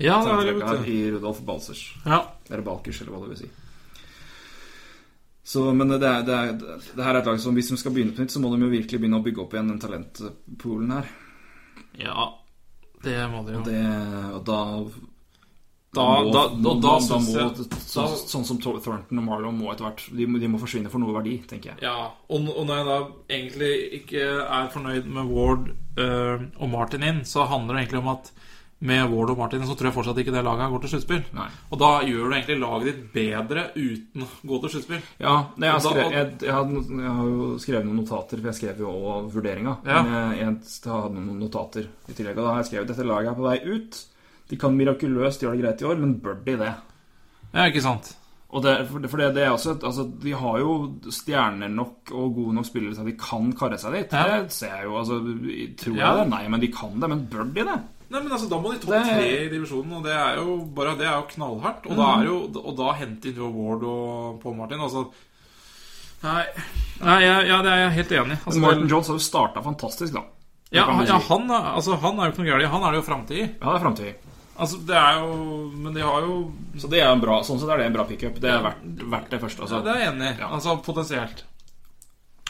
Speaker 3: ja, det er det,
Speaker 4: talentrekka
Speaker 3: vet
Speaker 4: her,
Speaker 3: du.
Speaker 4: i Rudolf Balsers.
Speaker 3: Ja.
Speaker 4: Eller Balkers, eller hva det vil si. Så, men det, er, det, er, det her er et lag som hvis de skal begynne på nytt, så må de jo virkelig begynne å bygge opp igjen den talentpoolen her.
Speaker 3: ja. Det må det jo.
Speaker 4: Det, og da
Speaker 3: Da, da, da, da, synes
Speaker 4: må,
Speaker 3: jeg
Speaker 4: så,
Speaker 3: da-
Speaker 4: Sånn som Thor- Thornton og Marlowe må etter hvert de må, de må forsvinne for noe verdi, tenker jeg.
Speaker 3: Ja, og, og når jeg da egentlig ikke er fornøyd med Ward eh, og Martin inn, så handler det egentlig om at med Ward og Martin inn, så tror jeg fortsatt ikke det laget går til sluttspill.
Speaker 4: Nei.
Speaker 3: Og da gjør du egentlig laget ditt bedre uten å gå til sluttspill.
Speaker 4: Ja, nei, jeg, har
Speaker 3: Og da-
Speaker 4: skrevet, jeg, jeg, har, no- jeg har jo skrevet noen notater, for jeg skrev jo også vurderinga.
Speaker 3: Ja.
Speaker 4: Men jeg, jeg hadde noen notater i tillegg, og da har jeg skrevet dette laget er på vei ut. De kan mirakuløst gjøre det greit i år, men bør de det?
Speaker 3: Ja, ikke sant?
Speaker 4: Og det, for det, for det, det er også et, altså, De har jo stjerner nok og gode nok spillere til at de kan karre seg dit.
Speaker 3: Ja.
Speaker 4: Det ser jeg jo. altså, Tror jeg
Speaker 3: Ja.
Speaker 4: det? Nei, men de kan det. Men bør de det?
Speaker 3: Nei, men altså, Da må de topp
Speaker 4: Det-
Speaker 3: tre i divisjonen, og det er jo bare det er jo knallhardt. Og da, er jo, og da henter de jo Ward og Paul Martin. Altså Nei, nei ja, ja, det er jeg helt enig i. Altså,
Speaker 4: Men Martin
Speaker 3: det-
Speaker 4: Jones har jo starta fantastisk, da. Det
Speaker 3: ja,
Speaker 4: kan vi
Speaker 3: ja,
Speaker 4: si.
Speaker 3: han, er- altså, han er jo ikke noe gærent. Han er det jo framtid i.
Speaker 4: ja, det er framtid.
Speaker 3: Altså, det er jo Men de har jo
Speaker 4: Så det er en bra, sånn sett er det en bra pickup. Det er verdt, verdt det første.
Speaker 3: Ja,
Speaker 4: Altså.
Speaker 3: det er jeg enig i.
Speaker 4: Ja.
Speaker 3: Altså potensielt.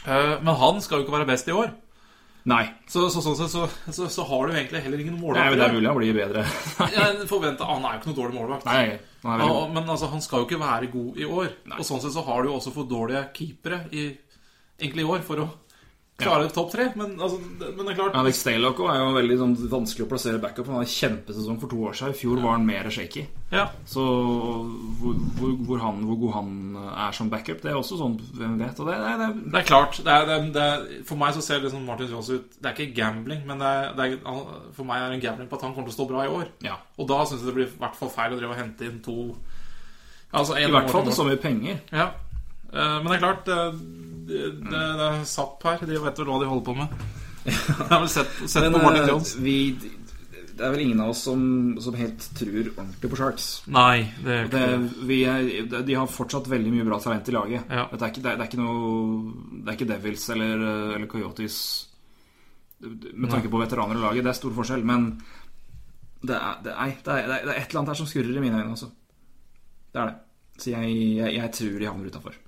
Speaker 3: Eh, men han skal jo ikke være best i år.
Speaker 4: Nei,
Speaker 3: Så, så, sånn sett så, så, så har du jo egentlig heller ingen
Speaker 4: det er, det er
Speaker 3: målvakt.
Speaker 4: mulig han blir bedre. <laughs>
Speaker 3: Jeg forventer, Han er jo ikke noe dårlig målvakt.
Speaker 4: Nei, han er veldig
Speaker 3: Ja, men altså, han skal jo ikke være god i år.
Speaker 4: Nei.
Speaker 3: Og sånn sett så har du jo også for dårlige keepere i, egentlig i år for å klare topp tre. Men, altså, det, men det er klart
Speaker 4: Alex Stalock også er jo veldig sånn, vanskelig å plassere backup. Han hadde en kjempesesong for to år siden. I fjor var han mer shaky.
Speaker 3: Ja,
Speaker 4: Så hvor, hvor, hvor, han, hvor god han er som backup, det er også sånn hvem vet. Og det, det, det,
Speaker 3: det er klart. Det er, det er, det er, for meg så ser liksom Martin Johns ut Det er ikke gambling, men det er, det er, han- for meg er det en gambling på at han kommer til å stå bra i år.
Speaker 4: ja.
Speaker 3: Og da syns jeg det blir i hvert fall feil å drive og hente inn to altså en
Speaker 4: I hvert fall
Speaker 3: mål-
Speaker 4: til så mye penger.
Speaker 3: Ja. Eh, Men det er klart, eh, det, det, det er Zapp her. De vet vel hva de holder <laughs> på med. eh, Jeg har vel sett, sett på Martin Jones.
Speaker 4: eh, vi, det er vel ingen av oss som, som helt tror ordentlig på Sharks.
Speaker 3: Nei, det er
Speaker 4: Det,
Speaker 3: ikke det.
Speaker 4: vi er, de har fortsatt veldig mye bra talent i laget.
Speaker 3: Ja.
Speaker 4: Dette er ikke, det, er, det, er ikke noe, det er ikke Devils eller, eller Coyotes med tanke på veteraner i laget. Det er stor forskjell, men det er, det, er, det, er, det er et eller annet her som skurrer i mine øyne også. Det er det. Så jeg, jeg, jeg tror de havner utafor.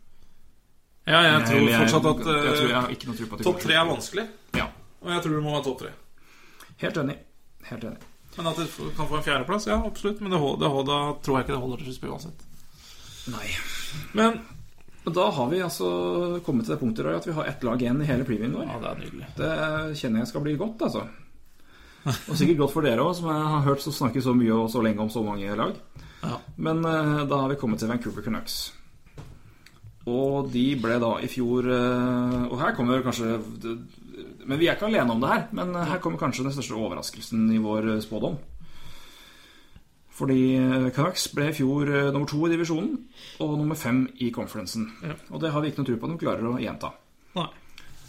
Speaker 3: Ja, jeg tror fortsatt at
Speaker 4: jeg,
Speaker 3: eh,
Speaker 4: tror jeg har ikke noe tro på at de
Speaker 3: topp
Speaker 4: kommer
Speaker 3: tre er
Speaker 4: til-
Speaker 3: vanskelig.
Speaker 4: Ja.
Speaker 3: Og jeg tror det må være topp tre.
Speaker 4: Helt enig. Helt enig.
Speaker 3: Men at de f- kan få en fjerdeplass, ja, absolutt. Men det, hol- det, hol- da tror jeg ikke det holder til sluttspill uansett.
Speaker 4: Nei.
Speaker 3: Men
Speaker 4: Men da har vi altså kommet til det punktet Roy, at vi har ett lag igjen i hele previewen vår.
Speaker 3: Ja, det er nydelig.
Speaker 4: Det kjenner jeg eh, skal bli godt, altså. Og sikkert godt for dere òg, som jeg har hørt så snakke så mye og så lenge om så mange lag.
Speaker 3: Ja.
Speaker 4: Men eh, da har vi kommet til Vancouver Canucks. Og de ble da i fjor eh, Og her kommer kanskje Men vi er ikke alene om det her. Men eh, her kommer kanskje den største overraskelsen i vår eh, spådom. Fordi eh, Canucks ble i fjor eh, nummer to i divisjonen og nummer fem i conferencen.
Speaker 3: Ja.
Speaker 4: Og det har vi ikke noe tro på at de klarer å gjenta.
Speaker 3: Nei.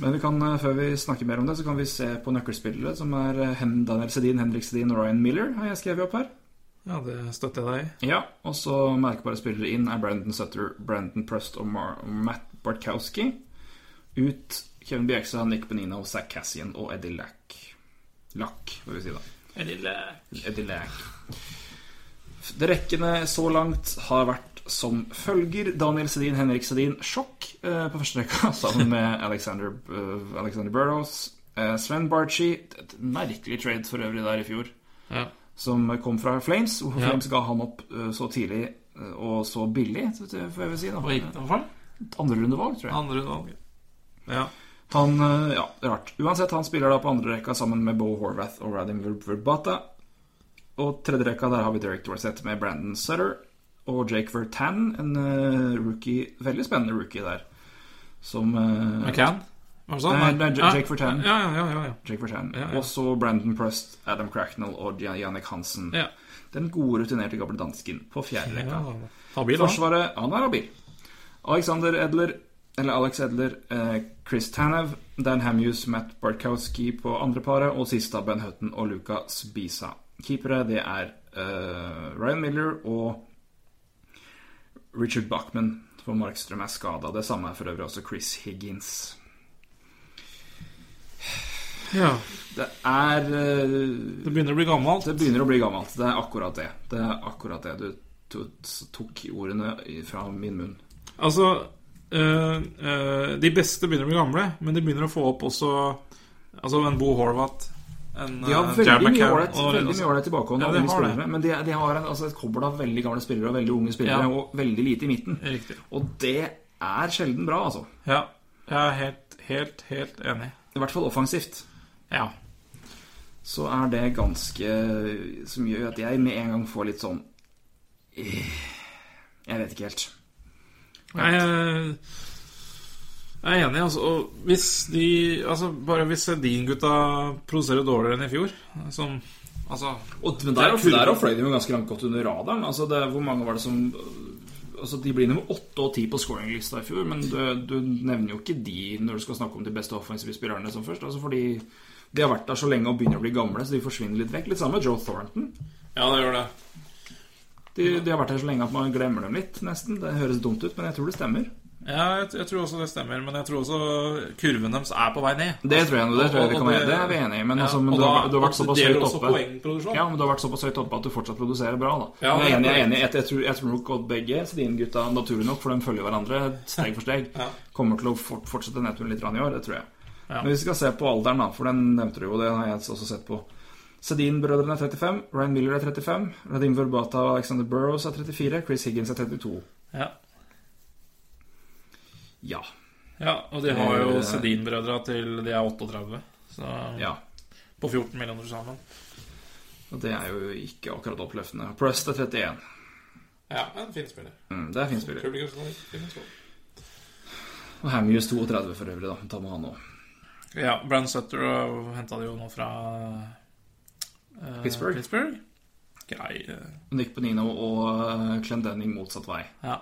Speaker 4: Men vi kan, eh, før vi snakker mer om det, så kan vi se på nøkkelspillere, som er eh, Hen, Daniel Sedin, Henrik Sedin og Ryan Miller, har jeg skrevet opp her.
Speaker 3: Ja, det støtter jeg deg i.
Speaker 4: Ja, og så merkbare spillere inn er Brandon Sutter, Brandon Prust og Mar Matt Bartkowski. Ut Kevin Bjekstad, Nick Benino, Zack Cassian og Eddie Lack. Lack, får vi si da.
Speaker 3: En lille
Speaker 4: Eddie Lack. Det rekkene så langt har vært som følger. Daniel Sedin, Henrik Sedin, sjokk eh, på første rekka, <laughs> sammen med Alexander, eh, Alexander Burrows. Eh, Sven Barchi, et merkelig trade for øvrig der i fjor
Speaker 3: ja.
Speaker 4: som kom fra Flames. Hvorfor
Speaker 3: Ja.
Speaker 4: Flames ga han opp eh, så tidlig eh, og så billig, så det får jeg vel si.
Speaker 3: Hva gikk
Speaker 4: da
Speaker 3: det for?
Speaker 4: Andre rundevalg, tror jeg.
Speaker 3: Andre runde. Ja.
Speaker 4: Han, eh, ja, rart. Uansett, han spiller da på andre rekka sammen med Bo Horvath og Radim Verbata. Og tredje rekka, der har vi Derek Dorsett med Brandon Sutter og Jake Vertan, en eh, rookie, veldig spennende rookie der, som eh,
Speaker 3: McCann? Var det sånn?
Speaker 4: Nei, nei, Ja- Jake Vertan.
Speaker 3: Ja, ja, ja, ja,
Speaker 4: Jake Vertan.
Speaker 3: Ja, ja.
Speaker 4: Og så Brandon Prust, Adam Cracknell og Jan- Jannik Hansen.
Speaker 3: ja.
Speaker 4: Den gode, rutinerte gamle dansken på fjerde rekka.
Speaker 3: ja. Habil, da.
Speaker 4: Forsvaret Han er habil. Alexander Edler, eller Alex Edler, eh, Chris Tanev, Dan Hamhus, Matt Bartkowski på andreparet, og sist da Ben Hutton og Luca Spisa. Keepere det er eh, Ryan Miller og Richard Bachman, for Markstrøm er skada. Det samme er for øvrig også Chris Higgins.
Speaker 3: Ja.
Speaker 4: Det er eh,
Speaker 3: Det begynner å bli gammelt.
Speaker 4: Det begynner å bli gammelt. Det er akkurat det. Det er akkurat det. Du to- tok ordene i- fra min munn.
Speaker 3: Altså øh, øh, De beste begynner å bli gamle, men de begynner å få opp også Altså en Bo Horvath, en
Speaker 4: De har
Speaker 3: øh,
Speaker 4: veldig
Speaker 3: Jared
Speaker 4: mye
Speaker 3: McCann
Speaker 4: ålreit
Speaker 3: og-
Speaker 4: veldig mye ålreit tilbakehånd.
Speaker 3: Ja,
Speaker 4: av
Speaker 3: de
Speaker 4: unge
Speaker 3: har det.
Speaker 4: spillere, Men de, de har en, altså et kobbel av veldig gamle spillere og veldig unge spillere,
Speaker 3: Ja.
Speaker 4: og veldig lite i midten.
Speaker 3: Riktig.
Speaker 4: Og det er sjelden bra, altså.
Speaker 3: Ja. Jeg er helt, helt, helt enig.
Speaker 4: I hvert fall offensivt.
Speaker 3: Ja.
Speaker 4: Så er det ganske Som gjør at jeg med en gang får litt sånn eh, Jeg vet ikke helt.
Speaker 3: Nei, jeg jeg er enig. altså, og Hvis de altså Bare hvis Sedin-gutta produserer dårligere enn i fjor som, altså,
Speaker 4: Og, men
Speaker 3: Det er
Speaker 4: der,
Speaker 3: jo fullt.
Speaker 4: der fløy de jo ganske langt godt under radaren. Altså det, hvor mange var det som Altså De blir nummer åtte og ti på scoringlista i fjor, men du, du nevner jo ikke de når du skal snakke om de beste offensive spillerne som først. Altså fordi de har vært der så lenge og begynner å bli gamle, så de forsvinner litt vekk. Litt samme med Joe Thornton.
Speaker 3: Ja, det gjør det.
Speaker 4: De, de har vært der så lenge at man glemmer dem litt, nesten. Det høres dumt ut, men jeg tror det stemmer.
Speaker 3: Ja, jeg, jeg tror også det stemmer. Men jeg tror også kurven deres er på vei ned.
Speaker 4: Det tror jeg, nå, det tror jeg vi
Speaker 3: Og-
Speaker 4: kan
Speaker 3: og
Speaker 4: være Det er vi enig i, men,
Speaker 3: Ja,
Speaker 4: altså, men
Speaker 3: og
Speaker 4: du, har,
Speaker 3: da-
Speaker 4: du har vært
Speaker 3: og
Speaker 4: såpass
Speaker 3: det gjelder
Speaker 4: høyt
Speaker 3: også
Speaker 4: oppe.
Speaker 3: poengproduksjon.
Speaker 4: Ja, men du har vært såpass høyt oppe at du fortsatt produserer bra, da.
Speaker 3: Ja,
Speaker 4: Men jeg er enig,
Speaker 3: det-
Speaker 4: jeg er enig. Jeg, jeg, tror, jeg tror nok Odd begge Sedin-gutta, naturlig nok, for de følger hverandre steg for steg,
Speaker 3: Ja.
Speaker 4: kommer til å fort, fortsette nedturen litt grann i år. Det tror jeg.
Speaker 3: Ja.
Speaker 4: Men hvis vi skal se på alderen, da, for den nevnte du jo, det har jeg også sett på. Sedin-brødrene er 35, Ryan Miller er 35, Radim Verbata og Alexander Burrows er 34, Chris Higgins er 32.
Speaker 3: Ja.
Speaker 4: Ja.
Speaker 3: ja, og de har jo Sedin-brødra til de er 38. Så
Speaker 4: Eh, ja.
Speaker 3: på 14 millioner sammen.
Speaker 4: Og det er jo ikke akkurat oppløftende. Prest er 31.
Speaker 3: Ja, en fin spiller.
Speaker 4: Mm, det er fin spiller.
Speaker 3: Publikumsvalg.
Speaker 4: Og Hamuse 32 for øvrig, da. Ta med han òg.
Speaker 3: Ja, Brann Sutter henta de jo nå fra eh,
Speaker 4: Pittsburgh.
Speaker 3: Pittsburgh. Grei eh,
Speaker 4: Nick Benino og eh, Clendenning motsatt vei.
Speaker 3: Ja.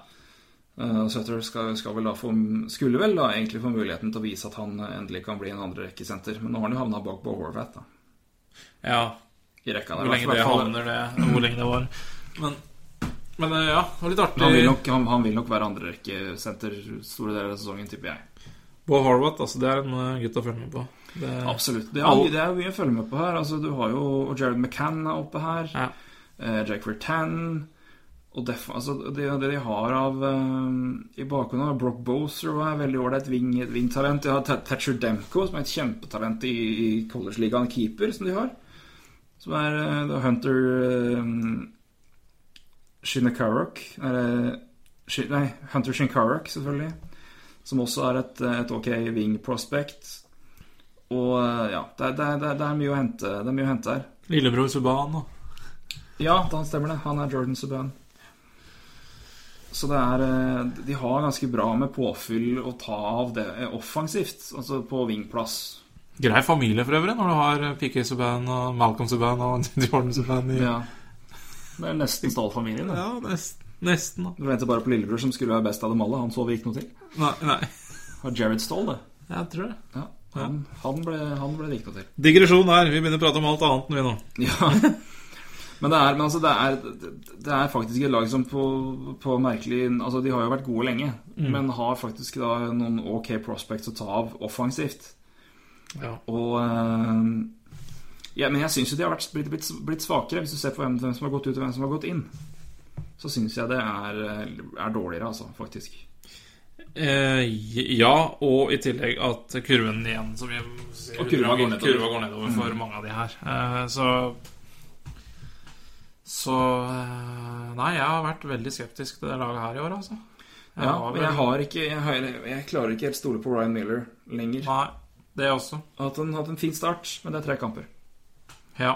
Speaker 4: Eh, Sutter skal, skal vel da få, skulle vel da egentlig få muligheten til å vise at han eh, endelig kan bli en andrerekkesenter, men nå har han jo havna bak på Horvath, da.
Speaker 3: ja.
Speaker 4: I rekka der.
Speaker 3: Hvor lenge
Speaker 4: I
Speaker 3: det
Speaker 4: hvert fall-
Speaker 3: havner, det Hvor lenge det var. Men, men eh, ja, det var litt
Speaker 4: Han vil
Speaker 3: artig.
Speaker 4: nok, han, han vil nok være andrerekkesenter store deler av sesongen, tipper jeg.
Speaker 3: Bo Harwatt, altså, det er en eh, gutt å følge med på. Det,
Speaker 4: Absolutt. Det er,
Speaker 3: Alle-
Speaker 4: det er jo mye å følge med på her. Altså, du har jo og Jared McCann er oppe her.
Speaker 3: Ja.
Speaker 4: Eh, Jack Vertan. Og def, altså, det, det de har av eh, i bakgrunnen har Brock Boser og er veldig ålreit wing, et wingtalent. De har Ta- Thatcher Demko, som er et kjempetalent i, i college-ligaen, keeper, som de har. Som er eh, det er Hunter eh, Shinnakarok. Er det Shi- Nei, Hunter Shinkarak, selvfølgelig. Som også er et, eh, et ok wing prospect. Og eh, ja, det, er- det, er- det, er- det er mye å hente Det er mye å hente her.
Speaker 3: Lillebror Subhaan og
Speaker 4: Ja, han stemmer det. Han er Jordan Subhaan. Så det er eh, De har ganske bra med påfyll å ta av det eh, offensivt, altså på wingplass.
Speaker 3: Grei familie for øvrig, når du har eh, PK Subhaan og Malcolm Subhaan og <laughs> Jordan Subhaan i
Speaker 4: Ja. Det er nesten stallfamilien. det.
Speaker 3: Ja, nesten. Nesten, da.
Speaker 4: Du venter bare på lillebror, som skulle være best av dem alle. Han så vi ikke noe til.
Speaker 3: Nei, nei.
Speaker 4: Og Jared Stall, det.
Speaker 3: Jeg tror det.
Speaker 4: Ja, han, han ble han ble det ikke noe til.
Speaker 3: Digresjon der. Vi begynner å prate om alt annet enn vi nå.
Speaker 4: <laughs> Ja. Men det er, men altså, det er, det er faktisk et lag som på, på merkelig Altså, de har jo vært gode lenge, men har faktisk da noen ok prospects å ta av offensivt.
Speaker 3: Ja.
Speaker 4: Og eh, ja, Men jeg syns jo de har vært, blitt, blitt, blitt svakere, hvis du ser på hvem, hvem som har gått ut og hvem som har gått inn. Så syns jeg det er, er dårligere, altså, faktisk.
Speaker 3: Eh, ja, og i tillegg at kurven igjen som vi sier,
Speaker 4: Og kurva går nedover.
Speaker 3: kurva går nedover Mm. for mange av de her. Eh, så Så eh, Nei, jeg har vært veldig skeptisk til det laget her i år, altså. Jeg
Speaker 4: Ja,
Speaker 3: har
Speaker 4: men
Speaker 3: vel-
Speaker 4: jeg har ikke jeg, har, jeg klarer ikke helt stole på Ryan Miller lenger.
Speaker 3: Nei, det også.
Speaker 4: At han hatt en fin start, men det er tre kamper.
Speaker 3: Ja.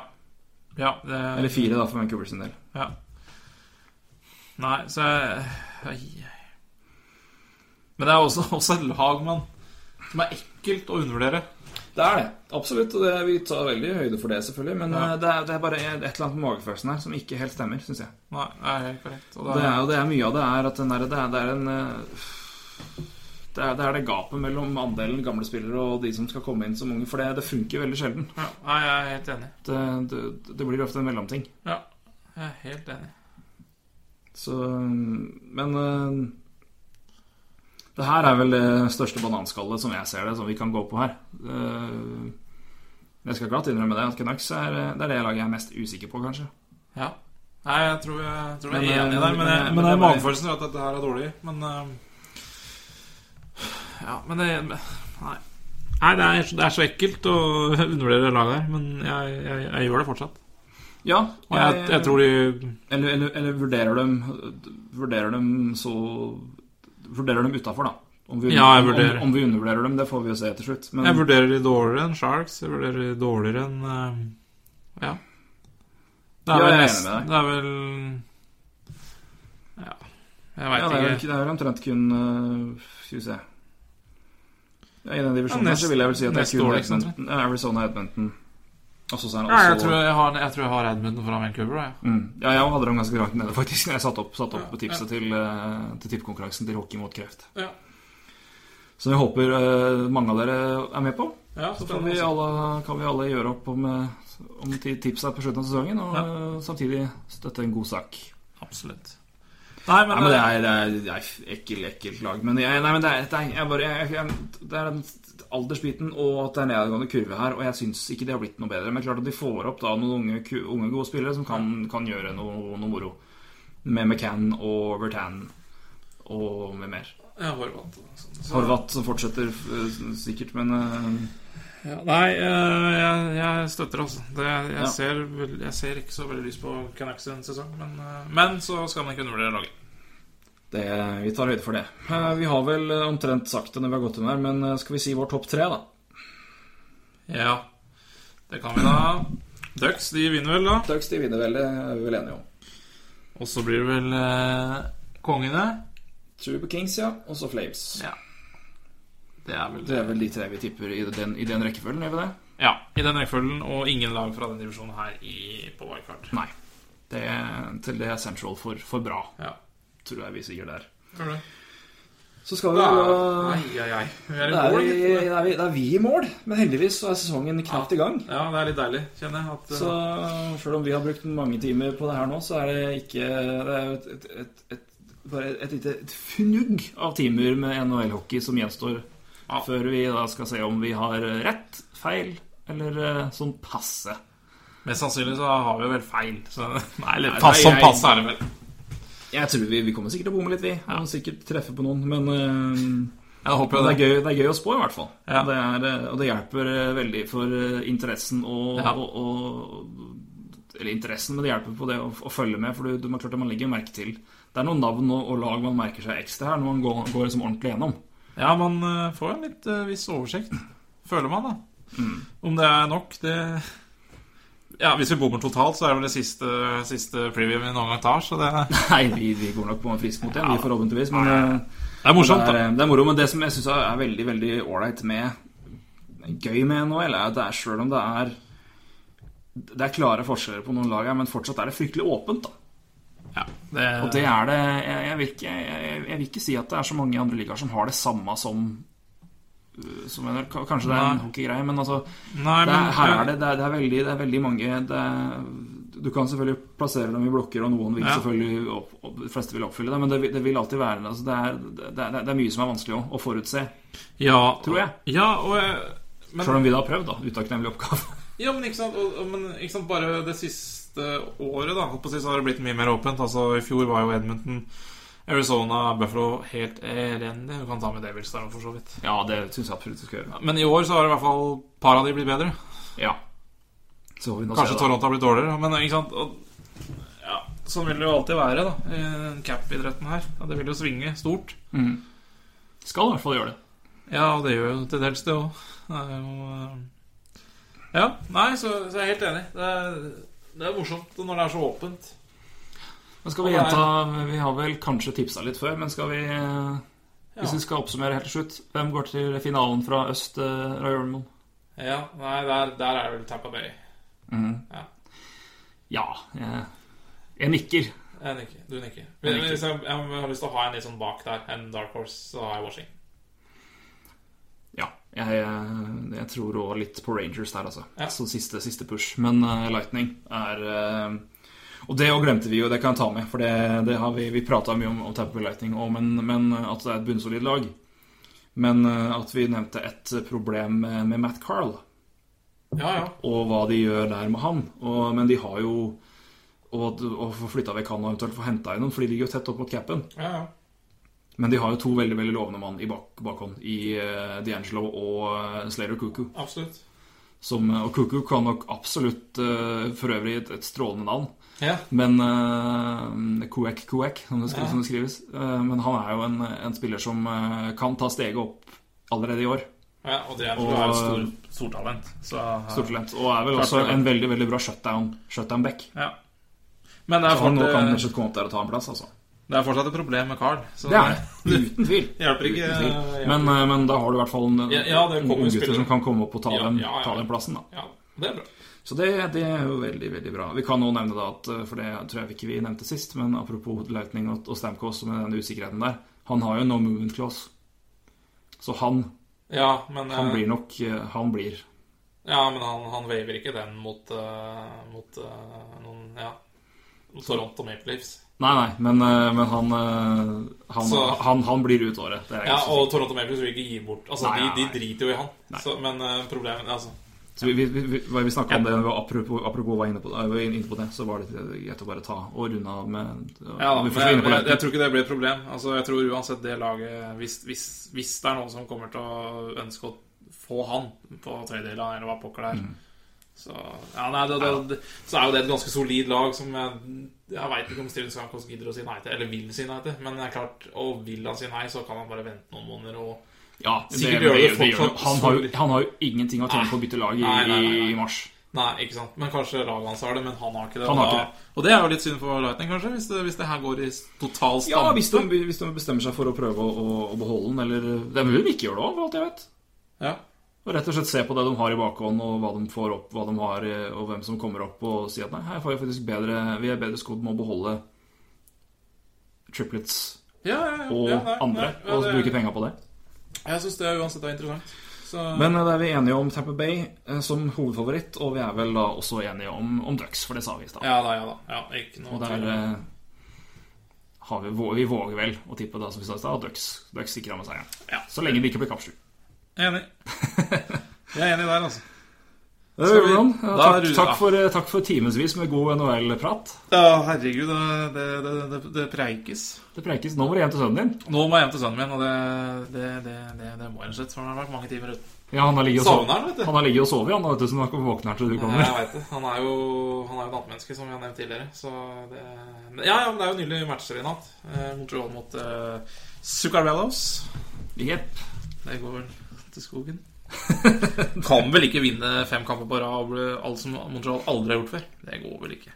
Speaker 3: ja det,
Speaker 4: Eller fire, da, for Vancouver sin del.
Speaker 3: Ja. Nei, så jeg ai, ai. Men det er også, også et lag, mann, som er ekkelt å undervurdere.
Speaker 4: Det er det. Absolutt. Og det, vi tar veldig høyde for det, selvfølgelig. Men
Speaker 3: Ja.
Speaker 4: eh, det, er, det er bare et eller annet med magefølelsen her som ikke helt stemmer, syns jeg.
Speaker 3: Nei, det er helt korrekt. Og
Speaker 4: Det er, og det er mye av det er at den der, det, er, det er en eh, det er, det er det gapet mellom andelen gamle spillere og de som skal komme inn som unge. For det, det funker veldig sjelden.
Speaker 3: ja, nei, jeg er helt enig.
Speaker 4: Det, det, det blir ofte en mellomting.
Speaker 3: Ja, jeg er helt enig.
Speaker 4: Så mm, Men eh, det her er vel det største bananskallet som jeg ser det, som vi kan gå på her. Eh, Jeg skal glatt innrømme det. at Canucks er, eh, det er det laget jeg er mest usikker på, kanskje.
Speaker 3: Ja. Nei, jeg tror jeg, tror jeg
Speaker 4: Men,
Speaker 3: er enig
Speaker 4: eh,
Speaker 3: der,
Speaker 4: men-
Speaker 3: men, jeg, men det
Speaker 4: men det
Speaker 3: er
Speaker 4: er-
Speaker 3: magefølelsen at dette her er dårlig, men eh, Ja, men det Nei. Nei, det er, det er så ekkelt å <laughs> undervurdere laget her, men jeg, jeg, jeg gjør det fortsatt.
Speaker 4: Ja,
Speaker 3: Og jeg, jeg tror de
Speaker 4: Eller, eller, eller vurderer dem Vurderer dem så Vurderer dem utafor, da. Om vi,
Speaker 3: Ja, jeg vurderer.
Speaker 4: Om, om vi undervurderer dem, det får vi jo se til slutt. Men
Speaker 3: Jeg vurderer de dårligere enn Sharks. Jeg vurderer de dårligere enn eh, Ja. Det
Speaker 4: Ja,
Speaker 3: vel
Speaker 4: jeg er enig
Speaker 3: nesten-
Speaker 4: med deg.
Speaker 3: Det er vel Ja. Jeg veit
Speaker 4: ja, det, er vel,
Speaker 3: ikke.
Speaker 4: ikke- det er vel omtrent kun øh, Skal vi se ja, I den divisjonen
Speaker 3: Ja,
Speaker 4: her
Speaker 3: nest-
Speaker 4: så vil jeg vel si at det
Speaker 3: nest
Speaker 4: er kun
Speaker 3: dårligst,
Speaker 4: Edmonton, ja, Arizona Edmonton. Og så er det
Speaker 3: Nei, jeg,
Speaker 4: også
Speaker 3: tror jeg, har, jeg tror jeg har Edmundton foran Vancouver. Jeg.
Speaker 4: mm, Ja, jeg hadde dem ganske langt nede, faktisk. Jeg satte opp, satt opp
Speaker 3: Ja,
Speaker 4: tipset til, øh, til tippkonkurransen til Hockey mot kreft.
Speaker 3: Ja.
Speaker 4: Så jeg håper øh, mange av dere er med på.
Speaker 3: Ja,
Speaker 4: Så kan vi, alle, kan vi alle gjøre opp om, eh, om ti- tipsa på slutten av sesongen, og
Speaker 3: Ja.
Speaker 4: eh, samtidig støtte en god sak.
Speaker 3: Absolutt. Nei, men,
Speaker 4: Nei, men det er, det er, det er ekkel, ekkelt lag. Men, jeg, nei, men det, er, det, er, jeg bare, jeg, jeg, det er den aldersbiten og at det er nedadgående kurve her, og jeg syns ikke det har blitt noe bedre. Men klart at de får opp da noen unge, ku- unge gode spillere som kan, kan gjøre noe, noe moro. Med McCann og Vertan og med mer.
Speaker 3: Ja, Horvath og sånn. Så-
Speaker 4: Horvath som fortsetter eh, sikkert, men eh,
Speaker 3: Ja, nei, eh, jeg, jeg støtter, altså. Det, jeg,
Speaker 4: Ja.
Speaker 3: ser, vel- jeg ser ikke så veldig lyst på Canucks i denne sesong, men, eh, men så skal man ikke undervurdere laget.
Speaker 4: Det, vi tar høyde for det. Eh, Vi har vel eh, omtrent sagt det når vi har gått inn her, men eh, skal vi si vår topp tre, da?
Speaker 3: Ja, det kan vi da. Ducks, de vinner vel, da.
Speaker 4: Ducks de vinner vel, det er vi vel enige om.
Speaker 3: Og så blir det vel eh, kongene.
Speaker 4: Super Kings, ja. Og så Flames.
Speaker 3: Ja. Det er vel
Speaker 4: Det er vel de tre vi tipper i den, i den rekkefølgen, gjør vi det?
Speaker 3: Ja, i den rekkefølgen, og ingen lag fra den divisjonen her i, på wildcard.
Speaker 4: Nei. Det, til det er Central for, for bra,
Speaker 3: Ja.
Speaker 4: tror jeg vi sier der.
Speaker 3: Gjør det.
Speaker 4: Så skal vi
Speaker 3: Da,
Speaker 4: jo
Speaker 3: ai, ai, ai. Vi er i
Speaker 4: da er
Speaker 3: mål,
Speaker 4: vi,
Speaker 3: gitt.
Speaker 4: da er vi, da er vi i mål, men heldigvis så er sesongen knapt i gang.
Speaker 3: Ja, det er litt deilig, kjenner jeg. At, eh,
Speaker 4: Så selv om vi har brukt mange timer på det her nå, så er det ikke Det er jo et, et, et, et, bare et lite et fnugg av timer med NHL-hockey som gjenstår
Speaker 3: Ja.
Speaker 4: før vi da skal se om vi har rett, feil eller eh, sånn passe.
Speaker 3: mest sannsynlig så har vi vel feil. Så, <laughs> nei, eller
Speaker 4: Nei,
Speaker 3: pass som
Speaker 4: jeg-
Speaker 3: pass er det vel.
Speaker 4: Jeg tror vi, vi kommer sikkert til å bomme litt, vi. Ja. Sikkert treffe på noen, men eh,
Speaker 3: Jeg håper
Speaker 4: Men det
Speaker 3: jo det.
Speaker 4: er, gøy, det er gøy å spå, i hvert fall.
Speaker 3: Ja.
Speaker 4: Det er, eh, og det hjelper eh, veldig for eh, interessen og,
Speaker 3: Ja.
Speaker 4: og, og eller interessen, men det hjelper på det å, å følge med. For du, du, man, klart, at man legger merke til Det er noen navn og, og lag man merker seg ekstra her når man går, går liksom ordentlig gjennom.
Speaker 3: Ja, man eh, får en litt eh, viss oversikt, føler man, da.
Speaker 4: Mm.
Speaker 3: Om det er nok, det Ja, hvis vi bommer totalt, så er det vel det siste, siste preview vi noen gang tar, så det,
Speaker 4: <laughs> Nei, vi, vi går nok på en frisk mot igjen, vi forhåpentligvis. Men eh,
Speaker 3: det er morsomt,
Speaker 4: det
Speaker 3: da.
Speaker 4: er, det er moro. Men det som jeg syns er veldig veldig ålreit med Gøy med nå, eller er at det er sjøl om det er Det er klare forskjeller på noen lag her, men fortsatt er det fryktelig åpent, da.
Speaker 3: Ja, det,
Speaker 4: Og det er det jeg, jeg, vil ikke, jeg, jeg- jeg vil ikke si at det er så mange andre ligaer som har det samme som øh, som en, ka- Kanskje det er en
Speaker 3: Nei.
Speaker 4: hockeygreie, men altså
Speaker 3: Nei,
Speaker 4: det er,
Speaker 3: men-
Speaker 4: Her er det, det er, det er, veldig, det er veldig mange det er, Du kan selvfølgelig plassere dem i blokker, og noen vil
Speaker 3: Ja.
Speaker 4: selvfølgelig opp, opp, De fleste vil oppfylle det, men det, vil- det vil alltid være altså, det, er, det, er, det er mye som er vanskelig å, å forutse.
Speaker 3: ja,
Speaker 4: tror jeg.
Speaker 3: Ja, og eh, men,
Speaker 4: Selv om vi da har prøvd, da. Utakknemlig oppgave. <laughs>
Speaker 3: Ja, men ikke sant, og, og- men ikke sant bare det siste året, da. Holdt på å si, så har det blitt mye mer åpent. Altså, I fjor var jo Edmonton, Arizona, Buffalo helt elendig. Du kan ta med Devils der, for så vidt.
Speaker 4: Ja, det syns jeg absolutt du skal gjøre.
Speaker 3: Men i år så har i hvert fall et par av de blitt bedre.
Speaker 4: Ja. Så får vi nå
Speaker 3: Kanskje
Speaker 4: se, da.
Speaker 3: Toronto har blitt dårligere, men ikke sant og, ja, Sånn vil det jo alltid være, da. i Cap-idretten her. Ja, det vil jo svinge stort.
Speaker 4: Mm. Skal i hvert fall gjøre det.
Speaker 3: Ja, og det gjør jo til dels det òg. Det er jo eh, Ja. Nei, så, så jeg er helt enig. Det er, det er morsomt når det er så åpent.
Speaker 4: Men skal vi
Speaker 3: Og det er-
Speaker 4: gjenta Vi har vel kanskje tipsa litt før, men skal vi eh, Hvis vi skal oppsummere helt til slutt, hvem går til finalen fra øst, eh, Roy Ormond?
Speaker 3: Ja, nei, der, der er det vel Tampa Bay.
Speaker 4: Ja, jeg, jeg nikker.
Speaker 3: Jeg nikker. Du nikker.
Speaker 4: Jeg
Speaker 3: Men
Speaker 4: nikker.
Speaker 3: Hvis jeg, jeg har lyst til å ha en litt sånn bak der, en dark horse, så har jeg Washington.
Speaker 4: Ja. Jeg, jeg, jeg tror òg litt på Rangers der, altså.
Speaker 3: Ja.
Speaker 4: Så siste, siste push. Men eh, Lightning er eh, Og det òg glemte vi jo, det kan jeg ta med. For det, det har vi, vi prata mye om, om Tampa Bay Lightning, og, men, men at det er et bunnsolid lag. Men eh, at vi nevnte et problem med, med Matt Carl,
Speaker 3: Ja, ja.
Speaker 4: og hva de gjør der med han. Og, men de har jo Og, og få flytta vekk han og eventuelt få henta inn noen, for de ligger jo tett opp mot capen.
Speaker 3: ja, ja.
Speaker 4: Men de har jo to veldig veldig lovende mann i bak, bakhånd, i eh, D'Angelo og eh, Slater Cuckoo.
Speaker 3: Absolutt.
Speaker 4: Som, og Cuckoo kan nok absolutt eh, for øvrig et, et strålende navn.
Speaker 3: Ja.
Speaker 4: Men uh, Kuek Kuek, som det, skri,
Speaker 3: Ja.
Speaker 4: som det skrives. Eh, men han er jo en, en spiller som eh, kan ta steget opp allerede i år.
Speaker 3: ja og det er,
Speaker 4: Og-
Speaker 3: du er et stor, stortalent. Så
Speaker 4: Stort talent. Og er vel
Speaker 3: Klart
Speaker 4: også
Speaker 3: det.
Speaker 4: en veldig veldig bra shutdown, shutdown back.
Speaker 3: ja. Men
Speaker 4: Så
Speaker 3: det er,
Speaker 4: han nå kan
Speaker 3: fortsatt,
Speaker 4: kanskje komme opp der og ta en plass, altså.
Speaker 3: det er fortsatt et problem med Carl. Så
Speaker 4: Det er
Speaker 3: <laughs>
Speaker 4: det. Uten tvil.
Speaker 3: Det hjelper ikke.
Speaker 4: Uten tvil.
Speaker 3: eh,
Speaker 4: Men, eh, men da har du i hvert fall en-
Speaker 3: Ja, ja, det
Speaker 4: noen
Speaker 3: kommer jo
Speaker 4: gutter
Speaker 3: spillere.
Speaker 4: som kan komme opp og ta,
Speaker 3: Ja,
Speaker 4: den,
Speaker 3: ja, ja.
Speaker 4: ta den plassen, da.
Speaker 3: Ja, det er bra.
Speaker 4: Så det, det er jo veldig, veldig bra. Vi kan også nevne da at, eh, for det tror jeg ikke vi nevnte sist, men apropos Lightning og, og Stamkos og med den usikkerheten der, han har jo no movement clause. Så han,
Speaker 3: Ja, men
Speaker 4: han
Speaker 3: eh,
Speaker 4: blir nok eh, Han blir.
Speaker 3: Ja, men han, han waver ikke den mot, eh, mot eh, noen Ja. Toronto Maple Leafs.
Speaker 4: Nei, nei, men, eh, men han, eh, han,
Speaker 3: Så-
Speaker 4: han Han blir ut året. Det er jeg
Speaker 3: Ja,
Speaker 4: ganske
Speaker 3: og Toronto Maple Leafs vil ikke gi bort. Altså,
Speaker 4: Nei,
Speaker 3: de,
Speaker 4: nei,
Speaker 3: de driter jo i han.
Speaker 4: Nei.
Speaker 3: Så, men eh, problemet altså,
Speaker 4: sikker på. Så vi, vi, vi, vi, hva vi snakka om det, og apropos, apropos var inne på, eh, vi var inne på det, så var det greit å bare ta og runde av med
Speaker 3: ja,
Speaker 4: Vi
Speaker 3: men,
Speaker 4: får så
Speaker 3: jeg,
Speaker 4: inne på
Speaker 3: jeg
Speaker 4: Lightning.
Speaker 3: tror ikke det blir et problem. Altså, jeg tror uansett det laget hvis, hvis, hvis det er noen som kommer til å ønske å få han på tredjedela, eller hva pokker det er
Speaker 4: Mm.
Speaker 3: så, ja, nei, det, det, det, så er jo det et ganske solid lag som jeg, jeg veit ikke om Steven Skankos gidder å si nei til, eller vil si nei til. Men det er klart, og vil han si nei, så kan han bare vente noen måneder og
Speaker 4: Ja, det, det,
Speaker 3: Sikkert
Speaker 4: det,
Speaker 3: gjør det
Speaker 4: gjør det.
Speaker 3: fortsatt-
Speaker 4: Han, har jo, han har jo ingenting å tjene på å bytte lag i,
Speaker 3: Nei, nei, nei, nei.
Speaker 4: i mars.
Speaker 3: Nei, ikke sant. Men kanskje laget hans har det, men han har ikke det.
Speaker 4: Han
Speaker 3: og
Speaker 4: har
Speaker 3: da-
Speaker 4: ikke
Speaker 3: Og det er jo litt synd for Lightning, kanskje, hvis det, hvis det her går i total stand.
Speaker 4: Ja, hvis de, hvis de bestemmer seg for å prøve å, å, å beholde den, eller Det er mulig de ikke gjør det òg, for alt jeg vet.
Speaker 3: Ja.
Speaker 4: Og rett og slett se på det de har i bakhånd, og hva de får opp, hva de har, eh, og hvem som kommer opp, og si at nei, her får vi faktisk bedre Vi er bedre skodd med å beholde triplets
Speaker 3: Ja, ja, ja,
Speaker 4: og
Speaker 3: ja, nei,
Speaker 4: andre,
Speaker 3: nei, ja,
Speaker 4: og
Speaker 3: det-
Speaker 4: bruke penga på det.
Speaker 3: Jeg syns det er uansett er interessant. Så
Speaker 4: Men eh, da er vi enige om Tamper Bay eh, som hovedfavoritt, og vi er vel da også enige om, om Ducks, for det sa vi i stad.
Speaker 3: Ja da, ja da. Ja, ikke noe
Speaker 4: Og der
Speaker 3: tvil.
Speaker 4: eh, har vi, vå- vi våger vel å tippe da, som vi sa i stad, at Ducks, Ducks sikrer med seieren.
Speaker 3: Ja.
Speaker 4: Så lenge de ikke blir kappsjuke.
Speaker 3: Jeg er <laughs> Enig. Jeg er enig der, altså.
Speaker 4: Det
Speaker 3: Skal
Speaker 4: gjør
Speaker 3: vi-
Speaker 4: vi, Jan. Ja,
Speaker 3: Da
Speaker 4: Takk,
Speaker 3: runder-
Speaker 4: takk, for, eh, takk for timevis med god NHL-prat.
Speaker 3: Ja, herregud, det, det, det, det, det preikes.
Speaker 4: Det preikes. Nå må du hjem til sønnen din.
Speaker 3: Nå må jeg hjem til sønnen min, og det, det, det, det, det må jeg rett og slett. For det har vært mange timer uten.
Speaker 4: Ja, han har ligget og
Speaker 3: Savner
Speaker 4: sovet,
Speaker 3: han, vet du.
Speaker 4: han har ligget og sovet, han, da, vet du, så nå våkner han til du
Speaker 3: Ja,
Speaker 4: kommer.
Speaker 3: jeg vet det. Han er jo han er jo nattmenneske, som vi har nevnt tidligere. Så det, men, ja, ja, men det er jo nylig matcher i natt. Eh, Montreal mot eh, Zuccarellos.
Speaker 4: Jepp.
Speaker 3: Det går vel
Speaker 4: <laughs>
Speaker 3: til skogen. kan vel ikke vinne fem kamper på rad og bli alt som Montreal aldri har gjort før. Det går vel ikke.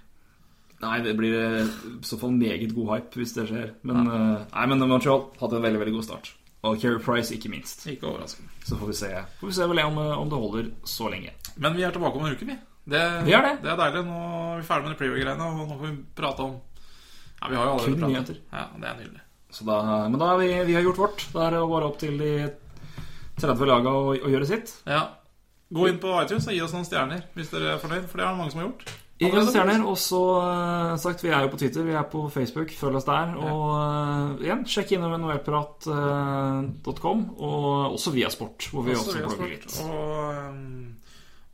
Speaker 4: Nei, det blir eh, i så fall meget god hype hvis det skjer. Men, eh, nei, men Montreal hadde en veldig, veldig god start. Og Keri Price, ikke minst.
Speaker 3: Ikke overraskende.
Speaker 4: Så får vi se, får vi se vel om, eh, om det holder så lenge.
Speaker 3: Men vi er tilbake om en uke, vi. Det,
Speaker 4: Vi er det.
Speaker 3: det er deilig. Nå er vi ferdig med de preview-greiene, og nå får vi prate om Ja, vi har jo allerede
Speaker 4: Kun
Speaker 3: pratet.
Speaker 4: nyheter.
Speaker 3: Ja, det er nydelig.
Speaker 4: Så da, men da har vi, vi har gjort vårt. Da er det bare opp til de 30 laga å, å gjøre sitt.
Speaker 3: Ja. Gå inn på iTunes og gi oss noen stjerner hvis dere er fornøyd, for det er det mange som har gjort.
Speaker 4: Gi oss stjerner. Og så eh, sagt, vi er jo på Twitter, vi er på Facebook. Følg oss der. Og eh, igjen, sjekk innom noelprat.com, eh, og også via sport, hvor vi også,
Speaker 3: Også
Speaker 4: også
Speaker 3: Viasport,
Speaker 4: blogger litt.
Speaker 3: Og, ehm,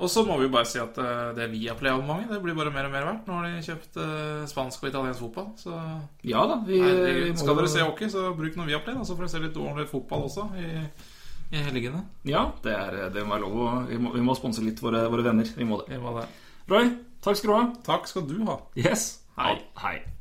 Speaker 3: og så må vi jo bare si at eh, det Viaplay-abonnementet Det blir bare mer og mer verdt. Nå har de kjøpt eh, spansk og italiensk fotball. Så
Speaker 4: Ja da, Eh, vi, vi
Speaker 3: herregud,
Speaker 4: må-
Speaker 3: skal dere se hockey, så bruk noe Viaplay. Da, så får dere se litt ordentlig fotball også i, i helgene.
Speaker 4: Ja, det, er, det må være lov å Vi må, vi må sponse litt våre, våre venner. Vi må det.
Speaker 3: Det var det.
Speaker 4: Roy, takk skal du ha.
Speaker 3: Takk skal du ha.
Speaker 4: Yes.
Speaker 3: Hei.
Speaker 4: Ha- Hei.